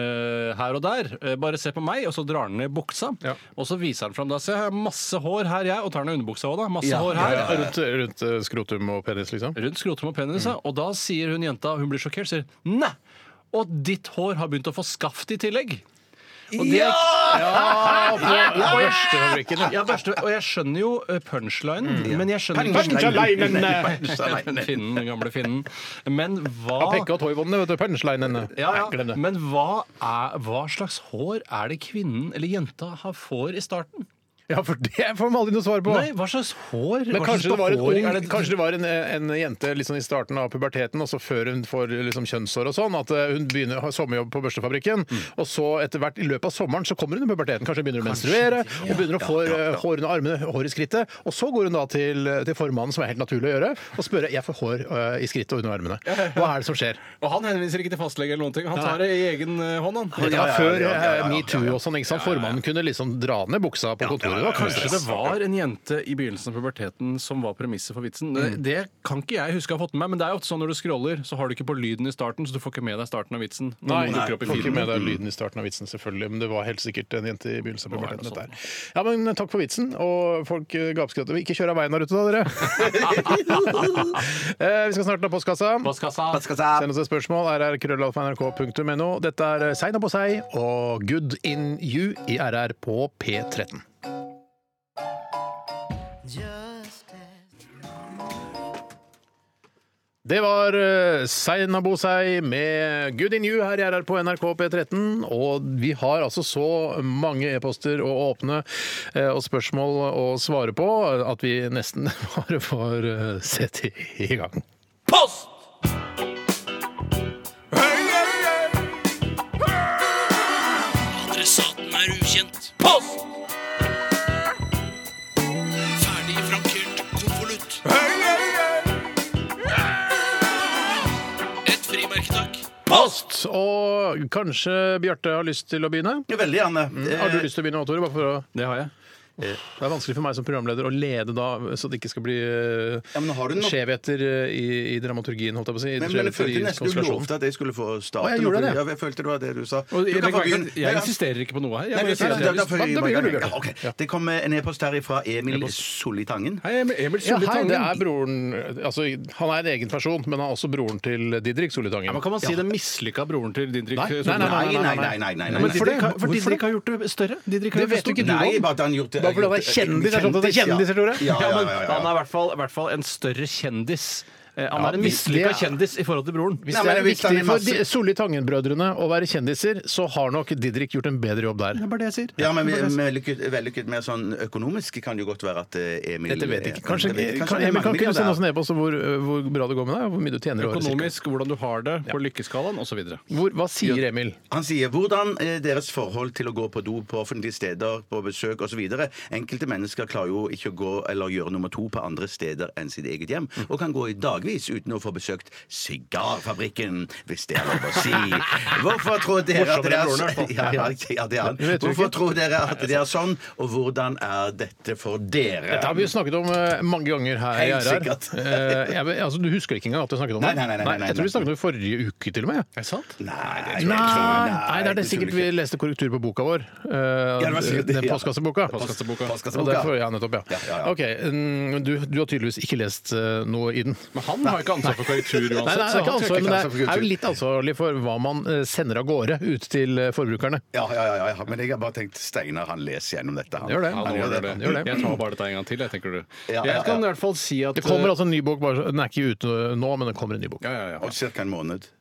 Speaker 5: her og der. Eh, bare se på meg, og så drar han ned buksa. Og så viser han fram da. Se, jeg har masse hår her, jeg. Og tar ned underbuksa òg, da. Masse
Speaker 4: Ja,
Speaker 5: hår
Speaker 4: ja,
Speaker 5: her.
Speaker 4: ja, ja. Rundt, eh, skrotum og penis, liksom?
Speaker 5: Rundt skrotum og penis, ja. Og da sier hun jenta, hun blir sjokkert, sier nei! Og ditt hår har begynt å få skaft i tillegg. Og det er-
Speaker 4: Ja!
Speaker 5: Ja, på-
Speaker 4: Ja!
Speaker 5: og jeg-
Speaker 4: Børstefabrikken, ja.
Speaker 5: Ja, børste, og jeg skjønner jo eh, punchlinen,
Speaker 4: Mm,
Speaker 5: men jeg skjønner
Speaker 4: Punchlinen!
Speaker 5: Punchlinen. Finnen, den gamle finnen. Men hva
Speaker 4: Av Pekka og Toivonene, vet du. Punchlinene.
Speaker 5: ja,
Speaker 4: Nei, Glem
Speaker 5: ja.
Speaker 4: det.
Speaker 5: Men hva, er, hva slags hår er det kvinnen eller jenta har- får i starten?
Speaker 4: Ja, for det får man aldri noe svar på.
Speaker 5: Nei, hva slags hår?
Speaker 4: Men
Speaker 5: hva
Speaker 4: kanskje
Speaker 5: slags
Speaker 4: det var en,
Speaker 5: behåring
Speaker 4: ung,
Speaker 5: er det-
Speaker 4: kanskje det var en, en jente litt sånn i starten av puberteten, og så før hun får liksom kjønnshår og sånn, at eh, hun begynner å ha sommerjobb på børstefabrikken. Og så etter hvert, i løpet av sommeren, så kommer hun i puberteten. Kanskje hun begynner å menstruere, hun begynner å få eh, hår under armene, hår i skrittet. Og så går hun da til, til formannen, som er helt naturlig å gjøre, og spørre jeg får hår eh, i skrittet og under armene. Hva er det som skjer?
Speaker 5: Og han henviser ikke til fastlege eller noen ting. Han tar det i egen eh, hånd, han.
Speaker 4: Dette var før eh, metoo og sånn, ikke sant? Formannen kunne liksom dra ned buksa på kontoret. Det var ikke noe
Speaker 5: Kanskje det
Speaker 4: stress.
Speaker 5: var en jente i begynnelsen av puberteten som var premisset for vitsen. Det, det kan ikke jeg huske å ha fått med meg, men det er jo ofte sånn når du scroller, så har du ikke på lyden i starten, så du får ikke med deg starten av vitsen. når
Speaker 4: Nei,
Speaker 5: noen dukker opp i
Speaker 4: får ikke
Speaker 5: feeden.
Speaker 4: med deg lyden i starten av vitsen, selvfølgelig. Men det var helt sikkert en jente i begynnelsen. av puberteten, dette her. Ja, men eh, takk for vitsen, og folk eh, gapskratter. Ikke kjør av veien der ute, da, dere! Eh, Vi skal snart ta postkassa. Send oss et spørsmål. RR krøllalfa.nrk.no. Dette er Sein og på seg og Good in you i RR på P13. Det var eh, Seina Bosei med Good in you her i RR på NRK P13. Og vi har altså så mange e-poster å åpne eh, og spørsmål å svare på at vi nesten bare får eh, sette i gang.
Speaker 11: Post!
Speaker 14: Adressaten er ukjent.
Speaker 11: Post!
Speaker 14: Ferdig frankert konvolutt. Et frimerke, takk.
Speaker 4: Post! Og kanskje Bjarte har lyst til å begynne?
Speaker 6: Veldig Eh, gjerne.
Speaker 4: Mm. Har du lyst til å begynne, Tore? Bare for å...
Speaker 5: Det har jeg.
Speaker 4: Det er vanskelig for meg som programleder å lede da, så det ikke skal bli eh,
Speaker 6: har du nok-
Speaker 4: skjevheter eh, i, i dramaturgien, holdt jeg på å si.
Speaker 6: Men, men jeg
Speaker 4: Skjevheter
Speaker 6: følte
Speaker 4: i
Speaker 6: nesten du
Speaker 4: konstellasjonen.
Speaker 6: lovte at jeg skulle få
Speaker 4: Å,
Speaker 6: starte.
Speaker 4: jeg
Speaker 6: nå,
Speaker 4: gjorde
Speaker 6: for-
Speaker 4: det.
Speaker 6: Ja, jeg følte det var det du sa.
Speaker 5: Og
Speaker 6: Du kan
Speaker 5: jeg-
Speaker 6: få begynne.
Speaker 5: jeg insisterer ikke på noe her. Jeg
Speaker 6: Nei,
Speaker 5: bare
Speaker 6: men
Speaker 5: sier
Speaker 6: da-
Speaker 5: at
Speaker 6: da-
Speaker 5: jeg-
Speaker 6: da får
Speaker 5: Da
Speaker 6: jeg-
Speaker 5: begynner du, Bjørte.
Speaker 6: Ja, ok. Det kom en e-post her fra Emil Solli Tangen.
Speaker 5: Hei, Emil
Speaker 4: Ja, hei, det er broren altså, Han er en egen person, men han er også broren til Didrik Solitangen.
Speaker 5: men kan man si den mislykka broren til Didrik?
Speaker 4: Nei,
Speaker 5: eh,
Speaker 4: nei, nei, nei, nei, nei, nei, nei, nei.
Speaker 5: Men Didrik har-
Speaker 4: Hvorfor
Speaker 5: For
Speaker 4: det?
Speaker 5: Didrik har gjort det større. Didrik
Speaker 4: Det
Speaker 5: har gjort
Speaker 4: vet du ikke du
Speaker 5: stort.
Speaker 4: om. Nei, bare at han gjort det- Bare fordi han er kjendis, er det sånn at det er kjendiser, Tore?
Speaker 5: Ja,
Speaker 4: Ja,
Speaker 5: men
Speaker 4: ja, ja, ja.
Speaker 5: han er i hvert fall, i hvert fall en større kjendis. Eh, Han
Speaker 4: Ja,
Speaker 5: er en
Speaker 4: hvis det
Speaker 5: mislykka
Speaker 4: er-
Speaker 5: kjendis i forhold til broren.
Speaker 4: Hvis det er viktig for de- Solli Tangen-brødrene å være kjendiser, så har nok Didrik gjort en bedre jobb der.
Speaker 5: Det er bare det jeg sier.
Speaker 6: Ja, men vi- vellykket, vellykket mer sånn økonomisk kan det jo godt være at eh, Emil
Speaker 4: Dette vet jeg ikke. Kanskje,
Speaker 6: Kanskje, kanskje,
Speaker 4: kan,
Speaker 6: det er
Speaker 4: Emil, kan
Speaker 6: mange
Speaker 4: ikke du sende
Speaker 6: milliardærer.
Speaker 4: oss en e-post om hvor, hvor bra det går med deg? og Hvor mye du tjener i året? cirka?
Speaker 5: Økonomisk, hvordan du har det på lykkeskalaen osv.
Speaker 4: Hvor, hva sier Emil?
Speaker 6: Han sier hvordan eh, deres forhold til å gå på do på offentlige steder, på besøk osv. Enkelte mennesker klarer jo ikke å gå eller gjøre nummer to på andre steder enn sitt eget hjem, og kan gå i dagvis uten å få besøkt sigarfabrikken, hvis det er lov å si. Hvorfor tror dere at det er
Speaker 5: Morsommere enn broren, i hvert fall.
Speaker 6: ja, ja, ja, det er han.
Speaker 4: Det vet vi
Speaker 6: Hvorfor
Speaker 4: ikke.
Speaker 6: tror dere at det er sånn, og hvordan er dette for dere?
Speaker 4: Dette har vi jo snakket om eh, mange ganger her i
Speaker 6: Helt
Speaker 4: RR.
Speaker 6: sikkert.
Speaker 4: Eh, jeg, vet- altså, du husker ikke engang at du snakket om
Speaker 6: Nei,
Speaker 4: det?
Speaker 6: nei, nei, nei, nei,
Speaker 4: jeg tror vi
Speaker 6: nei.
Speaker 4: snakket om det forrige uke, til og med.
Speaker 5: Er det sant?
Speaker 6: Nei,
Speaker 4: Nei,
Speaker 6: det tror jeg ikke.
Speaker 4: det er det sikkert vi leste korrektur på boka vår. eh,
Speaker 6: Ja, det var sikkert det,
Speaker 4: den
Speaker 6: ja.
Speaker 4: postkasseboka.
Speaker 5: Postkasseboka.
Speaker 4: Og
Speaker 6: Postkasseboka.
Speaker 4: derfor, ja, nettopp, ja.
Speaker 6: Ja, ja, ja.
Speaker 4: Ok, mm, du, du har tydeligvis ikke lest eh, noe i den.
Speaker 5: Men han har ikke ansvar for korrektur
Speaker 4: Nei,
Speaker 5: uansett.
Speaker 4: nei, det er
Speaker 5: så
Speaker 4: ikke
Speaker 5: han trekker
Speaker 4: ansvar, men
Speaker 5: ikke ansvar for
Speaker 4: det er
Speaker 5: korrektur.
Speaker 4: jo litt ansvarlig for hva man eh, sender av gårde ut til eh, forbrukerne.
Speaker 6: Ja, ja, ja, ja, men jeg har bare tenkt Steinar han leser gjennom dette. Han.
Speaker 4: Gjør det.
Speaker 5: Han
Speaker 6: Han
Speaker 5: gjør det.
Speaker 4: Gjør det.
Speaker 5: Jeg tar bare dette en gang til, jeg, tenker du.
Speaker 6: Ja, ja,
Speaker 5: Jeg kan i
Speaker 6: ja.
Speaker 5: hvert fall si at eh,
Speaker 4: Det kommer altså en ny bok, bare, så- den er ikke ute nå, men det kommer en ny bok.
Speaker 5: Ja, ja, ja.
Speaker 6: Og cirka en måned.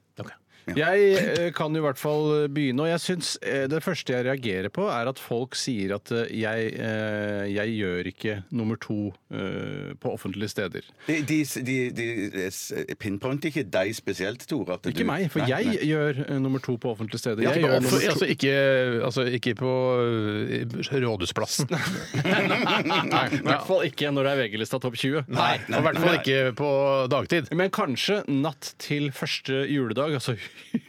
Speaker 5: Jeg eh, kan i hvert fall eh, begynne, og jeg syns eh, det første jeg reagerer på, er at folk sier at eh, jeg, eh, jeg gjør ikke nummer to eh, på offentlige steder.
Speaker 6: De, de, de, de s- pinpointer ikke deg spesielt, Tore. at
Speaker 5: Ikke
Speaker 6: du-
Speaker 5: meg, for
Speaker 6: Nei,
Speaker 5: jeg
Speaker 6: nei.
Speaker 5: gjør eh, nummer to på offentlige steder.
Speaker 4: Ja,
Speaker 5: Jeg
Speaker 4: ikke,
Speaker 5: gjør
Speaker 4: på-
Speaker 5: nummer to-
Speaker 4: altså, ikke, altså ikke på øh, Rådhusplassen.
Speaker 5: Nei, I hvert fall ikke når det er VG-lista topp 20.
Speaker 4: Nei, nei,
Speaker 5: og i hvert fall
Speaker 4: nei.
Speaker 5: ikke på dagtid. Men kanskje natt til første juledag, altså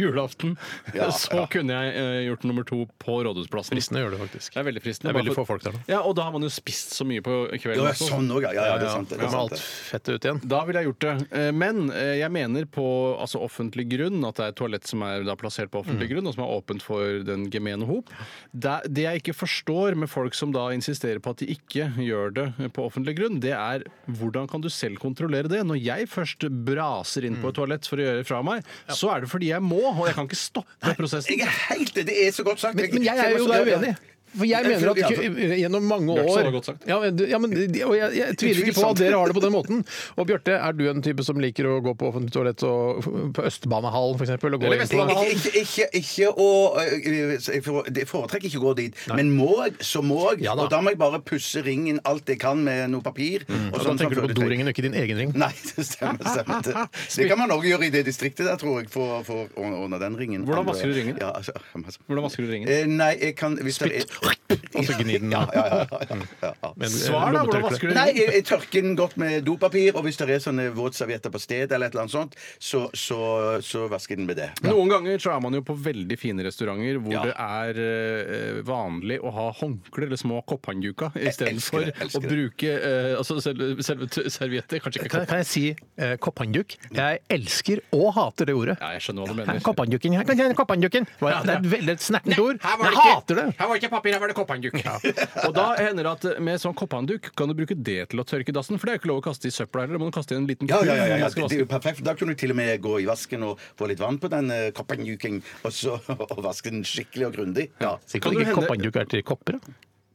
Speaker 5: julaften,
Speaker 4: Ja,
Speaker 5: så
Speaker 4: ja.
Speaker 5: kunne jeg eh, gjort nummer to på Rådhusplassen. Fristende
Speaker 4: gjør det faktisk.
Speaker 5: Det er veldig fristende.
Speaker 4: Det er veldig
Speaker 5: Bare
Speaker 4: få folk der nå.
Speaker 5: Ja, og da har man jo spist så mye på kvelden.
Speaker 4: Ja, sånn også, ja, ja, ja, det er sant, det er
Speaker 5: Ja,
Speaker 4: sant,
Speaker 5: alt
Speaker 4: det. fettet ut igjen.
Speaker 5: Da ville jeg gjort det. Eh, Men eh, jeg mener på altså, offentlig grunn, at det er et toalett som er da, plassert på offentlig
Speaker 4: Mm.
Speaker 5: grunn, og som er åpent for den gemene hop. Det, det jeg ikke forstår med folk som da insisterer på at de ikke gjør det på offentlig grunn, det er hvordan kan du selv kontrollere det? Når jeg først braser inn på
Speaker 4: Mm.
Speaker 5: et toalett for å gjøre fra meg, så er det fordi jeg må, og jeg kan ikke stoppe prosessen.
Speaker 6: Jeg er helt, det er så godt sagt.
Speaker 4: Men, men jeg er jo da uenig. For jeg mener at ku- gjennom mange
Speaker 5: Bjarte sa
Speaker 4: år
Speaker 5: det godt sagt.
Speaker 4: ja, men, du- ja, men, de- Og jeg, jeg tviler ikke på at
Speaker 5: Utvilsomt.
Speaker 4: dere har det på den måten. Og Bjarte, er du en type som liker å gå på offentlig toalett og, på Østbanehallen f.eks.?
Speaker 6: Ikke, ikke, ikke, ikke å øh, Jeg fore- jeg foretrekker ikke å gå dit, men må jeg, så må jeg. og da må jeg bare pusse ringen alt jeg kan med noe papir. sånn
Speaker 4: Og da tenker du på doringen og ikke din egen ring?
Speaker 6: Nei, det stemmer. stemmer det. det kan man òg gjøre i det distriktet der, tror jeg, for, for å ordne den ringen.
Speaker 5: Hvordan vasker du ringen?
Speaker 6: Ja, altså, altså.
Speaker 5: Hvordan vasker du ringen?
Speaker 6: Eh, nei, jeg kan hvis det er-
Speaker 4: Og så gni den.
Speaker 6: Ja, ja, ja, ja, ja, ja.
Speaker 4: Med en Svar da, hvordan lommetørkle. vasker du
Speaker 6: Nei,
Speaker 4: ringen?
Speaker 6: jeg, jeg tørker den godt med dopapir, og hvis det er sånne våtservietter på stedet, eller et eller annet sånt, så, så, så vasker jeg den med det.
Speaker 5: Noen ganger så er man jo på veldig fine restauranter hvor det er eh, vanlig å ha håndkle eller små kopphandduker istedenfor å bruke eh, altså selve, selve t- servietter. Kanskje ikke
Speaker 4: Kan, kan jeg si eh, koppandduk? Jeg elsker og hater det ordet.
Speaker 5: Ja, jeg skjønner hva du
Speaker 4: Her,
Speaker 5: mener.
Speaker 4: Koppanduken. her kan jeg- koppanduken. Hva-
Speaker 5: Ja,
Speaker 4: Det er et veldig et snertent ord.
Speaker 5: her var
Speaker 4: Jeg
Speaker 5: det ikke-
Speaker 4: hater det!
Speaker 5: Her var det ikke papir, her var det kopphandduk. Og da hender det at med sånn kopphandduk kan du bruke det til å tørke dassen, for det er ikke lov å kaste i søpla heller. Man må kaste i en liten
Speaker 6: Ja, ja, ja, ja,
Speaker 4: Mm,
Speaker 5: når
Speaker 6: ja.
Speaker 5: man skal vaske.
Speaker 6: Det, det er jo perfekt. Da kunne du til og med gå i vasken og få litt vann på den eh, koppanjuken, og så og vaske den skikkelig og grundig. Ja.
Speaker 5: Kan du hende-
Speaker 4: Koppandduk er til kopper, da?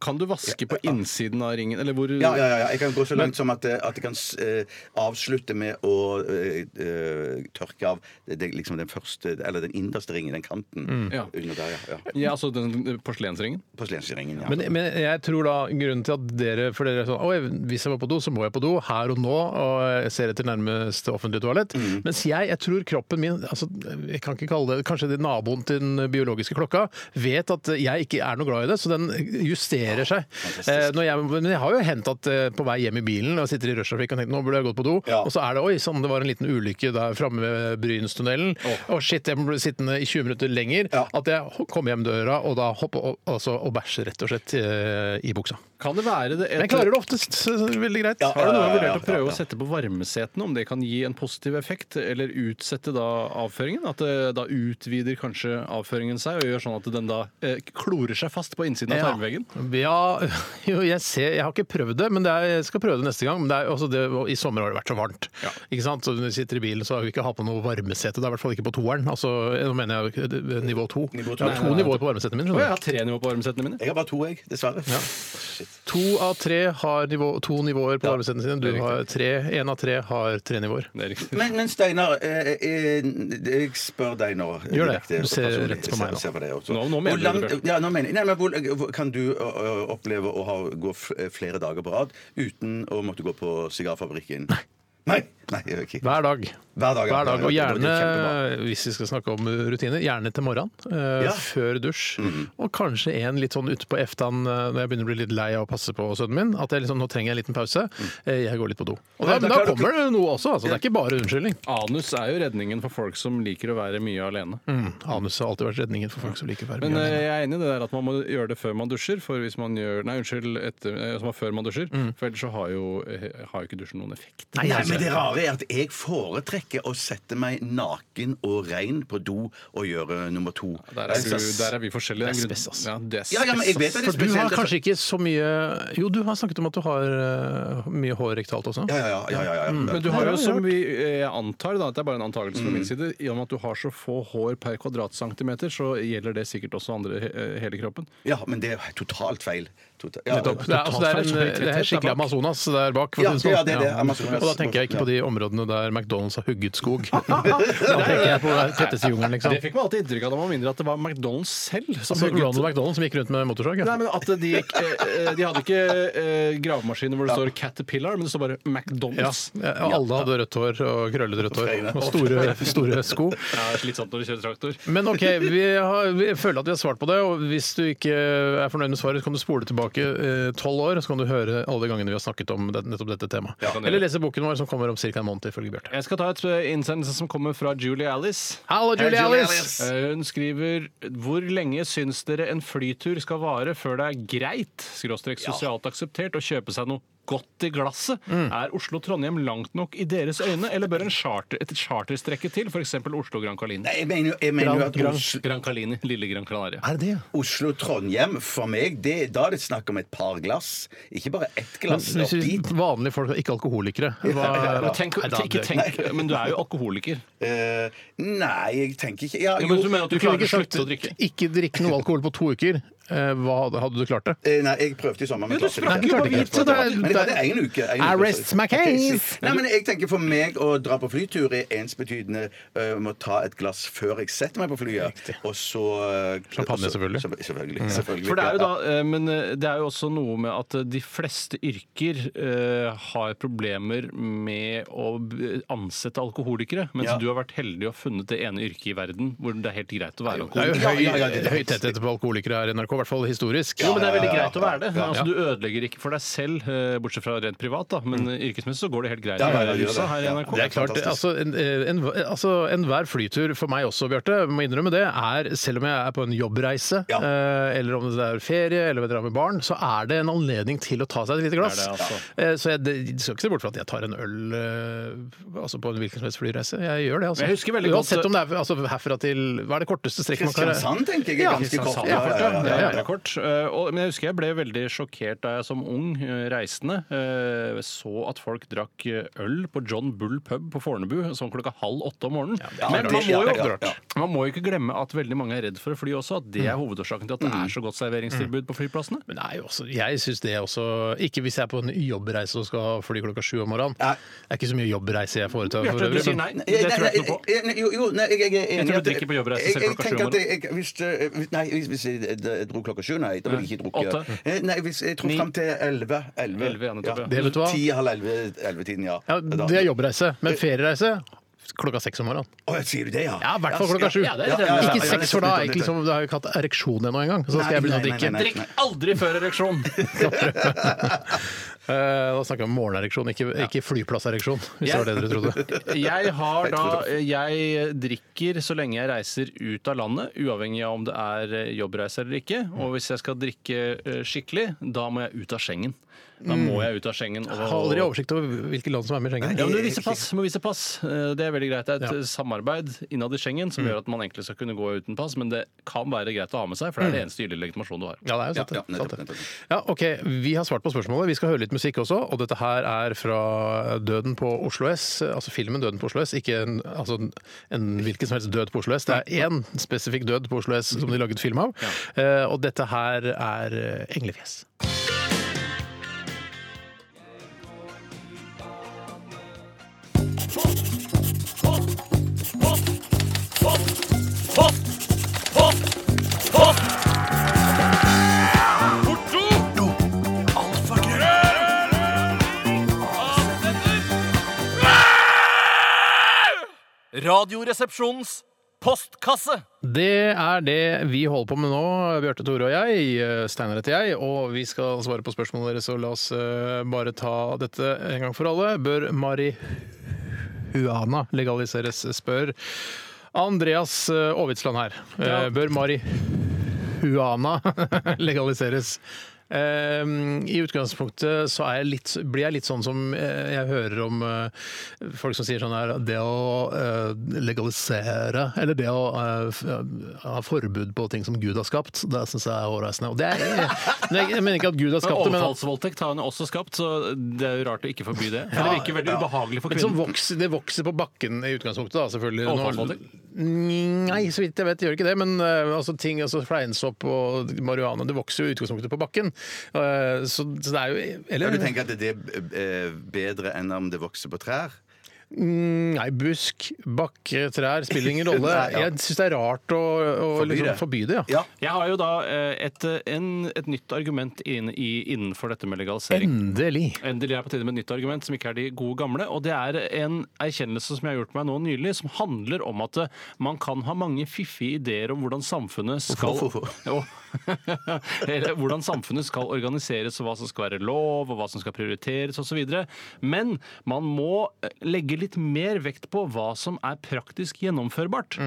Speaker 5: Kan du vaske på innsiden av ringen, eller hvor
Speaker 6: Ja, ja, ja, ja. Jeg kan gå så langt som at, eh, at jeg kan s- eh, avslutte med å eh, eh, tørke av det, det, liksom den første, eller den innerste ringen, den kanten
Speaker 5: Mm. Ja.
Speaker 6: under der, ja. ja.
Speaker 5: Ja, altså den porselensringen?
Speaker 6: Porselensringen, ja.
Speaker 4: Men, men jeg tror da grunnen til at dere For dere er sånn Oi, hvis jeg må på do, så må jeg på do her og nå, og jeg ser etter nærmeste offentlige toalett. Mens jeg, jeg tror kroppen min altså, Jeg kan ikke kalle det Kanskje det er naboen til den biologiske klokka vet at jeg ikke er noe glad i det, så den justerer seg. Eh, når jeg, men jeg har jo hendt at eh, på vei hjem i bilen og sitter i rushtrafikken og tenker nå burde jeg gått på do, og så er det oi sann, det var en liten ulykke der framme ved Brynstunnelen, og shit, jeg ble sittende i 20 minutter lenger. At jeg kommer hjem døra og da hopper og, altså, og bæsjer rett og slett eh, i buksa.
Speaker 5: Kan det være det
Speaker 4: Men jeg klarer det oftest så- så veldig greit.
Speaker 5: Har du noen gang vurdert å prøve å sette på varmesetene, om det kan gi en positiv effekt, eller utsette da avføringen? At det da utvider kanskje avføringen seg, og gjør sånn at den da eh, klorer seg fast på innsiden av tarmveggen?
Speaker 4: Ja, jo, jeg, ser, jeg har ikke prøvd det, men det er, jeg skal prøve det neste gang. Men det er, altså det, og I sommer har det vært så varmt. Ikke sant? Så Når vi sitter i bilen, så har vi ikke hatt på noe varmesete. Det er i hvert fall ikke på toeren. Altså, nå mener jeg eh, nivå to.
Speaker 5: Nivå to.
Speaker 4: Jeg har to
Speaker 5: Nei, nei,
Speaker 4: nivåer på varmesetene mine.
Speaker 5: Å, jeg
Speaker 4: skjønner
Speaker 5: har tre nivåer på varmesetene mine.
Speaker 6: Jeg har bare to, jeg, dessverre.
Speaker 4: du. To av tre har nivå, to nivåer på varmesetene sine. Du har tre. Én av tre har tre nivåer.
Speaker 6: Men, men Steinar, eh, eh, jeg spør deg nå. eh,
Speaker 4: Gjør det.
Speaker 6: direkte,
Speaker 4: Du ser
Speaker 6: personlig.
Speaker 4: rett på meg
Speaker 6: Jeg ser-
Speaker 4: nå.
Speaker 6: ser på deg også.
Speaker 4: Nå- nå mener
Speaker 6: Hvor
Speaker 4: du
Speaker 6: langt-
Speaker 4: det, Bjørn.
Speaker 6: Ja, nå mener jeg. Nei, men hvor, hvor- kan du ø, ø, oppleve å ha, gå f- eh, flere dager på rad uten å måtte gå på sigarfabrikken? Nei. Nei, Nei ok.
Speaker 4: Hver dag.
Speaker 6: Hver dag, ja.
Speaker 4: Hver dag. Og
Speaker 6: Ja, det- det
Speaker 4: gjerne,
Speaker 6: er kjempebra.
Speaker 4: hvis vi skal snakke om rutiner, gjerne til morgenen. eh,
Speaker 6: Ja.
Speaker 4: Før dusj. Og kanskje en litt sånn ute på eftan eh, når jeg begynner å bli litt lei av å passe på sønnen min. At jeg liksom, nå trenger jeg en liten pause. Eh, Jeg går litt på do. Og da,
Speaker 5: Ja, da
Speaker 4: men da
Speaker 5: klarer du
Speaker 4: kommer det noe også, altså. Det er ikke bare unnskyldning.
Speaker 5: Anus er jo redningen for folk som liker å være mye alene.
Speaker 4: Mm, anus har alltid vært redningen for folk som liker å være
Speaker 5: Men
Speaker 4: mye
Speaker 5: eh,
Speaker 4: alene.
Speaker 5: jeg er enig i det der at man må gjøre det før man dusjer. For hvis man gjør, nei, unnskyld, etter, eh, altså før man dusjer, for ellers så har jo, eh, har jo ikke dusjen noen effekt.
Speaker 6: Mm. Nei, men det rare er at jeg foretrekker å sette meg naken og rein på do og gjøre nummer to. Altså,
Speaker 5: Der er, du, der er vi forskjellige. Det er grunn- Ja, det er
Speaker 6: Ja, ja, men jeg vet at det er
Speaker 4: For du har
Speaker 6: spesielt-
Speaker 4: kanskje ikke så mye Jo, du har snakket om at du har eh, mye hår rektalt også.
Speaker 6: Ja, ja, ja, ja, ja, ja.
Speaker 4: Mm.
Speaker 5: Men du har jo,
Speaker 4: Det er
Speaker 5: som
Speaker 4: rart. Mm.
Speaker 5: vi eh, antar, da, at det er bare en antakelse fra min side, i og med at du har så få hår per kvadratcentimeter, så gjelder det sikkert også andre eh, hele kroppen.
Speaker 6: Ja, men det er totalt feil. Tota- ja.
Speaker 4: Nettopp. Det er, altså, det er, en, det er skikkelig Amazonas der bak. for å
Speaker 6: Ja,
Speaker 4: si sånn.
Speaker 6: ja, det er det.
Speaker 4: Ja.
Speaker 6: Amazonas.
Speaker 4: Og da tenker jeg ikke på de områdene der McDonald's har hugget skog. da tenker jeg på tetteste jungelen, liksom.
Speaker 5: Det fikk man alltid inntrykk av da man var mindre, at det var McDonald's selv som
Speaker 4: Altså,
Speaker 5: hugget-
Speaker 4: Ronald McDonald som gikk rundt med motorsag.
Speaker 5: Nei, men at de, gikk, eh, eh, de hadde ikke eh, gravemaskiner hvor det står 'Caterpillar', men det står bare
Speaker 4: Ja,
Speaker 5: McDonald's.
Speaker 4: og alle hadde rødt hår og krøllete rødt hår. Og store, store sko.
Speaker 5: Ja, det er slitsomt når du kjører traktor.
Speaker 4: Men OK, vi, har, vi føler at vi har svart på det. Og hvis du ikke er fornøyd med svaret, så kan du spole tilbake eh, tolv år, så kan du høre alle de gangene vi har snakket om det, nettopp dette temaet.
Speaker 5: kan du
Speaker 4: Eller
Speaker 5: gjøre.
Speaker 4: lese boken vår som kommer om ca. en måned, ifølge Bjarte.
Speaker 5: Jeg skal ta et eh, innsendelse som kommer fra Julie Alice.
Speaker 4: Hallo, Julie Hei, Julie Alice.
Speaker 5: Eh, Hun skriver Hvor lenge syns dere en flytur skal vare før det er greit, skråstrek sosialt akseptert, å kjøpe seg noe godt i glasset?
Speaker 4: Mm.
Speaker 5: Er Oslo-Trondheim langt nok i deres øyne, eller bør en charter, et charterstrekke til, f.eks. Oslo-Gran Calini?
Speaker 6: Nei, jeg mener jo- jeg mener jo
Speaker 5: Gran-
Speaker 6: at
Speaker 5: Gran,
Speaker 6: Oslo-
Speaker 5: Gran Calini, Lille Gran Canaria.
Speaker 6: Oslo-Trondheim, for meg, det, da er det snakk om et par glass. Ikke bare ett
Speaker 4: Men
Speaker 6: glass.
Speaker 4: hvis
Speaker 6: opp
Speaker 4: vi,
Speaker 6: dit.
Speaker 4: vanlige folk, ikke alkoholikere
Speaker 6: Ja, ja, ja.
Speaker 5: Eh, Tenk-
Speaker 4: Nei, da-
Speaker 5: ikke tenk, men du er jo alkoholiker.
Speaker 6: Eh, nei, jeg tenker ikke ja,
Speaker 5: Ja, men
Speaker 6: jo.
Speaker 5: du mener at du
Speaker 4: Du kunne ikke sagt ikke drikk noe alkohol på to uker. Eh, Hva hadde, hadde du klart det?
Speaker 6: Eh, Nei, jeg prøvde i sommer. Men
Speaker 4: Ja, du
Speaker 6: klarte ikke.
Speaker 4: sprakk jo
Speaker 6: Nei,
Speaker 4: på hvit,
Speaker 6: klarte
Speaker 5: sånn
Speaker 6: ikke.
Speaker 4: så det er-
Speaker 6: Men jeg hadde egen uke. egen
Speaker 4: I
Speaker 6: uke,
Speaker 4: rest
Speaker 6: sorry.
Speaker 4: my case.
Speaker 6: Ok, shit. Nei, men jeg tenker for meg å dra på flytur er ensbetydende eh, med å ta et glass før jeg setter meg på flyet. Og så eh, Champagne, selvfølgelig. Selvfølgelig. selvfølgelig.
Speaker 5: Mm. For det er jo da, eh, men eh, det er jo også noe med at eh, de fleste yrker eh, har problemer med å b- ansette alkoholikere, mens
Speaker 4: Ja.
Speaker 5: du har vært heldig og funnet det ene yrket i verden hvor det er helt greit å være
Speaker 4: Det er jo høy,
Speaker 5: alkoholiker.
Speaker 4: høy tetthet på alkoholikere her i NRK, i hvert fall historisk.
Speaker 5: Jo, men det er veldig greit å være det.
Speaker 4: Ja.
Speaker 5: Altså, du ødelegger ikke for deg selv, eh, bortsett fra rent privat, da. men eh, yrkesmessig så går det helt greit
Speaker 4: Ja,
Speaker 5: å
Speaker 4: ja,
Speaker 5: være
Speaker 4: ja,
Speaker 5: rusa her i
Speaker 4: ja.
Speaker 5: NRK.
Speaker 4: Det er klart, altså, en, en, altså Enhver flytur, for meg også, Bjarte, må innrømme det, er selv om jeg er på en jobbreise, eh, eller om det er ferie, eller om jeg drar med barn, så er det en anledning til å ta seg et lite glass.
Speaker 5: Det er det, altså.
Speaker 4: Eh, Så jeg det- skal ikke se bort fra at jeg tar en øl eh, altså på en hvilken som helst flyreise. Jeg gjør det, altså.
Speaker 5: Men jeg husker veldig godt-
Speaker 4: Uansett om det er altså, herfra til Hva er det korteste strekket man kan
Speaker 6: Kristiansand, tenker jeg, er
Speaker 4: Ja,
Speaker 6: ganske kort.
Speaker 4: Kristiansand,
Speaker 5: Ja,
Speaker 4: ja,
Speaker 5: kort,
Speaker 4: ja, ja, ja.
Speaker 5: Det er kort. Eh, og, men jeg husker jeg ble veldig sjokkert da jeg som ung eh, reisende eh, så at folk drakk eh, øl på John Bull pub på Fornebu sånn klokka halv åtte om morgenen.
Speaker 4: det er
Speaker 5: men
Speaker 4: rart.
Speaker 5: man må,
Speaker 4: Ja, det er
Speaker 5: jo,
Speaker 4: rart. Ja. Mm.
Speaker 5: man må jo ikke glemme at veldig mange er redd for å fly også, at det er hovedårsaken til at det er så godt serveringstilbud på flyplassene.
Speaker 4: Men det er jo også, jeg syns det også Ikke hvis jeg er på en jobbreise og skal fly klokka sju om morgenen. Det er ikke så mye jobbreise jeg foretar.
Speaker 5: Bjarte,
Speaker 4: for
Speaker 5: du
Speaker 4: øvrig,
Speaker 5: sier
Speaker 4: men-
Speaker 5: nei. Det tror jeg ikke noe på.
Speaker 6: Eh, nei, Jo, jo, nei, jeg, jeg, er
Speaker 5: Jeg
Speaker 6: enig
Speaker 5: tror du
Speaker 6: at-
Speaker 5: drikker på jobbreise
Speaker 6: Jeg-
Speaker 5: selv klokka
Speaker 6: jeg
Speaker 5: sju om
Speaker 6: tenker at jeg- jeg- hvis det- hvis- Nei, hvis- hvis jeg eh, dro klokka sju, nei, da ville jeg ikke drukket.
Speaker 4: Åtte.
Speaker 6: Eh, Nei, hvis jeg dro
Speaker 4: Ni.
Speaker 6: fram til elleve. Elleve,
Speaker 4: Elleve, ja, nettopp, ja.
Speaker 6: ja.
Speaker 4: Det vet du hva?
Speaker 6: Ti, halv elleve, elleve-tiden, ja.
Speaker 4: Ja, det er jobbreise, men feriereise klokka seks om morgenen.
Speaker 6: Å, jeg sier du det, ja?
Speaker 4: Ja, i hvert fall klokka sju.
Speaker 6: Ja, det er det.
Speaker 4: Ikke seks, for da har jeg ikke, liksom, da har jeg ikke hatt ereksjon ennå engang. Så da skal jeg begynne å drikke.
Speaker 5: Drikk aldri før ereksjon!
Speaker 4: Eh, da snakker vi om morgenereksjon, ikke, ikke flyplassereksjon, hvis det var det dere trodde.
Speaker 5: Jeg har da Jeg drikker så lenge jeg reiser ut av landet, uavhengig av om det er eh, jobbreise eller ikke.
Speaker 4: Mm.
Speaker 5: Og hvis jeg skal drikke eh, skikkelig, da må jeg ut av Schengen. Da må jeg ut av Schengen.
Speaker 4: Jeg Mm. har aldri oversikt over hvilke land som er med i Schengen.
Speaker 5: ja, men du viser pass, må vise pass. Eh, Det er veldig greit. Det er et eh, samarbeid innad i Schengen
Speaker 4: Mm.
Speaker 5: som gjør at man egentlig skal kunne gå uten pass, men det kan være greit å ha med seg, for det er
Speaker 4: Mm.
Speaker 5: det eneste gyldige legitimasjonen du har.
Speaker 4: Ja, det er jo sant. det. sant det. Ja, ok, Vi har svart på spørsmålet. Vi skal høre litt musikk også. Og dette her er fra Døden på Oslo S. Altså filmen Døden på Oslo S, ikke en, altså en, en hvilken som helst død på Oslo S. Det er én spesifikk død på Oslo S som de laget film av. Eh, Og dette her er eh, Englefjes.
Speaker 10: Radioresepsjonens postkasse.
Speaker 4: Det er det vi holder på med nå, Bjarte Tore og jeg. eh, Steinar heter jeg. Og vi skal svare på spørsmålene deres, så la oss eh, bare ta dette en gang for alle. Bør marihuana legaliseres, spør Andreas eh, Aavitsland her. Eh,
Speaker 5: Ja.
Speaker 4: Bør marihuana legaliseres? Eh, I utgangspunktet så er jeg litt, blir jeg litt sånn som eh, jeg hører om eh, folk som sier sånn her Det å eh, legalisere, eller det å eh, f- ha forbud på ting som Gud har skapt, det syns jeg er hårreisende. Og det er, jeg, jeg mener ikke at Gud har
Speaker 5: Men
Speaker 4: skapt det, men
Speaker 5: overfallsvoldtekt har hun også skapt, så det er jo rart å ikke forby det. For det virker veldig
Speaker 4: Ja.
Speaker 5: ubehagelig for
Speaker 4: Men som
Speaker 5: kvinnen.
Speaker 4: vokser, det vokser på bakken i utgangspunktet, da, selvfølgelig. Nå-
Speaker 5: Overfallsvoldtekt?
Speaker 4: Nei, så vidt jeg vet gjør det ikke det, men eh, altså, ting, altså fleinsopp og marihuana, det vokser jo i utgangspunktet på bakken. Eh, så, så det er jo
Speaker 6: Eller,
Speaker 4: eller,
Speaker 6: du tenker at det er eh, bedre enn om det vokser på trær?
Speaker 4: Mm, Nei, busk, bakke, trær spiller ingen rolle.
Speaker 5: Nei, ja.
Speaker 4: Jeg syns det er rart å, å
Speaker 5: Forby
Speaker 4: liksom,
Speaker 5: det.
Speaker 4: forby det. Ja.
Speaker 5: Jeg har jo da eh, et, en, et nytt argument inn, i, innenfor dette med legalisering.
Speaker 4: Endelig.
Speaker 5: Endelig er jeg på tide med et nytt argument som ikke er de gode gamle. Og det er en erkjennelse som jeg har gjort meg nå nylig, som handler om at eh, man kan ha mange fiffige ideer om hvordan samfunnet skal Jo. Eller hvordan samfunnet skal organiseres, og hva som skal være lov, og hva som skal prioriteres osv. Men man må eh, legge litt mer vekt på hva som er praktisk gjennomførbart.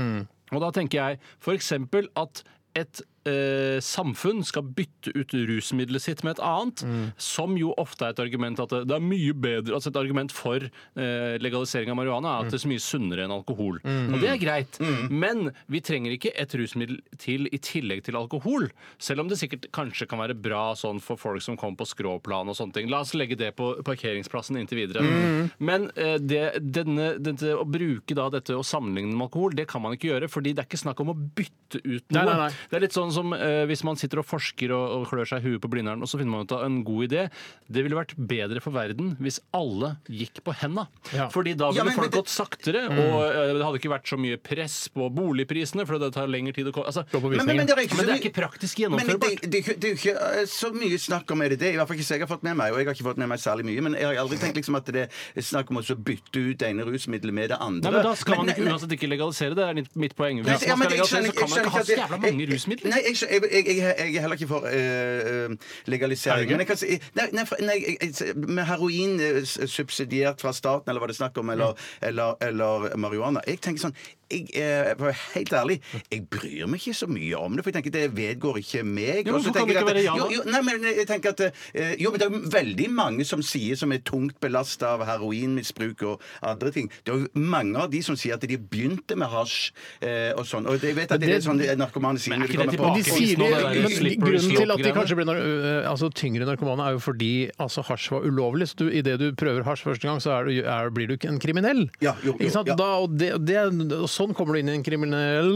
Speaker 5: Og da tenker jeg f.eks. at et eh, samfunn skal bytte ut rusmiddelet sitt med et annet, som jo ofte er et argument at det- det er mye bedre, altså et argument for eh, legalisering av marihuana er at det er så mye sunnere enn alkohol.
Speaker 12: Mm.
Speaker 5: Og det er greit, men vi trenger ikke et rusmiddel til i tillegg til alkohol. Selv om det sikkert kanskje kan være bra sånn for folk som kommer på skråplan og sånne ting. La oss legge det på parkeringsplassen inntil videre.
Speaker 12: Mm.
Speaker 5: Men eh, det, denne, dette, å bruke da dette og sammenligne med alkohol, det kan man ikke gjøre, fordi det er ikke snakk om å bytte ut noe.
Speaker 4: Nei, nei, nei.
Speaker 5: Det er litt sånn som eh, hvis man sitter og forsker og, og klør seg i huet på Blindern, og så finner man ut av en god idé. Det ville vært bedre for verden hvis alle gikk på henda.
Speaker 12: Ja.
Speaker 5: Fordi da
Speaker 12: Ja,
Speaker 5: ville
Speaker 12: men- men
Speaker 5: folk
Speaker 12: det-
Speaker 5: gått saktere,
Speaker 12: Mm.
Speaker 5: og eh, det hadde ikke vært så mye press på boligprisene, for det tar lengre tid å komme altså,
Speaker 6: Men, men, men det er ikke, så mye-
Speaker 5: praktisk
Speaker 6: Men
Speaker 5: gjennomførbart.
Speaker 6: det, det, det, det er jo ikke eh, så mye snakk om er det det. I hvert fall ikke så jeg har fått med meg, og jeg har ikke fått med meg særlig mye. Men jeg har aldri tenkt liksom at det er snakk om å så bytte ut det ene rusmiddelet med det andre.
Speaker 5: Nei, men Da skal man
Speaker 6: Men-
Speaker 5: ikke, uansett ikke legalisere det. Det er litt- mitt poeng.
Speaker 6: Nei,
Speaker 5: Hvis
Speaker 6: ja,
Speaker 5: man
Speaker 6: men
Speaker 5: skal
Speaker 6: jeg skjønner-
Speaker 5: legalisere, så kan
Speaker 6: jeg
Speaker 5: man ikke ha så
Speaker 6: skjønner
Speaker 5: jævla
Speaker 6: at-
Speaker 5: mange rusmidler.
Speaker 6: Nei, jeg, skjønner- jeg, jeg, jeg, jeg er heller ikke for eh, eh, legalisering. Men jeg kan si, nei, nei, for- nei, jeg- jeg- med heroin eh, s- subsidiert fra staten, eller hva det er snakk om, eller,
Speaker 5: Mm.
Speaker 6: eller, eller marihuana Jeg tenker sånn jeg, eh, for å være helt ærlig, jeg bryr meg ikke så mye om det, for jeg tenker det vedgår ikke meg.
Speaker 5: Ja, men
Speaker 6: Og
Speaker 5: hvorfor
Speaker 6: så
Speaker 5: kan
Speaker 6: tenker
Speaker 5: det ikke
Speaker 6: jeg
Speaker 5: være ja,
Speaker 6: jo,
Speaker 5: da?
Speaker 6: jo, nei, men jeg tenker at eh, Jo, men det er veldig mange som sier som er tungt belasta av heroinmisbruk og andre ting. Det er jo mange av de som sier at de begynte med hasj eh, og sånn. Og jeg vet at
Speaker 4: Men
Speaker 6: det, er
Speaker 4: det-
Speaker 6: sånn de narkomane sier når de kommer på
Speaker 4: Men de sier de, men grunnen til at de kanskje ble nar øh, altså, tyngre narkomane, er jo fordi altså, hasj var ulovlig. Så du, idet du prøver hasj første gang, så er du, er, blir du ikke en kriminell. ikke sant? Da, og det, og det, og sånn kommer du inn i en kriminell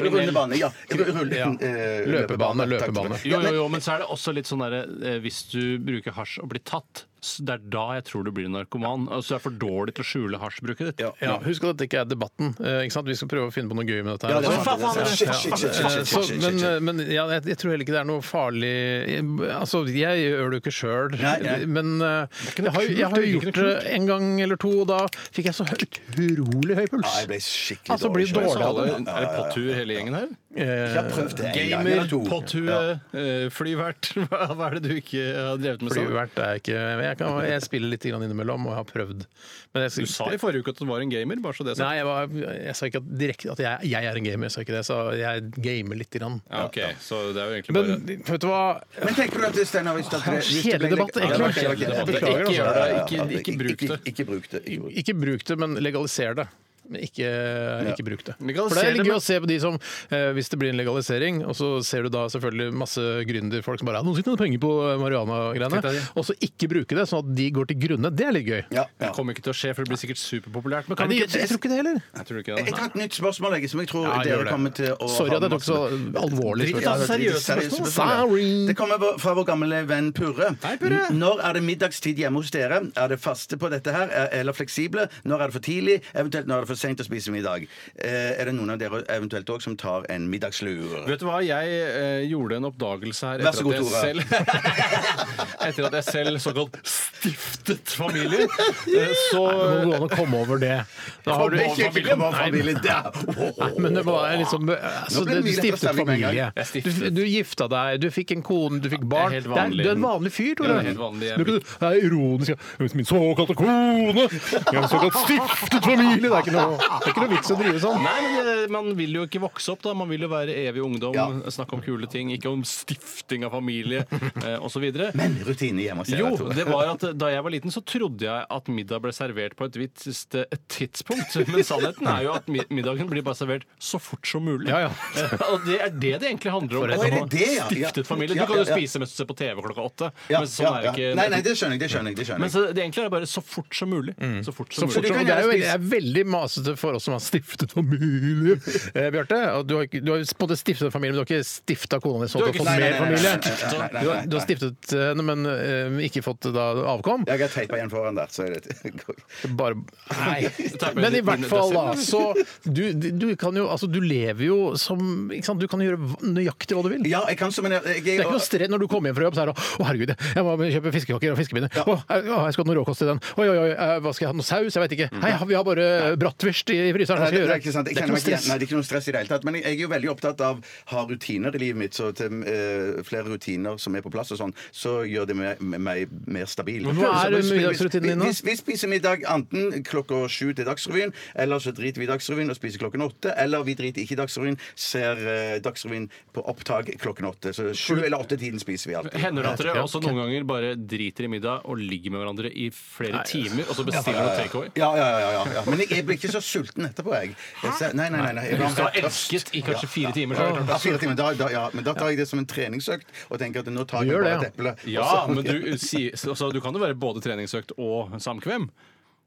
Speaker 6: Rullebane, ja. Rulle-
Speaker 4: Ja.
Speaker 6: eh,
Speaker 4: Løpebane, løpebane.
Speaker 5: Jo, jo, jo, men så er det også litt sånn derre eh, Hvis du bruker hasj og blir tatt, s- det er da jeg tror du blir narkoman. Altså, du er for dårlig til å skjule hasjbruket ditt.
Speaker 4: Ja, husk at dette ikke er debatten. eh, Ikke sant? Vi skal prøve å finne på noe gøy med dette. her
Speaker 5: Ja, det er
Speaker 4: også.
Speaker 5: sant, det er sant. Shit, shit, shit, shit, shit,
Speaker 4: Så,
Speaker 5: shit,
Speaker 4: Men,
Speaker 5: shit.
Speaker 4: men ja, jeg, jeg tror heller ikke det er noe farlig Jeg- Altså, Jeg gjør det jo ikke sjøl,
Speaker 12: Nei, nei.
Speaker 4: men eh,
Speaker 12: noe
Speaker 4: jeg har,
Speaker 12: kult,
Speaker 4: jeg har
Speaker 12: det er
Speaker 4: jo
Speaker 12: ikke
Speaker 4: gjort
Speaker 12: noe
Speaker 4: det en gang eller to, og da fikk jeg så hø- utrolig høy puls.
Speaker 6: jeg ble skikkelig
Speaker 4: altså, blir
Speaker 5: Så
Speaker 4: dårlig av
Speaker 5: alle-
Speaker 4: det.
Speaker 5: Er det pottur hele gjengen her?
Speaker 4: Jeg har prøvd det en gang eller
Speaker 5: Gamer,
Speaker 4: to.
Speaker 5: potthue, eh, flyvert. Hva hva er det du ikke har drevet med? sånn?
Speaker 4: Flyvert er ikke Jeg, kan, jeg spiller litt grann innimellom, og jeg har prøvd. Men jeg,
Speaker 5: Du sa i forrige uke at du var en gamer. bare så det er sagt.
Speaker 4: Nei, jeg, var, jeg sa ikke at, direkte at jeg, jeg er en gamer. Jeg sa ikke det. Jeg sa jeg gamer lite grann.
Speaker 5: Ja, ok, så det er jo egentlig bare
Speaker 4: Men vet du hva?
Speaker 6: Men tenker du at det, Steinar hvis det- hvis det
Speaker 4: Kjedelig
Speaker 6: ble-
Speaker 4: debatt,
Speaker 6: Ja, det var
Speaker 4: egentlig.
Speaker 6: kjedelig debatt.
Speaker 4: Jeg beklager,
Speaker 6: Ikke gjør
Speaker 4: altså.
Speaker 6: det. Ikke- ikke bruk det. Ikke bruk det.
Speaker 4: Ikke bruk det, men legaliser det. Men ikke, ikke bruk det.
Speaker 5: Legaliser
Speaker 4: For det er
Speaker 5: det,
Speaker 4: litt gøy å
Speaker 5: men-
Speaker 4: se på de som eh, Hvis det blir en legalisering, og så ser du da selvfølgelig masse gründerfolk som bare har noen sitter med penger på eh, marihuana-greiene,
Speaker 5: Kutt av de.
Speaker 4: og så ikke bruke det, sånn at de går til grunne. Det er litt gøy.
Speaker 5: Det kommer ikke til å skje, for det blir sikkert superpopulært. Men kan
Speaker 4: Nei,
Speaker 5: vi
Speaker 4: det-
Speaker 5: ikke
Speaker 4: jeg tror ikke det heller.
Speaker 5: Jeg tror ikke det.
Speaker 6: Jeg tar et nytt spørsmål, jeg, som jeg tror
Speaker 5: Ja, gjør
Speaker 6: dere
Speaker 5: det.
Speaker 6: kommer til å
Speaker 5: Sorry
Speaker 6: ha
Speaker 5: at jeg tok
Speaker 6: masse-
Speaker 5: så
Speaker 4: alvorlig
Speaker 6: Drit i
Speaker 4: spørsmål.
Speaker 6: det seriøse
Speaker 4: Seriøse
Speaker 6: spørsmålet.
Speaker 4: spørsmål.
Speaker 6: Det kommer vår- fra vår gamle venn Purre. N- Når er det middagstid hjemme hos dere? Er det faste på dette her, er- eller fleksible? Når er det for tidlig? Eventuelt når er det for sent å spise middag? Eh, Er det noen av dere eventuelt òg som tar en middagslur?
Speaker 5: Vet du hva, jeg eh, gjorde en oppdagelse her
Speaker 6: Vær så
Speaker 5: etter
Speaker 6: god,
Speaker 5: at,
Speaker 6: Tore.
Speaker 5: jeg selv, etter at jeg selv såkalt stiftet familie. Eh, så
Speaker 4: Nei, Det må gå an å komme over det. Da har du
Speaker 5: Komme over familien? Nei, men-
Speaker 4: Nei, men det var liksom altså,
Speaker 5: Nå
Speaker 4: det,
Speaker 5: ble det
Speaker 4: Du
Speaker 5: mye lettere å
Speaker 4: stiftet
Speaker 5: stemme med en gang.
Speaker 4: familie.
Speaker 5: Jeg
Speaker 4: Du,
Speaker 5: stiftet.
Speaker 4: du gifta deg, du fikk en kone, du fikk barn.
Speaker 5: Jeg er helt
Speaker 4: Det er,
Speaker 5: vanlig.
Speaker 4: du er en vanlig fyr,
Speaker 5: Ja,
Speaker 4: Tore.
Speaker 5: jeg er helt vanlig. Jeg
Speaker 4: Du er ikke- det er ironisk. ja. Min såkalte kone! En såkalt stiftet familie! Det er ikke noe, det er ikke noe vits å drive sånn.
Speaker 5: Nei, men eh, Man vil jo ikke vokse opp, da. Man vil jo være evig ungdom, snakke om kule ting, ikke om stifting av familie eh, osv.
Speaker 6: Men rutine hjemme hos dere,
Speaker 5: Jo,
Speaker 6: Tore.
Speaker 5: det var at eh, da jeg var liten, så trodde jeg at middag ble servert på et visst eh, tidspunkt. Men sannheten er jo at mi- middagen blir bare servert så fort som mulig.
Speaker 4: Ja, ja.
Speaker 5: Eh, Og det er det det egentlig handler
Speaker 6: For
Speaker 5: om.
Speaker 6: et-
Speaker 5: Å, er det det, ja?
Speaker 6: Ja.
Speaker 5: Stiftet familie.
Speaker 6: Ja,
Speaker 5: Du kan
Speaker 6: ja,
Speaker 5: jo
Speaker 6: ja.
Speaker 5: spise mens du ser på TV klokka åtte.
Speaker 6: Ja,
Speaker 5: Men sånn
Speaker 6: ja,
Speaker 5: er det
Speaker 6: ja.
Speaker 5: ikke.
Speaker 6: Nei, nei, det skjønner jeg, det skjønner jeg, det skjønner jeg.
Speaker 5: Men så, det egentlig er det bare så fort som mulig. Så fort som
Speaker 4: Så fort,
Speaker 5: mulig.
Speaker 4: og det er jo veldig, det er veldig masete for oss som har stiftet familie, eh, Bjarte. og Du har, ikke- du har på en måte stiftet familie, men du har ikke stifta kona di sånn
Speaker 5: Du
Speaker 4: at du
Speaker 5: har ikke-
Speaker 4: har fått
Speaker 5: Nei,
Speaker 4: mer
Speaker 5: nei, nei, nei,
Speaker 4: familie.
Speaker 5: nei, nei, nei, nei, nei, nei.
Speaker 4: Du har, du har stiftet henne, men eh, ikke fått da avkom.
Speaker 6: Jeg har teipa igjen foran der, så er det
Speaker 4: Bare Nei. Men i hvert fall, da. Så du, du kan jo Altså, du lever jo som ikke sant? Du kan gjøre hva- nøyaktig hva du vil.
Speaker 6: Ja, jeg kan som en jeg, jeg,
Speaker 4: det er ikke noe stress når du kommer hjem fra jobb. Så er det, å herregud, jeg må kjøpe fiskekaker og fiskepinner. Å, jeg, å, jeg skal ha noe råkost til den. Oi, oi, oi, eh, hva skal jeg ha? Noe saus? Jeg vet ikke. Hei, vi har bare bratwurst i fryseren. Hva skal
Speaker 6: Mm. Nei, det,
Speaker 4: jeg
Speaker 6: det,
Speaker 4: gjøre?
Speaker 6: er ikke sant. Jeg kjenner meg ikke igjen. Nei, det er ikke noe stress i det hele tatt. Men jeg er jo veldig opptatt av å ha rutiner i livet mitt. Så til eh, flere rutiner som er på plass og sånn, så gjør det meg, meg mer stabil.
Speaker 4: Men hva er
Speaker 6: Så hvis-
Speaker 4: middagsrutinen din da?
Speaker 6: hvis- Vi spiser middag enten klokka sju til Dagsrevyen, eller så driter vi i Dagsrevyen og spiser klokken åtte. Eller vi driter ikke i Dagsrevyen, ser eh, Dagsrevyen på opptak klokken åtte. Så sju eller åtte-tiden spiser vi alltid.
Speaker 5: Hender det at dere også noen ganger bare driter i middag og ligger med hverandre i flere timer, og så bestiller
Speaker 6: Ja, ja,
Speaker 5: dere
Speaker 6: ja.
Speaker 5: takeaway?
Speaker 6: Ja, ja, ja, ja, ja. Men jeg, jeg blir ikke så sulten etterpå, jeg. jeg ser, nei, nei, nei, nei. Jeg
Speaker 5: Du skal ha
Speaker 6: blir tørst.
Speaker 5: elsket i kanskje fire timer, så
Speaker 6: Ja,
Speaker 5: er det klart.
Speaker 6: ja, fire timer. Da, da, ja. Men da tar jeg det som en treningsøkt og tenker at nå tar jeg bare et eple.
Speaker 5: Ja,
Speaker 6: Og så-
Speaker 5: men du, eh, si, så, så du kan jo være både treningsøkt og samkvem.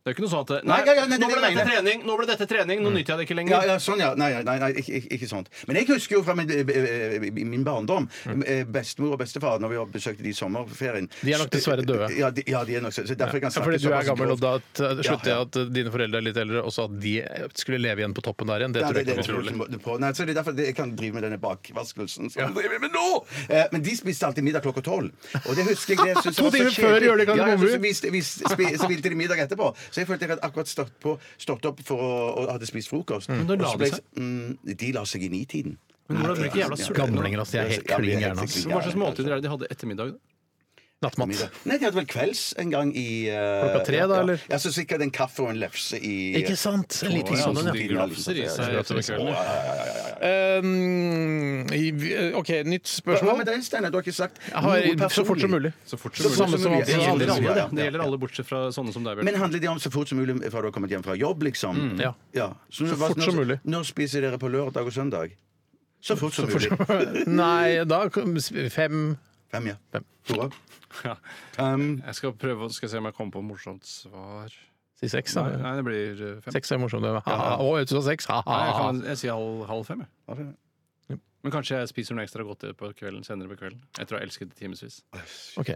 Speaker 5: Det er jo ikke noe sånn at
Speaker 6: Nei, ja, ja, nei, det
Speaker 5: nå ble
Speaker 6: er det jeg
Speaker 5: dette
Speaker 6: mener.
Speaker 5: trening, nå ble dette trening, nå nyter jeg det ikke lenger.
Speaker 6: Ja, ja, sånn, ja. Nei, nei, nei ikke, ikke, ikke sånt. Men jeg husker jo fra min, eh, eh, min barndom
Speaker 5: Mm.
Speaker 6: eh, Bestemor og bestefar, når vi var- besøkte de i sommerferien
Speaker 4: De er nok dessverre døde.
Speaker 6: Ja, de, ja, de er nok så, så derfor jeg kan
Speaker 4: Ja,
Speaker 6: snakke
Speaker 4: fordi du er
Speaker 6: såpass
Speaker 4: gammel, og
Speaker 6: grovt.
Speaker 4: da t- slutter
Speaker 6: Ja,
Speaker 4: jeg at eh, dine foreldre er litt eldre, og så at de eh, skulle leve igjen på toppen der igjen. Det
Speaker 6: Ja,
Speaker 4: tror jeg
Speaker 6: det
Speaker 4: ikke
Speaker 6: tror
Speaker 4: er
Speaker 6: jeg
Speaker 4: mulig.
Speaker 6: ikke på. Nei, så det er derfor det- jeg kan drive med denne bakvaskelsen. Som jeg driver med nå! Eh, Men de spiste alltid middag klokka tolv. Og det husker jeg. Det, syntes
Speaker 4: To
Speaker 6: jeg var så
Speaker 4: timer før
Speaker 6: kjedelig.
Speaker 4: gjør de kan
Speaker 6: ja,
Speaker 4: bombe.
Speaker 6: ja, så viste- vis- spi- spilte de middag etterpå. Så jeg følte jeg hadde akkurat stått, på, stått opp for å, og hadde spist frokost.
Speaker 5: Men da la
Speaker 6: Og så
Speaker 5: de
Speaker 6: ble jeg
Speaker 5: seg.
Speaker 6: så- Mm, de la seg i nitiden.
Speaker 5: Men hvordan blir de jævla sultne?
Speaker 4: Gamlinger, altså. De er helt klin gærne. ass.
Speaker 5: Hva slags måltider er det de hadde ettermiddag?
Speaker 4: Nattmat.
Speaker 6: Nei, de hadde vel kvelds en gang i eh,
Speaker 4: Klokka tre, da,
Speaker 6: ja,
Speaker 4: eller?
Speaker 6: Ja, så sikkert en kaffe og en lefse i
Speaker 4: Ikke sant? En liten
Speaker 6: Å, ja,
Speaker 4: sånn,
Speaker 6: så
Speaker 4: ja.
Speaker 6: de
Speaker 5: De glafser i seg
Speaker 6: ja,
Speaker 5: utover kvelden,
Speaker 6: ja, ja, ja, ja, ja.
Speaker 4: Um, i- OK, nytt
Speaker 6: Hva
Speaker 4: spørsmål.
Speaker 6: med deg, Steinar? Du har ikke sagt
Speaker 4: Jeg har- så fort som mulig.
Speaker 5: Så fort
Speaker 4: Så
Speaker 5: som mulig.
Speaker 4: samme som
Speaker 5: det
Speaker 4: alle-
Speaker 5: gjelder alle,
Speaker 6: Ja,
Speaker 5: det.
Speaker 6: ja, ja.
Speaker 5: det gjelder alle bortsett fra sånne som deg,
Speaker 6: Men
Speaker 5: Bjørn.
Speaker 6: handler det om så fort som mulig fra du har kommet hjem fra jobb, liksom?
Speaker 5: Mm, ja.
Speaker 6: Så,
Speaker 5: Så
Speaker 6: hva-
Speaker 5: fort
Speaker 6: når-
Speaker 5: som mulig.
Speaker 6: Når spiser dere på lørdag og søndag? Så fort som
Speaker 4: Så fort
Speaker 6: mulig.
Speaker 4: som- Nei, da kom- fem
Speaker 6: Fem, ja.
Speaker 4: Fem.
Speaker 6: Tore?
Speaker 5: Ja.
Speaker 6: Um,
Speaker 5: Jeg skal prøve å- skal se om jeg kommer på morsomt svar.
Speaker 4: Si seks, da.
Speaker 5: Nei, nei, det blir eh, fem.
Speaker 4: Seks er morsomt. det. Ha, ha, ha. Å, vet du, så seks. Ha,
Speaker 5: Nei, jeg,
Speaker 4: ha,
Speaker 5: kan,
Speaker 4: ha.
Speaker 5: jeg sier halv, halv fem. Jeg.
Speaker 6: Halv fem,
Speaker 5: Men kanskje jeg spiser noe ekstra godt på kvelden, senere på kvelden. Etter å ha elsket det timevis.
Speaker 4: OK.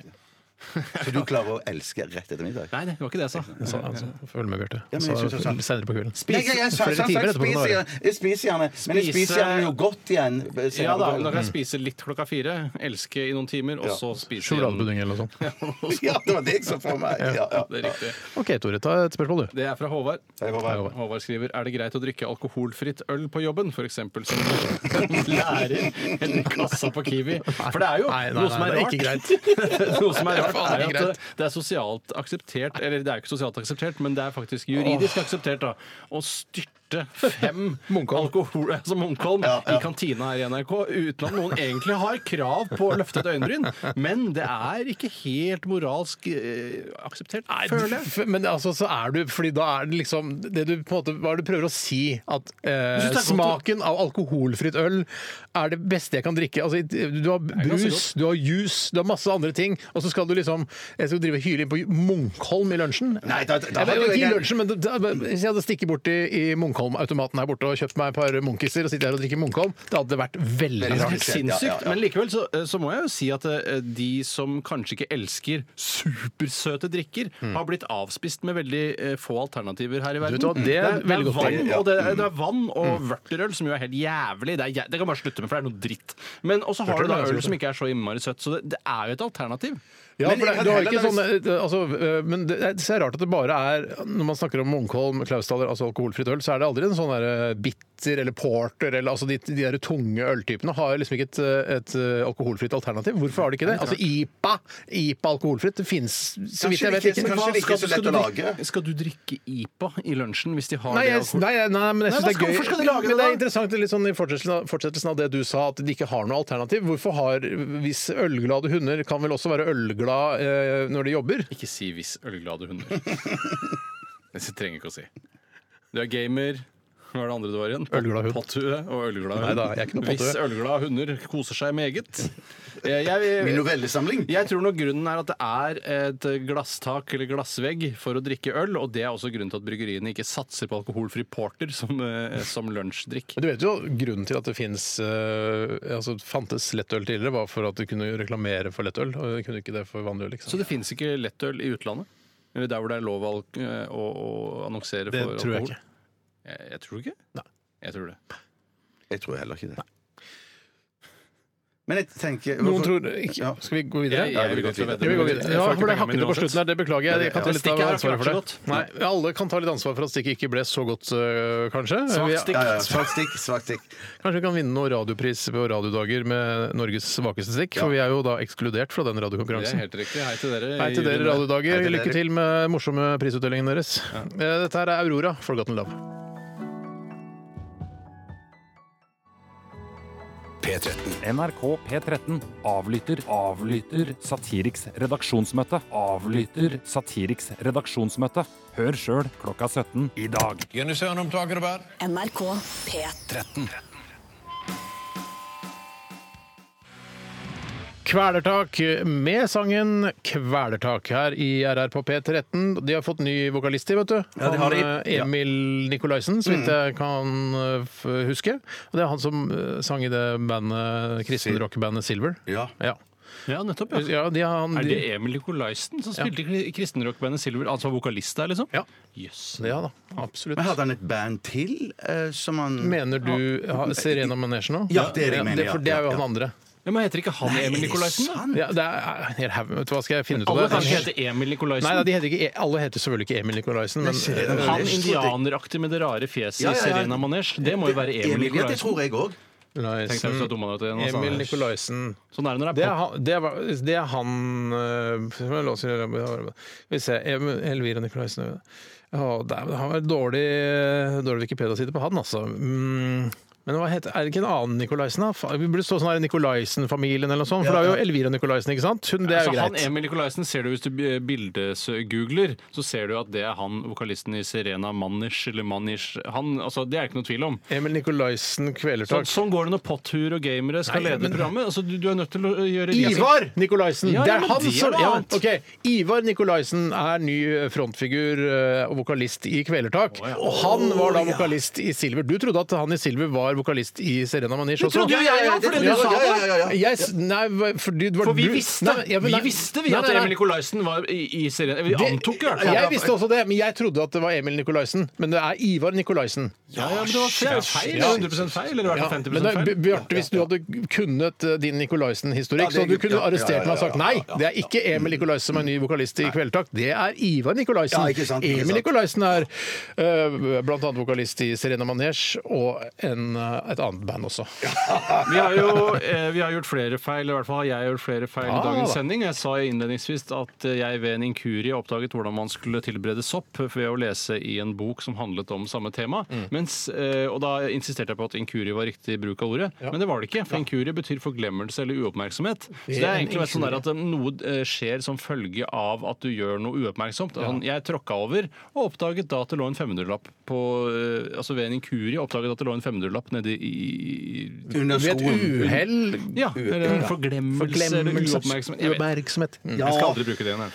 Speaker 6: Så du klarer å elske rett etter middag?
Speaker 5: Nei, det var ikke det jeg sa.
Speaker 4: Så, altså, følg med, Bjarte.
Speaker 6: Ja, men jeg synes det er
Speaker 4: Så
Speaker 6: sant.
Speaker 4: Senere på kvelden.
Speaker 6: Nei, jeg, jeg, sa-
Speaker 4: Flere
Speaker 6: sa-
Speaker 4: timer
Speaker 6: sa-
Speaker 4: etterpå kan det
Speaker 6: spiser
Speaker 4: være.
Speaker 6: gjerne, jeg spiser gjerne, men jeg
Speaker 5: Spise-
Speaker 6: spiser gjerne noe godt igjen. eh, senere
Speaker 5: Ja da,
Speaker 6: på kvelden.
Speaker 5: da kan jeg spise litt klokka fire, elske i noen timer, og
Speaker 6: Ja.
Speaker 5: så spise igjen.
Speaker 4: Sjokoladepudding eller noe sånt.
Speaker 6: Ja, det var det jeg så for meg. Ja, ja.
Speaker 5: Det er riktig.
Speaker 4: OK, Tore, ta et spørsmål, du.
Speaker 5: Det er fra Håvard.
Speaker 6: Hei, Håvard.
Speaker 5: Håvard. skriver er det greit å drikke alkoholfritt øl på jobben, f.eks. som lærer eller kassa på Kiwi. For det er jo
Speaker 4: Nei, nei,
Speaker 5: noe som er
Speaker 4: nei,
Speaker 5: rart.
Speaker 4: det er
Speaker 5: noe som
Speaker 4: Det er
Speaker 5: er rart
Speaker 4: faen
Speaker 5: er
Speaker 4: ikke
Speaker 5: at
Speaker 4: greit.
Speaker 5: det, det er sosialt akseptert, eller det er jo ikke sosialt akseptert, men det er faktisk juridisk akseptert, da, å styrte fem alkohol altså Munkholm i kantina her i NRK uten at noen egentlig har krav på å løfte et øyenbryn. Men det er ikke helt moralsk eh, akseptert, føler jeg.
Speaker 4: F- Men altså, så er du Fordi da er det liksom det du, på en måte, Hva er det du prøver å si? At
Speaker 5: synes
Speaker 4: eh,
Speaker 5: det er godt å-
Speaker 4: smaken av alkoholfritt øl er det beste jeg kan drikke. Altså, i- du har
Speaker 5: ganske
Speaker 4: brus, du har juice, du har masse andre ting, og så skal du liksom Jeg skal drive og hyle inn på Munkholm i lunsjen?
Speaker 6: Nei, da- da- da
Speaker 4: jeg vet
Speaker 6: hadde
Speaker 4: jo
Speaker 6: jo
Speaker 4: ikke i
Speaker 6: jeg-
Speaker 4: lunsjen, men da, da- hvis jeg hadde stikket bort i, i Munkholm-automaten her borte og kjøpt meg et par Munkiser og sitter her og drikker Munkholm, det hadde vært veldig
Speaker 5: Det er
Speaker 4: rart.
Speaker 5: helt sinnssykt, men likevel så, så må jeg jo si at eh, de som kanskje ikke elsker supersøte drikker, har blitt avspist med veldig eh, få alternativer her i verden.
Speaker 4: Mm. vet hva, det er veldig godt
Speaker 5: vann,
Speaker 4: poeng, Mm.
Speaker 5: og det, er- det er vann og vørterøl, som jo er helt jævlig. Det, er, jæ- det kan bare slutte med, for det er noe dritt. Men også har du da
Speaker 4: Vørterøl er
Speaker 5: øl
Speaker 4: også
Speaker 5: som ikke er så innmari søtt, så det, det er jo et alternativ.
Speaker 4: Ja,
Speaker 6: Men
Speaker 4: for
Speaker 6: jeg
Speaker 4: det,
Speaker 6: kan
Speaker 4: du har
Speaker 6: heller
Speaker 4: ikke sånn,
Speaker 6: hvis-
Speaker 4: eh, altså, eh, men det er, så er det rart at det bare er Når man snakker om Munkholm, Klausdaler, altså alkoholfritt øl, så er det aldri en sånn der eh, bitter eller porter eller altså de, de der tunge øltypene har liksom ikke et, eh, et eh, alkoholfritt alternativ. Hvorfor har de ikke det? Altså IPA, IPA alkoholfritt, det fins så vidt jeg vet ikke.
Speaker 6: Kanskje
Speaker 5: Hva
Speaker 6: det ikke er
Speaker 5: skal
Speaker 6: så
Speaker 5: du- skal
Speaker 6: lett å
Speaker 5: du
Speaker 6: lage.
Speaker 5: drikke- Skal du drikke IPA i lunsjen hvis de har
Speaker 4: Nei,
Speaker 5: det?
Speaker 4: jeg,
Speaker 5: alkohol-
Speaker 4: nei, nei, men jeg
Speaker 5: Nei,
Speaker 4: synes det
Speaker 5: hva skal-
Speaker 4: er gøy.
Speaker 5: hvorfor skal de lage det
Speaker 4: men det er
Speaker 5: da?
Speaker 4: interessant litt sånn, i fortsettelsen av, fortsettelsen av det du sa, at de ikke har noe alternativ. Hvorfor har Hvis ølglade hunder kan vel også være ølglad eh, når de jobber?
Speaker 5: Ikke si 'hvis ølglade hunder'. Det trenger jeg ikke å si. Du er gamer. Hva er det andre du har igjen?
Speaker 4: Ølglad hund.
Speaker 5: Potthue og ølglad hund.
Speaker 4: Nei da, jeg er ikke noe potthue.
Speaker 5: Hvis ølglad hunder koser seg meget. Eh, Jeg,
Speaker 6: Min novellesamling.
Speaker 5: Jeg tror nok grunnen er at det er et glasstak eller glassvegg for å drikke øl, og det er også grunnen til at bryggeriene ikke satser på alkoholfri porter som, eh, som lunsjdrikk.
Speaker 4: Men du vet jo, Grunnen til at det finnes, eh, altså, fantes lettøl tidligere, var for at du kunne reklamere for lettøl. og de kunne ikke det for vanlig øl. Liksom.
Speaker 5: Så det fins ikke lettøl i utlandet? Eller der hvor det er lov å, alk- eh, å, å annonsere
Speaker 4: Det
Speaker 5: for
Speaker 4: tror jeg
Speaker 5: alkohol? Jeg, jeg tror ikke.
Speaker 4: Nei.
Speaker 5: Jeg tror det.
Speaker 6: Jeg tror heller ikke det. Men jeg tenker
Speaker 4: Noen
Speaker 6: hvorfor-
Speaker 4: tror ikke.
Speaker 6: Ja.
Speaker 4: Skal vi gå videre?
Speaker 6: Ja, jeg vil gå til å vedde.
Speaker 4: Ja, vi går videre. Ja, for det hakket på slutten her, det beklager jeg. Jeg kan ta litt av
Speaker 5: Stikket her
Speaker 4: ansvaret for
Speaker 5: klart
Speaker 4: det.
Speaker 5: så
Speaker 4: Nei, alle kan ta litt ansvar for at stikket ikke ble så godt, øh, kanskje. Vi-
Speaker 6: Ja, ja, ja. Svakt stikk. Svakt stikk.
Speaker 4: Kanskje vi kan vinne noen radiopris på radiodager med Norges svakeste stikk, for vi er jo da ekskludert fra den
Speaker 5: Det er
Speaker 4: radiokonkurransen.
Speaker 5: helt riktig. Hei til dere.
Speaker 4: Hei til dere,
Speaker 5: Hei
Speaker 4: radiodager.
Speaker 5: til
Speaker 4: Lykke
Speaker 5: dere.
Speaker 4: til med morsomme prisutdelingen deres. Eh, Dette her er Aurora, Forgotten Love.
Speaker 12: NRK P13 avlytter, avlytter Satiriks redaksjonsmøte. Avlytter Satiriks redaksjonsmøte. Hør sjøl klokka 17 i dag.
Speaker 15: Jenny Søren om taket og bær.
Speaker 16: NRK P13.
Speaker 12: 13.
Speaker 4: Kvelertak med sangen 'Kvelertak' her i RR på P13. De har fått ny vokalist i, vet du.
Speaker 6: Ja, de har Mm. de.
Speaker 4: Han, eh, Emil Nikolaisen, så vidt jeg kan eh, f- huske. Og det er han som eh, sang i det bandet, kristne rockebandet Silver.
Speaker 6: Ja.
Speaker 4: ja.
Speaker 5: Ja, nettopp.
Speaker 4: Ja, de har-
Speaker 5: er det Emil Nikolaisen som spilte i kristenrockbandet Silver? Altså vokalist der, liksom?
Speaker 4: Ja.
Speaker 5: Yes.
Speaker 4: Ja da, absolutt.
Speaker 6: Men hadde han et band til eh, som han
Speaker 4: Mener du ha- Serena Manesjen nå?
Speaker 6: Ja, det er det jeg mener,
Speaker 4: for det er jo
Speaker 6: ja, ja.
Speaker 4: han andre.
Speaker 5: Ja, men heter ikke han
Speaker 4: Nei, er
Speaker 5: Emil
Speaker 4: det
Speaker 5: Nikolaisen, da?
Speaker 4: sant? Ja, det er en hel haug. Vet du hva, skal jeg finne ut av
Speaker 5: Alle
Speaker 4: det?
Speaker 5: kan ikke hete Emil Nikolaisen.
Speaker 4: Nei, nei, de heter ikke, E- alle heter selvfølgelig ikke Emil Nikolaisen, men
Speaker 5: han indianeraktig med det rare fjeset
Speaker 4: Ja, ja, ja.
Speaker 5: i Serena Manesh, det må jo være Emil
Speaker 6: Emil, ja,
Speaker 5: Nikolaisen.
Speaker 6: det tror jeg òg.
Speaker 5: Tenkte jeg skulle ha dummet deg ut igjen, altså.
Speaker 4: Emil Nikolaisen.
Speaker 5: Sånn er det når
Speaker 4: Det
Speaker 5: det
Speaker 4: er
Speaker 5: er pop.
Speaker 4: han, det var, det er han øh, som jeg låser i øret. Skal vi se Em- Elvira Nikolaisen Å, dæven, Han var dårlig, dårlig Wikipedia-side på han, altså. Mm. Men hva heter, er det ikke en annen Nikolaisen? da? Fa- Vi burde stå sånn her Nikolaisen-familien eller noe sånt, for
Speaker 5: Ja,
Speaker 4: det er jo
Speaker 5: ja.
Speaker 4: Elvira Nikolaisen, ikke sant? Hun, det er
Speaker 5: Så
Speaker 4: jo
Speaker 5: Altså, han
Speaker 4: greit.
Speaker 5: Emil Nikolaisen ser du hvis du bildesgoogler, så ser du at det er han vokalisten i Serena Manish eller Manish han, altså, Det er ikke noe tvil om.
Speaker 4: Emil Nikolaisen
Speaker 5: Så,
Speaker 4: Kvelertak.
Speaker 5: sånn går det når potthuer og gamere skal
Speaker 4: Nei,
Speaker 5: lede
Speaker 4: men-
Speaker 5: programmet. Altså, du, du er nødt til å gjøre
Speaker 4: Ivar Nikolaisen!
Speaker 5: Ja,
Speaker 4: det
Speaker 5: ja,
Speaker 4: er
Speaker 5: men
Speaker 4: han
Speaker 5: det er
Speaker 4: som
Speaker 5: noe
Speaker 4: ja,
Speaker 5: annet.
Speaker 4: ok. Ivar Nikolaisen er ny frontfigur eh, og vokalist i Kvelertak. Og han var da vokalist i Silver. Du trodde at han i Silver var vokalist i Serena Manish
Speaker 5: Det
Speaker 4: også?
Speaker 5: trodde jo jeg òg, fordi du sa
Speaker 4: Ja,
Speaker 5: det.
Speaker 4: ja, ja, ja. Jeg s- Nei, hva- fordi det var
Speaker 5: For vi
Speaker 4: du-
Speaker 5: visste
Speaker 4: Nei, ja, men
Speaker 5: vi
Speaker 4: nei-
Speaker 5: visste vi
Speaker 4: nei,
Speaker 5: at
Speaker 4: nei, nei.
Speaker 5: Emil Nikolaisen var i, i Serena. Vi antok i hvert fall.
Speaker 4: Jeg visste også det, men jeg trodde at det var Emil Nikolaisen. Men det er Ivar Nikolaisen.
Speaker 5: Ja, ja, men det var det er jo feil. Det
Speaker 4: Ja.
Speaker 5: er 100 feil, eller i hvert
Speaker 4: Ja,
Speaker 5: fall
Speaker 4: men
Speaker 5: 50
Speaker 4: det,
Speaker 5: feil.
Speaker 4: Bj- Bjarte, hvis du hadde kunnet eh, din Nikolaisen-historikk,
Speaker 5: Ja, det-
Speaker 4: så hadde du kunne
Speaker 5: ja, ja,
Speaker 4: arrestert
Speaker 5: ja,
Speaker 4: meg og
Speaker 5: ja,
Speaker 4: sagt nei, det er ikke Emil Nikolaisen som er ny vokalist i Kveldtak, det er Ivar Nikolaisen.
Speaker 6: Ja, ikke sant, ikke
Speaker 4: Emil
Speaker 6: sant.
Speaker 4: Nikolaisen er eh, blant annet vokalist i Serena Manesh og en, eh, et annet band også.
Speaker 5: Vi har jo eh, vi har gjort flere feil, i hvert fall har jeg gjort flere feil
Speaker 4: Ja,
Speaker 5: i
Speaker 4: da.
Speaker 5: dagens sending. Jeg sa innledningsvis at eh, jeg ved en inkurie oppdaget hvordan man skulle tilberede sopp ved å lese i en bok som handlet om samme tema. Mens, eh, og da insisterte jeg på at inkurie var riktig bruk av ordet, men det var det ikke. For inkurie betyr forglemmelse eller uoppmerksomhet. Så
Speaker 4: Det
Speaker 5: det
Speaker 4: er
Speaker 5: er
Speaker 4: en
Speaker 5: egentlig mest sånn
Speaker 4: inkurie.
Speaker 5: der at eh, noe eh, skjer som følge av at du gjør noe uoppmerksomt. Sånn, Jeg tråkka over og oppdaget da at det lå en 500-lapp på eh, Altså ved en inkurie oppdaget at det lå en 500-lapp nedi i i-
Speaker 6: Under
Speaker 5: Ved et
Speaker 6: skoen.
Speaker 4: uhell?
Speaker 5: Ja, eller en forglemmelse, eller
Speaker 4: Forglemmelse.
Speaker 5: uoppmerksomhet. Jeg vet.
Speaker 4: Uoppmerksomhet.
Speaker 5: Mm.
Speaker 4: Ja.
Speaker 5: Jeg skal aldri bruke det igjen. jeg.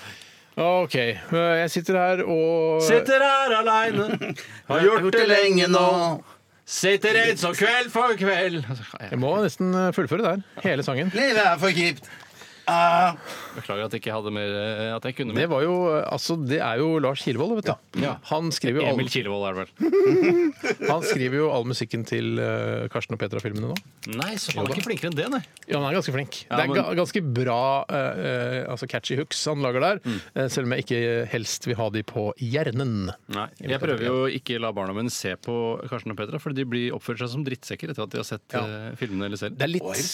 Speaker 4: OK. eh, Jeg sitter her og
Speaker 5: Sitter her aleine, har gjort det lenge nå. Sitter redd som kveld for kveld. Altså,
Speaker 4: Jeg må nesten eh, fullføre der. Hele sangen.
Speaker 6: Livet er for kjipt. Ah,
Speaker 5: Beklager at jeg ikke hadde mer eh, At jeg kunne
Speaker 4: Det
Speaker 5: mer.
Speaker 4: var jo, eh, altså, det er jo Lars Kirvold, vet du.
Speaker 5: Ja.
Speaker 4: Han skriver jo
Speaker 5: Emil
Speaker 4: alle
Speaker 5: Kilevold er det vel.
Speaker 4: Han skriver jo all musikken til eh, Karsten og Petra-filmene nå.
Speaker 5: Nei, så han er ikke flinkere enn det, nei.
Speaker 4: Ja, han er ganske flink.
Speaker 5: Ja,
Speaker 4: det er
Speaker 5: men-
Speaker 4: ga ganske bra eh, eh, altså catchy hooks han lager der,
Speaker 5: Mm.
Speaker 4: eh, selv om jeg ikke helst vil ha de på hjernen.
Speaker 5: Nei, Jeg prøver jo å ikke la barna mine se på Karsten og Petra, for de blir oppfører seg som drittsekker etter at de har sett eh, filmene eller serien.
Speaker 4: Det er litt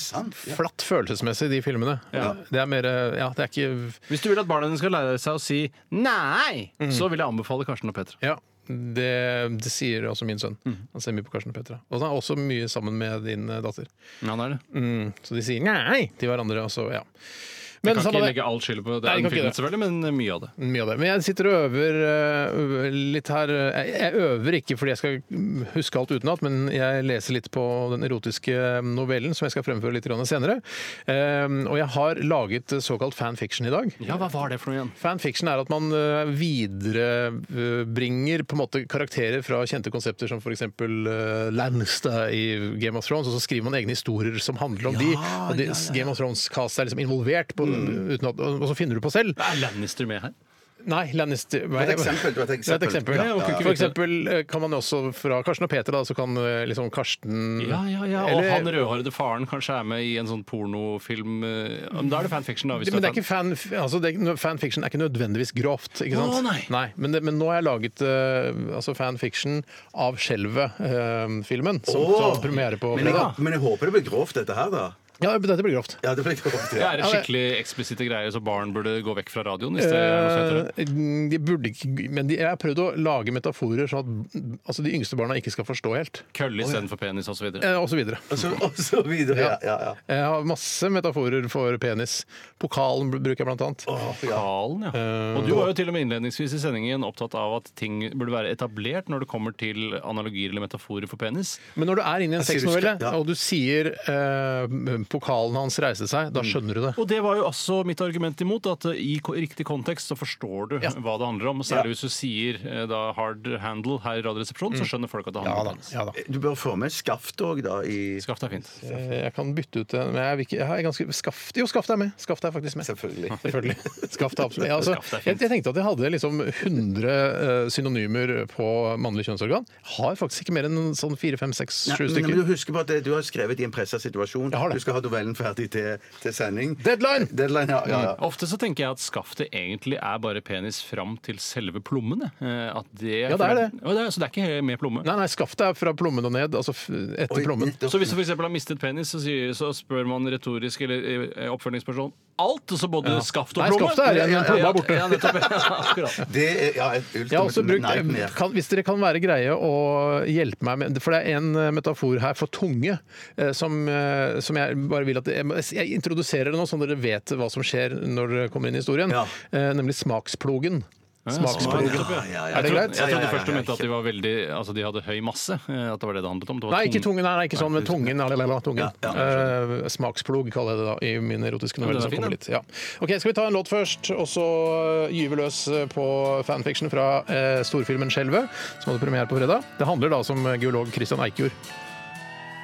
Speaker 4: flatt følelsesmessig, de filmene.
Speaker 5: Ja.
Speaker 4: Det er mer eh, Ja, det er ikke
Speaker 5: Hvis du vil at barna dine skal lære seg å si nei, så vil jeg anbefale Karsten og Petra.
Speaker 4: Ja. Det, det sier også min sønn.
Speaker 5: Mm.
Speaker 4: Han ser mye på Karsten og Petra. Og han er også mye sammen med din eh, datter.
Speaker 5: Ja, han er det.
Speaker 4: Mm, så de sier nei til hverandre, og så ja.
Speaker 5: Vi
Speaker 4: Men
Speaker 5: kan
Speaker 4: samme
Speaker 5: ikke
Speaker 4: det.
Speaker 5: legge all skylden på
Speaker 4: Nei, vi
Speaker 5: den
Speaker 4: kan ikke
Speaker 5: filmen,
Speaker 4: det.
Speaker 5: selvfølgelig, men mye av det.
Speaker 4: Mye av det. Men jeg sitter og øver øh, litt her. Jeg, jeg øver ikke fordi jeg skal huske alt utenat, men jeg leser litt på den erotiske novellen som jeg skal fremføre litt grann senere. Ehm, og jeg har laget såkalt fanfiction i dag.
Speaker 5: Ja, hva var det for noe igjen?
Speaker 4: Fanfiction er at man øh, viderebringer på en måte karakterer fra kjente konsepter som f.eks. Uh, Lannister i Game of Thrones, og så skriver man egne historier som handler om de. Og de Game of Thrones-castet er liksom involvert, på, uten at, og så finner du på selv.
Speaker 5: Er Lannister med her?
Speaker 4: Nei, Lannister
Speaker 6: var et eksempel, det var et
Speaker 4: Det er et eksempel.
Speaker 6: eksempel. Ja, ja, ja.
Speaker 4: For eksempel eh, kan man også fra Karsten og Peter, da, så kan eh, liksom Karsten
Speaker 5: Ja, ja, ja. Og
Speaker 4: Eller-
Speaker 5: han rødhårede faren kanskje er med i en sånn pornofilm eh, Men da er det fanfiction, da. Hvis
Speaker 4: Men det er
Speaker 5: fan-
Speaker 4: ikke fan, altså det, er ikke- fanfiction er ikke nødvendigvis grovt. ikke sant?
Speaker 5: Å, nei.
Speaker 4: men, det, men nå har jeg laget eh, altså fanfiction av Skjelvet-filmen, som,
Speaker 6: Åh!
Speaker 4: som har premiere på
Speaker 6: men,
Speaker 4: fredag.
Speaker 6: jeg, men jeg håper det blir grovt, dette her, da.
Speaker 4: Ja, dette blir grovt.
Speaker 6: Ja, det blir grovt,
Speaker 5: Det
Speaker 6: ja.
Speaker 5: er en skikkelig eksplisitte greier, så barn burde gå vekk fra radioen. Hvis det er noe som heter det.
Speaker 4: Eh, de burde ikke Men de, jeg har prøvd å lage metaforer sånn at altså, de yngste barna ikke skal forstå helt.
Speaker 5: Kølle istedenfor penis osv.
Speaker 4: Eh, Og så videre.
Speaker 6: Og så videre, ja. ja, ja.
Speaker 4: Jeg har masse metaforer for penis. Pokalen br- bruker jeg blant annet.
Speaker 5: Pokalen, ja. eh, Og du var jo til og med innledningsvis i sendingen opptatt av at ting burde være etablert når det kommer til analogier eller metaforer for penis.
Speaker 4: Men når du er inne i en
Speaker 5: Jeg sier du
Speaker 4: sexnovelle,
Speaker 5: skal- ja.
Speaker 4: og du sier eh, pokalen hans reiste seg,
Speaker 5: Mm.
Speaker 4: da skjønner du det.
Speaker 5: Og det var jo også mitt argument imot, at eh, i ko- riktig kontekst så forstår du hva det handler om. Særlig hvis du sier eh, da 'hard handle' her i Radioresepsjonen,
Speaker 4: Mm.
Speaker 5: så skjønner folk at det handler om penis.
Speaker 6: Du bør få med skaft òg, da. I...
Speaker 5: Skaft er fint.
Speaker 4: Eh, Jeg kan bytte ut det, men jeg, vil ikke, jeg har ganske Skaft Jo, Skaft er med. Skaft er faktisk med.
Speaker 6: Selvfølgelig.
Speaker 4: Skaft er absolutt ja, altså,
Speaker 5: Skaft er
Speaker 4: jeg,
Speaker 5: fint.
Speaker 4: jeg tenkte at jeg hadde liksom 100 eh, synonymer på mannlig kjønnsorgan. Har faktisk ikke mer enn sånn 4-5-6-7
Speaker 6: Nei, men, men
Speaker 4: stykker.
Speaker 6: du husker på at det- du har skrevet i en pressa situasjon. Du skal ha novellen ferdig til, til sending.
Speaker 4: Deadline!
Speaker 6: Deadline, ja, ja, ja.
Speaker 5: Mm. Ofte så tenker jeg at skaftet egentlig er bare penis fram til selve plommen. jeg. Eh, At det,
Speaker 4: Ja, det er det.
Speaker 5: Ja, Så det er ikke helt med plomme?
Speaker 4: Nei, nei, skaftet er fra plommen og ned, altså f- etter plommen.
Speaker 5: Så hvis du f.eks. har mistet penis, så, sier, så spør man retorisk eller eh, oppfølgingsperson alt, og så både
Speaker 4: Ja.
Speaker 5: skaft og
Speaker 4: Nei,
Speaker 5: plomme?
Speaker 4: skaftet er igjen, men plomma er borte.
Speaker 5: Ja, nettopp. Ja, akkurat.
Speaker 6: Det er ja, et
Speaker 4: Jeg har også
Speaker 6: ultimate
Speaker 4: brukt,
Speaker 6: nightmare.
Speaker 4: kan, hvis dere kan være greie å hjelpe meg med For det er en eh, metafor her for tunge eh, som, eh, som jeg bare vil at Jeg, jeg introduserer det nå, sånn at dere vet hva som skjer når det kommer inn i historien. Eh, Nemlig smaksplogen. Smaksplogen.
Speaker 5: Ja, ja, ja.
Speaker 4: Er det
Speaker 5: Jeg
Speaker 4: greit?
Speaker 5: trodde- Jeg trodde først du mente at de var veldig Altså de hadde høy masse. eh, At det var det det handlet om. Det var
Speaker 4: Nei, ikke
Speaker 5: tung-
Speaker 4: tungen, nei, nei, ikke sånn, men tungen. la, la, la, tungen. Eh, smaksplog kaller jeg det da, i min erotiske
Speaker 5: Ja,
Speaker 4: novelle.
Speaker 5: men den er
Speaker 4: som
Speaker 5: fin,
Speaker 4: kommer
Speaker 5: den.
Speaker 4: litt. Ja. Ok, Skal vi ta en låt først, og så eh, gyver vi løs eh, på fanfiction fra eh, storfilmen 'Skjelvet', som hadde premiere på fredag. Det handler da som eh, geolog Christian Eikjord.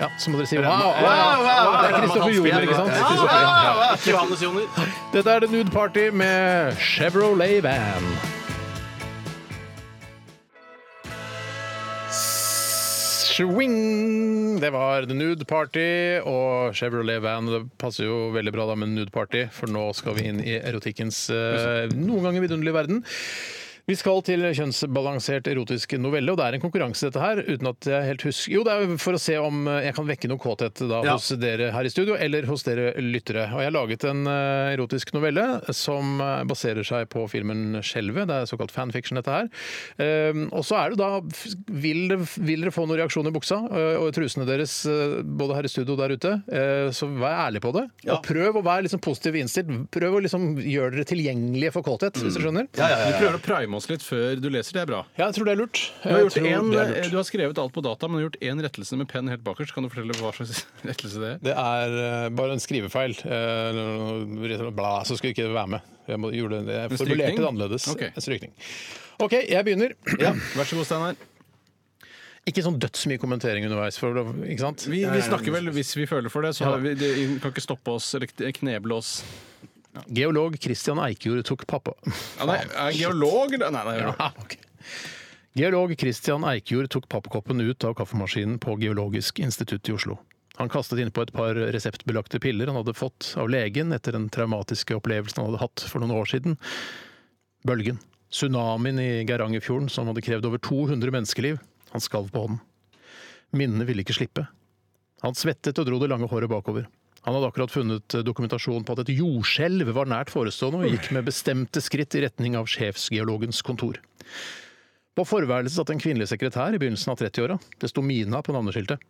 Speaker 4: Ja, så må dere si wow! wow, wow, Det er Kristoffer Joner, ikke sant? Kristoffer, ja, ja.
Speaker 9: Ikke Johannes Joner.
Speaker 4: Dette er The Nude Party med Chevrolet Van. Swing! Det var The Nude Party og Chevrolet Van. Det passer jo veldig bra da med Nude Party, for nå skal vi inn i erotikkens eh, noen ganger vidunderlige verden. Vi skal til kjønnsbalansert erotisk novelle, og det er en konkurranse dette her. uten at jeg helt husker. Jo, det er jo for å se om eh, jeg kan vekke noe kåthet da,
Speaker 12: Ja.
Speaker 4: hos dere her i studio, eller hos dere lyttere. Og jeg har laget en eh, erotisk novelle som eh, baserer seg på filmen 'Skjelvet'. Det er såkalt fanfiction, dette her. Ehm, Og så er det da Vil dere, vil dere få noen reaksjon i buksa eh, og i trusene deres, eh, både her i studio og der ute, eh, så vær ærlig på det. Og prøv å være liksom positiv innstilt. Prøv å liksom gjøre dere tilgjengelige for kåthet, hvis du skjønner.
Speaker 5: Du prøver å prime oss litt før du leser, det er bra.
Speaker 4: Ja, jeg tror det er lurt.
Speaker 5: Du har,
Speaker 4: Jeg
Speaker 5: gjort
Speaker 4: tror
Speaker 5: en, eh,
Speaker 4: det er lurt.
Speaker 5: du har skrevet alt på data, men du har gjort én rettelse med penn helt bakerst. Kan du fortelle hva slags rettelse det er?
Speaker 4: Det er eh, bare en skrivefeil. eh, eller noe Bla, så skulle ikke det være med. Jeg, må, gjorde, det- jeg
Speaker 5: En
Speaker 4: formulerte
Speaker 5: strykning?
Speaker 4: det annerledes.
Speaker 5: Ok.
Speaker 4: En strykning. OK, jeg begynner.
Speaker 5: Vær så god, Steinar.
Speaker 4: Ikke sånn dødsmye kommentering underveis. For, ikke sant?
Speaker 5: Vi, vi snakker vel hvis vi føler for det, så
Speaker 4: Ja.
Speaker 5: har vi, det kan ikke stoppe oss eller kneble oss.
Speaker 4: Geolog Christian Eikjord tok pappa.
Speaker 5: Ja, nei, er jeg geolog, eller? Nei, nei, jeg er
Speaker 4: Ja, ok. Geolog Christian Eikjord tok pappkoppen ut av kaffemaskinen på Geologisk institutt i Oslo. Han kastet innpå et par reseptbelagte piller han hadde fått av legen etter den traumatiske opplevelsen han hadde hatt for noen år siden. Bølgen. Tsunamien i Geirangerfjorden som hadde krevd over 200 menneskeliv. Han skalv på hånden. Minnene ville ikke slippe. Han svettet og dro det lange håret bakover. Han hadde akkurat funnet eh, dokumentasjon på at et jordskjelv var nært forestående, og gikk med bestemte skritt i retning av sjefsgeologens kontor. På forværelset satt en kvinnelig sekretær i begynnelsen av 30-åra. Det sto Mina på navneskiltet.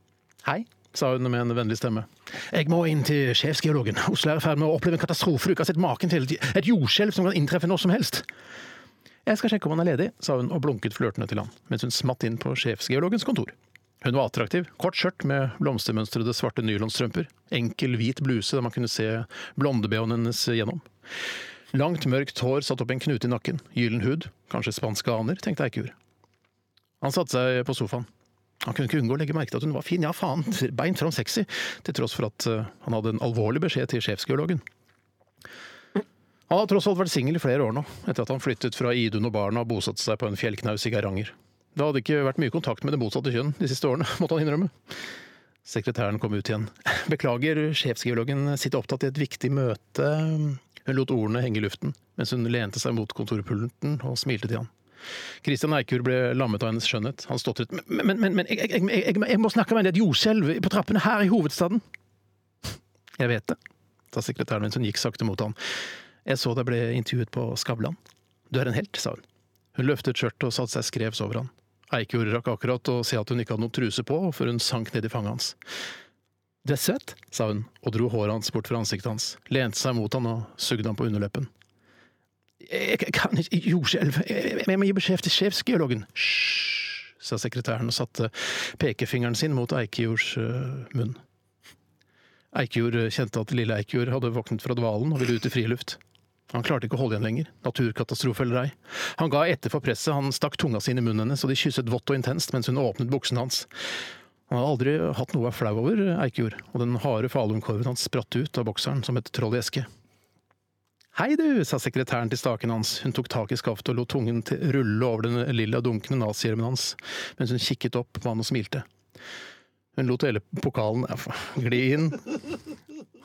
Speaker 4: Hei, sa hun med en vennlig stemme. Jeg må inn til sjefsgeologen. Oslo er i ferd med å oppleve en katastrofe du ikke har sett maken til. Et jordskjelv som kan inntreffe når som helst. Jeg skal sjekke om han er ledig, sa hun og blunket flørtende til han, mens hun smatt inn på sjefsgeologens kontor. Hun var attraktiv, kort skjørt med blomstermønstrede svarte nylonstrømper, enkel hvit bluse der man kunne se blondebehåen hennes gjennom. Langt mørkt hår satt opp i en knute i nakken, gyllen hud, kanskje spanske aner, tenkte Eikjord. Han satte seg på sofaen. Han kunne ikke unngå å legge merke til at hun var fin, ja faen, beint fram sexy, til tross for at eh, han hadde en alvorlig beskjed til sjefsgeologen. Han har tross alt vært singel i flere år nå, etter at han flyttet fra Idun og Barna og bosatte seg på en fjellknaus i Geiranger. Det hadde ikke vært mye kontakt med det motsatte kjønn de siste årene, måtte han innrømme. Sekretæren kom ut igjen. Beklager, sjefsgeologen sitter opptatt i et viktig møte. Hun lot ordene henge i luften, mens hun lente seg mot kontorpulten og smilte til han. Christian Eikjord ble lammet av hennes skjønnhet. Han stotret. Men, men, men, men jeg, jeg, jeg, jeg, jeg må snakke med deg, det er et jordskjelv på trappene her i hovedstaden. Jeg vet det, sa sekretæren mens hun gikk sakte mot han. Jeg så deg ble intervjuet på Skavlan. Du er en helt, sa hun. Hun løftet skjørtet og satte seg skrevs over han. Eikjord rakk akkurat å se at hun ikke hadde noen truse på, før hun sank ned i fanget hans. Du er søt, sa hun og dro håret hans bort fra ansiktet hans, lente seg mot han og sugde han på underleppen. Jeg kan ikke jordskjelv, jeg jeg må gi beskjed til sjefsgeologen. Hysj, sa sekretæren og satte pekefingeren sin mot Eikjords øh, munn. Eikjord kjente at lille Eikjord hadde våknet fra dvalen og ville ut i friluft. Han klarte ikke å holde igjen lenger, naturkatastrofe eller ei. Han ga etter for presset, han stakk tunga si inn i munnen hennes, og de kysset vått og intenst mens hun åpnet buksene hans. Han hadde aldri hatt noe å være flau over, Eikjord, og den harde falunkorven hans spratt ut av bokseren som et troll i eske. Hei du, sa sekretæren til staken hans. Hun tok tak i skaftet og lot tungen til- rulle over den lilla dunkende nazihjelmen hans, mens hun kikket opp på han og smilte. Hun lot hele pokalen ja, faen, gli inn.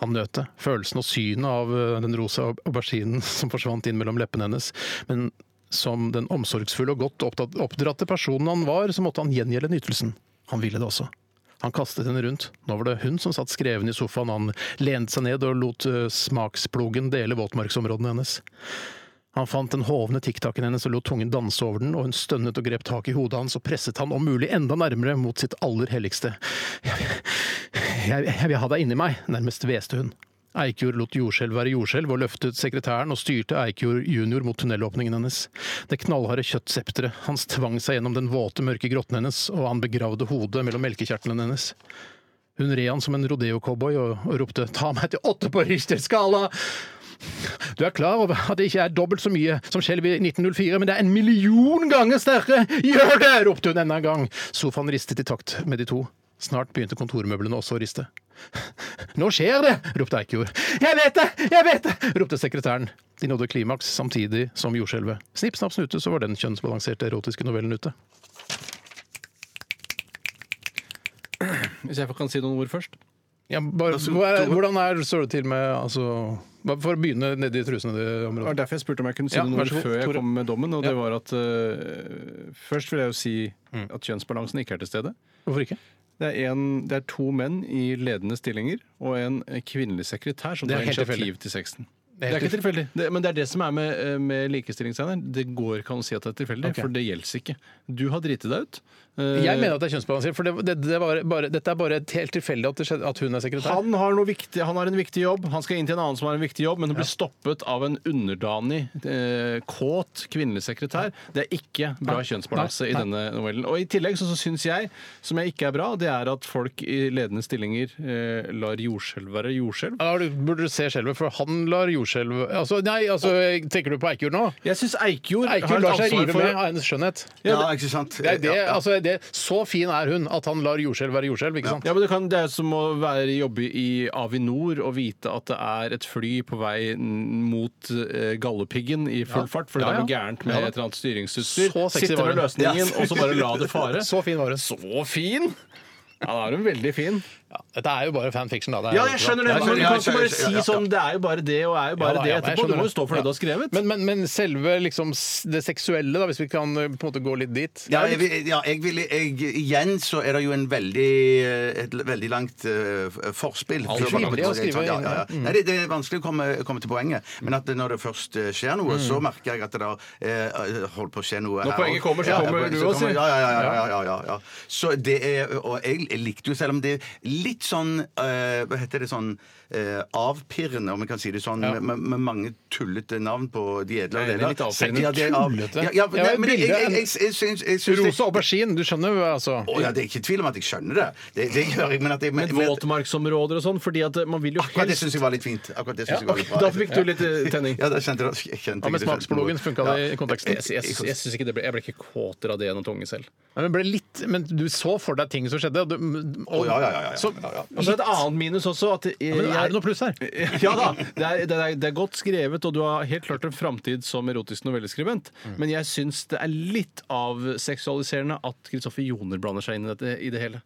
Speaker 4: Han nøt det. Følelsen og synet av eh, den rosa au- auberginen som forsvant inn mellom leppene hennes. Men som den omsorgsfulle og godt opptatt- oppdratte personen han var, så måtte han gjengjelde nytelsen. Han ville det også. Han kastet henne rundt. Nå var det hun som satt skreven i sofaen. Han lente seg ned og lot eh, smaksplogen dele våtmarksområdene hennes. Han fant den hovne tikktakken hennes og lot tungen danse over den, og hun stønnet og grep tak i hodet hans og presset han om mulig enda nærmere mot sitt aller helligste. Jeg, jeg vil ha deg inni meg, nærmest hveste hun. Eikjord lot jordskjelv være jordskjelv og løftet sekretæren og styrte Eikjord junior mot tunnelåpningen hennes. Det knallharde kjøttsepteret hans tvang seg gjennom den våte, mørke grotten hennes, og han begravde hodet mellom melkekjertlene hennes. Hun red han som en rodeo-cowboy og, og ropte 'ta meg til åtte på Richter-skala'! Du er klar over at det ikke er dobbelt så mye som skjelv i 1904, men det er en million ganger sterkere! Gjør det! ropte hun enda en gang. Sofaen ristet i takt med de to. Snart begynte kontormøblene også å riste. Nå skjer det! ropte Eikjord. Jeg vet det! Jeg vet det! ropte sekretæren. De nådde klimaks samtidig som jordskjelvet. Snipp, snapp, snute, så var den kjønnsbalanserte erotiske novellen ute.
Speaker 5: Hvis jeg kan si noen ord først?
Speaker 4: Ja, bare, hva er, hvordan er, står det til med altså, bare For å begynne nedi trusene det
Speaker 5: Det
Speaker 4: området.
Speaker 5: var derfor jeg spurte om jeg kunne si
Speaker 4: Ja,
Speaker 5: noe
Speaker 4: vær så god,
Speaker 5: før jeg
Speaker 4: Tore.
Speaker 5: kom med dommen. Og det var at eh, Først vil jeg jo si at kjønnsbalansen ikke er til stede.
Speaker 4: Hvorfor ikke?
Speaker 5: Det er, en, det er to menn i ledende stillinger og en kvinnelig sekretær som
Speaker 4: Det er
Speaker 5: tar
Speaker 4: helt
Speaker 5: initiativ
Speaker 4: tilfeldig.
Speaker 5: til sexen.
Speaker 4: Det er
Speaker 5: Det er
Speaker 4: helt
Speaker 5: ikke tilfeldig, det, men det er det som er med, eh, med likestillingstegner. Det går ikke an å si at det er tilfeldig,
Speaker 4: Ok.
Speaker 5: for det gjelder ikke. Du har driti deg ut. Eh,
Speaker 4: Jeg mener at det er kjønnsbalansert, for det, det, det var bare, dette er bare helt tilfeldig at, det skjedde, at hun er sekretær.
Speaker 5: Han har, noe viktig, han har en viktig jobb, han skal inn til en annen som har en viktig jobb, men hun blir stoppet av en underdanig, eh, kåt kvinnelig sekretær. Det er ikke bra
Speaker 4: Nei.
Speaker 5: kjønnsbalanse
Speaker 4: Nei.
Speaker 5: i denne novellen. Og I tillegg så, så syns jeg, som jeg ikke er bra, det er at folk i ledende stillinger eh, lar jordskjelv være jordskjelv.
Speaker 4: Ja, du burde se skjelvet, for han lar jordskjelv altså, Nei, altså, tenker du på Eikjord nå?
Speaker 5: Jeg syns Eikjord har
Speaker 4: Eikjord
Speaker 5: et
Speaker 4: lar seg
Speaker 5: ansvar
Speaker 4: rive
Speaker 5: for
Speaker 4: med av hennes skjønnhet.
Speaker 5: Ja,
Speaker 6: Ja, ikke sant?
Speaker 4: Det er det, altså, det, så fin er hun at han lar jordskjelv være jordskjelv, ikke sant?
Speaker 5: Ja, men det, kan, det er som å være, jobbe i Avinor og vite at det er et fly på vei n- mot eh, Galdhøpiggen i full
Speaker 4: Ja.
Speaker 5: fart, for det
Speaker 4: Ja,
Speaker 5: er noe
Speaker 4: ja.
Speaker 5: gærent med
Speaker 4: Ja da.
Speaker 5: et eller annet styringsutstyr.
Speaker 4: Så sexy
Speaker 5: Sitte
Speaker 4: var
Speaker 5: med
Speaker 4: hun.
Speaker 5: løsningen,
Speaker 4: Ja.
Speaker 5: og så bare la det fare.
Speaker 4: Så fin var hun.
Speaker 5: Så fin! Ja, da er hun veldig fin.
Speaker 4: Dette er jo bare fanfiction, da. Det er
Speaker 5: Ja,
Speaker 4: jo
Speaker 5: jeg
Speaker 4: ikke
Speaker 5: skjønner det,
Speaker 4: sant?
Speaker 5: men du
Speaker 4: Ja, ja,
Speaker 5: kan ikke bare
Speaker 4: ja, ja,
Speaker 5: si
Speaker 4: ja.
Speaker 5: sånn det er jo bare det, og er jo
Speaker 4: Ja
Speaker 5: bare
Speaker 4: da,
Speaker 5: det
Speaker 4: ja, men jeg
Speaker 5: etterpå. Du
Speaker 4: skjønner
Speaker 5: må jo stå for det
Speaker 4: Ja.
Speaker 5: du har skrevet.
Speaker 4: Men, men, men selve liksom, s- det seksuelle, da, hvis vi kan eh, på en måte gå litt dit
Speaker 6: Ja, jeg, vil- ja, jeg vil jeg, Igjen så er det jo en veldig, eh, et veldig langt eh, f- forspill.
Speaker 4: Alt for langt. Det å skrive
Speaker 6: ja, ja, ja.
Speaker 4: inn, ja. Mm.
Speaker 6: Nei, det, det er vanskelig å komme, komme til poenget. Men at når det først eh, skjer noe, så merker jeg at det da eh, holder på å skje noe
Speaker 5: Mm. Når
Speaker 6: her
Speaker 5: poenget
Speaker 6: også.
Speaker 5: kommer, så
Speaker 6: Ja,
Speaker 5: kommer
Speaker 6: poenget-
Speaker 5: du
Speaker 6: så
Speaker 5: også, sier.
Speaker 6: Ja, ja, ja, ja, ja, ja, ja. Så det er, og jeg, jeg likte jo, selv om det er litt sånn eh, Hva heter det sånn eh, avpirrende, om jeg kan si det sånn,
Speaker 5: Ja.
Speaker 6: med, med, med mange tullete navn på de edle
Speaker 5: Nei,
Speaker 6: og
Speaker 5: det er
Speaker 6: deler.
Speaker 5: litt avpirrende.
Speaker 6: Ja, det er av-
Speaker 5: Tullete?
Speaker 6: Ja, ja,
Speaker 5: Ja,
Speaker 6: nei,
Speaker 5: et
Speaker 6: men jeg,
Speaker 5: bilde,
Speaker 6: jeg,
Speaker 5: en-
Speaker 6: jeg, jeg, syns- jeg syns
Speaker 4: Rosa aubergine, du skjønner jo, altså.
Speaker 6: Å ja, det er ikke tvil om at jeg skjønner det. Det, det gjør jeg, men at jeg men,
Speaker 5: Med våtmarksområder og sånn, fordi at eh, man vil jo
Speaker 6: Akkurat det syns jeg var litt fint. Akkurat det
Speaker 5: Ja,
Speaker 6: synes jeg var litt
Speaker 5: ok, da
Speaker 6: bra.
Speaker 5: fikk du litt, eh, tenning.
Speaker 6: Ja, da kjente jeg- jeg kjente
Speaker 5: Ja, men
Speaker 6: jeg det selv.
Speaker 5: smaksplogen funka det i konteksten?
Speaker 6: Jeg-
Speaker 5: Jeg, jeg, jeg, synes ikke det ble, jeg ble ikke kåtere av det gjennom tunge selv.
Speaker 4: Nei, men, ble litt, men du så for deg ting som skjedde. Og du, og,
Speaker 5: Å, ja, ja, ja, ja, ja.
Speaker 4: Så,
Speaker 5: Og så et annet minus også at
Speaker 4: Ja, men er det noe pluss her?
Speaker 5: Ja da. Det er, det, er, det er godt skrevet, og du har helt klart en framtid som erotisk novelleskribent.
Speaker 4: Mm.
Speaker 5: Men jeg syns det er litt avseksualiserende at Kristoffer Joner blander seg inn i, dette, i det hele.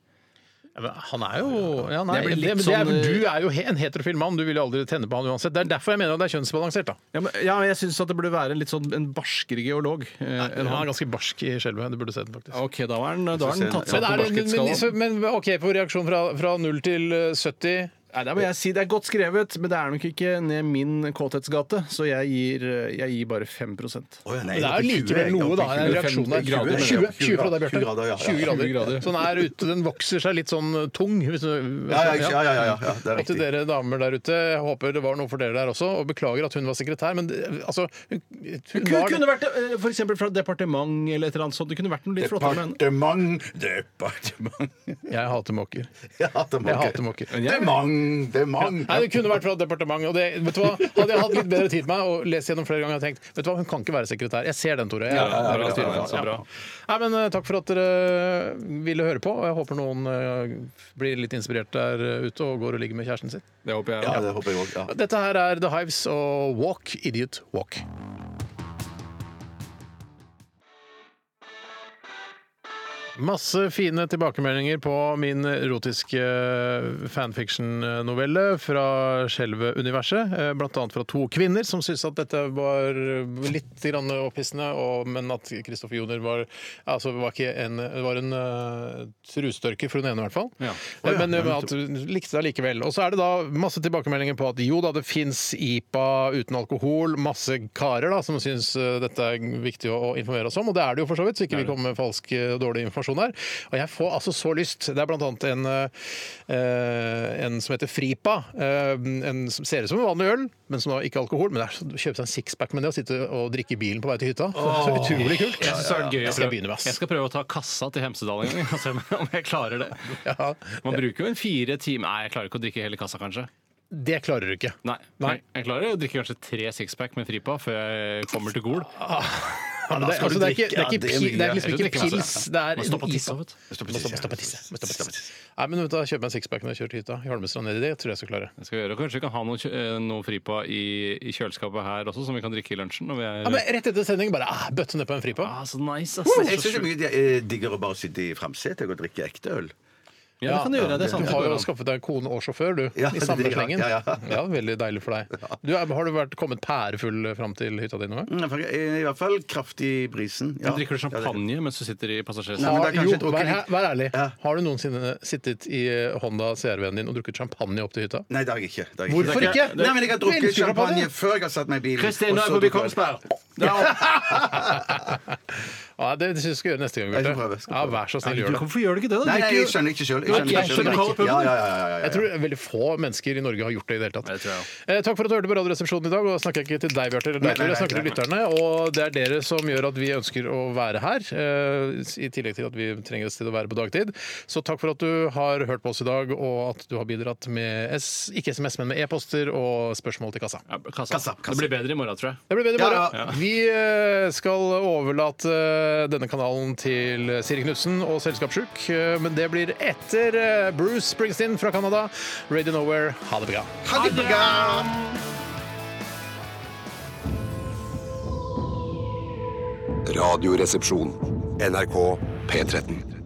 Speaker 4: han er jo ja, nei,
Speaker 5: Jeg blir
Speaker 4: det,
Speaker 5: litt
Speaker 4: men det er,
Speaker 5: sånn, eh,
Speaker 4: du er jo he- en heterofil mann, du vil jo aldri tenne på han uansett. Det er derfor jeg mener at det er kjønnsbalansert. da
Speaker 5: Ja, men, ja, men jeg syns at det burde være en litt sånn en barskere geolog. Eh,
Speaker 4: Nei, Han er ganske barsk i skjelvet. Du burde sett den, faktisk.
Speaker 5: OK, da er den, da er den tatt seg
Speaker 4: Men
Speaker 5: opp
Speaker 4: er det-
Speaker 5: på
Speaker 4: men, men,
Speaker 5: barskhetsskalaen.
Speaker 4: så- men OK, på reaksjon fra, fra 0 til eh, 70
Speaker 5: Nei, der må jeg si Det er godt skrevet, men det er nok ikke ned min kåthetsgate, så jeg gir, eh, jeg gir bare 5
Speaker 4: Men det er jo likevel noe, da. En reaksjon der. 20, 20, 20 fra deg, Bjarte. 20 grader. Så den er ute, den vokser seg litt sånn tung. Hvis du,
Speaker 6: Ja, ja, ja, ja, ja, ja, det er
Speaker 4: og til dere damer der ute, jeg håper det var noe for dere der også. Og beklager at hun var sekretær, men det- altså Hun, hun
Speaker 5: Det
Speaker 4: var
Speaker 5: kunne vært eh, for eksempel fra departement eller et eller annet sånt. Det kunne vært noe litt flottere. Men...
Speaker 6: Departement, departement
Speaker 4: Jeg hater måker.
Speaker 6: Jeg hater måker.
Speaker 4: Jeg hater måker.
Speaker 6: Men jeg- Demang, demang.
Speaker 4: Nei, det kunne vært fra departementet. Og det, vet du hva? Hadde jeg hatt litt bedre tid på meg og lest gjennom flere ganger, hadde jeg tenkt vet du hva, hun kan ikke være sekretær. Jeg ser den, Tore. Jeg,
Speaker 5: Ja, ja, ja, bra,
Speaker 4: styrer
Speaker 5: ja, ja,
Speaker 4: den.
Speaker 5: så bra.
Speaker 4: Nei, men eh, Takk for at dere ville høre på. og Jeg håper noen eh, blir litt inspirert der ute og går og ligger med kjæresten sin.
Speaker 5: Det håper jeg.
Speaker 6: Ja, det håper jeg òg. Ja.
Speaker 4: Dette her er The Hives og Walk Idiot Walk. Masse fine tilbakemeldinger på min erotiske fanfiction-novelle fra skjelve universet. Eh, Blant annet fra to kvinner som syntes at dette var litt grann opphissende, og, men at Kristoffer Joner var, altså, var, ikke en, var en eh, trustørker, for hun ene i hvert fall.
Speaker 5: Å, ja.
Speaker 4: Men
Speaker 5: Ja,
Speaker 4: eh,
Speaker 5: nettopp.
Speaker 4: at du likte deg likevel. Og så er det da masse tilbakemeldinger på at jo da, det fins IPA uten alkohol. Masse karer da som syns eh, dette er viktig å å informere oss om, og det er det jo for så vidt, så ikke vi kommer med falsk eh, dårlig informasjon her. Og jeg får altså så lyst. Det er blant annet en, eh, en som heter Fripa. eh, En som ser ut som en vanlig øl, men som da ikke er alkohol. Men det er så- kjøpe seg en sixpack med det og sitte og drikke i bilen på vei til hytta. Så utrolig kult.
Speaker 11: Jeg, synes det er gøy
Speaker 4: Jeg
Speaker 11: å
Speaker 5: altså.
Speaker 4: skal
Speaker 11: prøve-
Speaker 4: begynne med ass.
Speaker 11: jeg skal prøve å ta kassa til Hemsedal en gang og se om jeg klarer det. Man bruker jo en fire timer Nei, jeg klarer ikke å drikke hele kassa, kanskje.
Speaker 4: Det klarer du ikke.
Speaker 11: Nei.
Speaker 4: Nei.
Speaker 11: Jeg klarer å drikke kanskje tre sixpack med Fripa før jeg kommer til Gol.
Speaker 4: Ja, men det, altså, det, er ikke, det, er ikke, pi- det er liksom ikke pils, det er
Speaker 11: Må stoppe å tisse,
Speaker 4: isa.
Speaker 11: vet du.
Speaker 4: Må stoppe- stoppe å tisse, må stoppe å tisse. Nei, men vet du, Kjøp meg en sixpack når jeg kjører til hytta. I Holmestrand nedi det tror jeg jeg skal klare.
Speaker 11: Jeg skal gjøre, og Kanskje vi kan ha noe, kjø- eh, noe Fripa i, i kjøleskapet her også, som vi kan drikke i lunsjen. Når vi er,
Speaker 4: Ja, men Rett etter sending bare ah, bøtte ned på en fripa.
Speaker 11: Ah, så nice, ass.
Speaker 6: Woo!
Speaker 11: Det er
Speaker 6: Jeg
Speaker 11: så
Speaker 6: syns det er
Speaker 11: sjukt.
Speaker 6: mye di- eh, diggere å bare sitte i framsetet og drikke ekte øl.
Speaker 5: Ja, det kan du gjøre. Det er sant.
Speaker 4: Du har jo skaffet deg kone og sjåfør, du.
Speaker 6: Ja,
Speaker 4: I samme
Speaker 6: det- ja,
Speaker 4: slengen.
Speaker 6: ja, ja.
Speaker 4: Ja, veldig deilig for deg. Du, er- har du vært kommet pærefull fram til hytta di noen gang?
Speaker 6: Mm, I hvert fall kraftig i brisen.
Speaker 11: Men Drikker du champagne mens du sitter i passasjersetet?
Speaker 6: Nei, men det er
Speaker 4: Har-
Speaker 6: kanskje
Speaker 4: Jo,
Speaker 6: et ok
Speaker 4: vær,
Speaker 6: litt-
Speaker 4: vær ærlig. Har du noensinne sittet i Honda CR-en din og drukket champagne opp til hytta?
Speaker 6: Nei, det har jeg ikke. Det har jeg
Speaker 4: Hvorfor ikke?
Speaker 6: Nei, men Jeg har
Speaker 4: Elsker
Speaker 6: drukket
Speaker 4: champagne.
Speaker 6: champagne før jeg har satt meg i bilen.
Speaker 4: Kristin, nå er jeg
Speaker 6: og så
Speaker 4: forbi
Speaker 6: drukket jeg øl.
Speaker 4: Ja, det syns jeg du skal gjøre neste gang, Bjarte. Ja, vær så snill, gjør det.
Speaker 5: Hvorfor gjør du ikke det? da?
Speaker 6: Nei, nei,
Speaker 5: Drikker-
Speaker 6: jeg skjønner ikke selv.
Speaker 5: Du
Speaker 6: Jeg
Speaker 5: er
Speaker 6: skjønner ikke
Speaker 5: ikke-
Speaker 6: selv.
Speaker 5: skjønner ikke.
Speaker 6: Ja, ja, ja, ja, ja, ja.
Speaker 4: Jeg tror veldig få mennesker i Norge har gjort det i det hele tatt. Eh, takk for at du hørte på Radioresepsjonen i dag. Og da snakker jeg ikke til deg, Bjarte, eller
Speaker 5: Nei,
Speaker 4: deg, Tore. Jeg
Speaker 5: nei,
Speaker 4: snakker til
Speaker 5: nei,
Speaker 4: lytterne. Og det er dere som gjør at vi ønsker å være her, eh, i tillegg til at vi trenges til å være på dagtid. Så takk for at du har hørt på oss i dag, og at du har bidratt med S ikke SMS, men med e-poster og spørsmål til kassa.
Speaker 11: Kassa. Det blir bedre i morgen, tror jeg.
Speaker 4: Det blir bedre i morgen.
Speaker 11: Ja, ja.
Speaker 4: Vi eh, skal overlate eh, denne kanalen til eh, Siri Knutsen og Selskapssjuk. eh, Men det blir etter eh, Bruce Springsteen fra Canada. Radio Nowhere, ha det bra.
Speaker 6: Ha det bra!
Speaker 1: Radioresepsjon. NRK P13.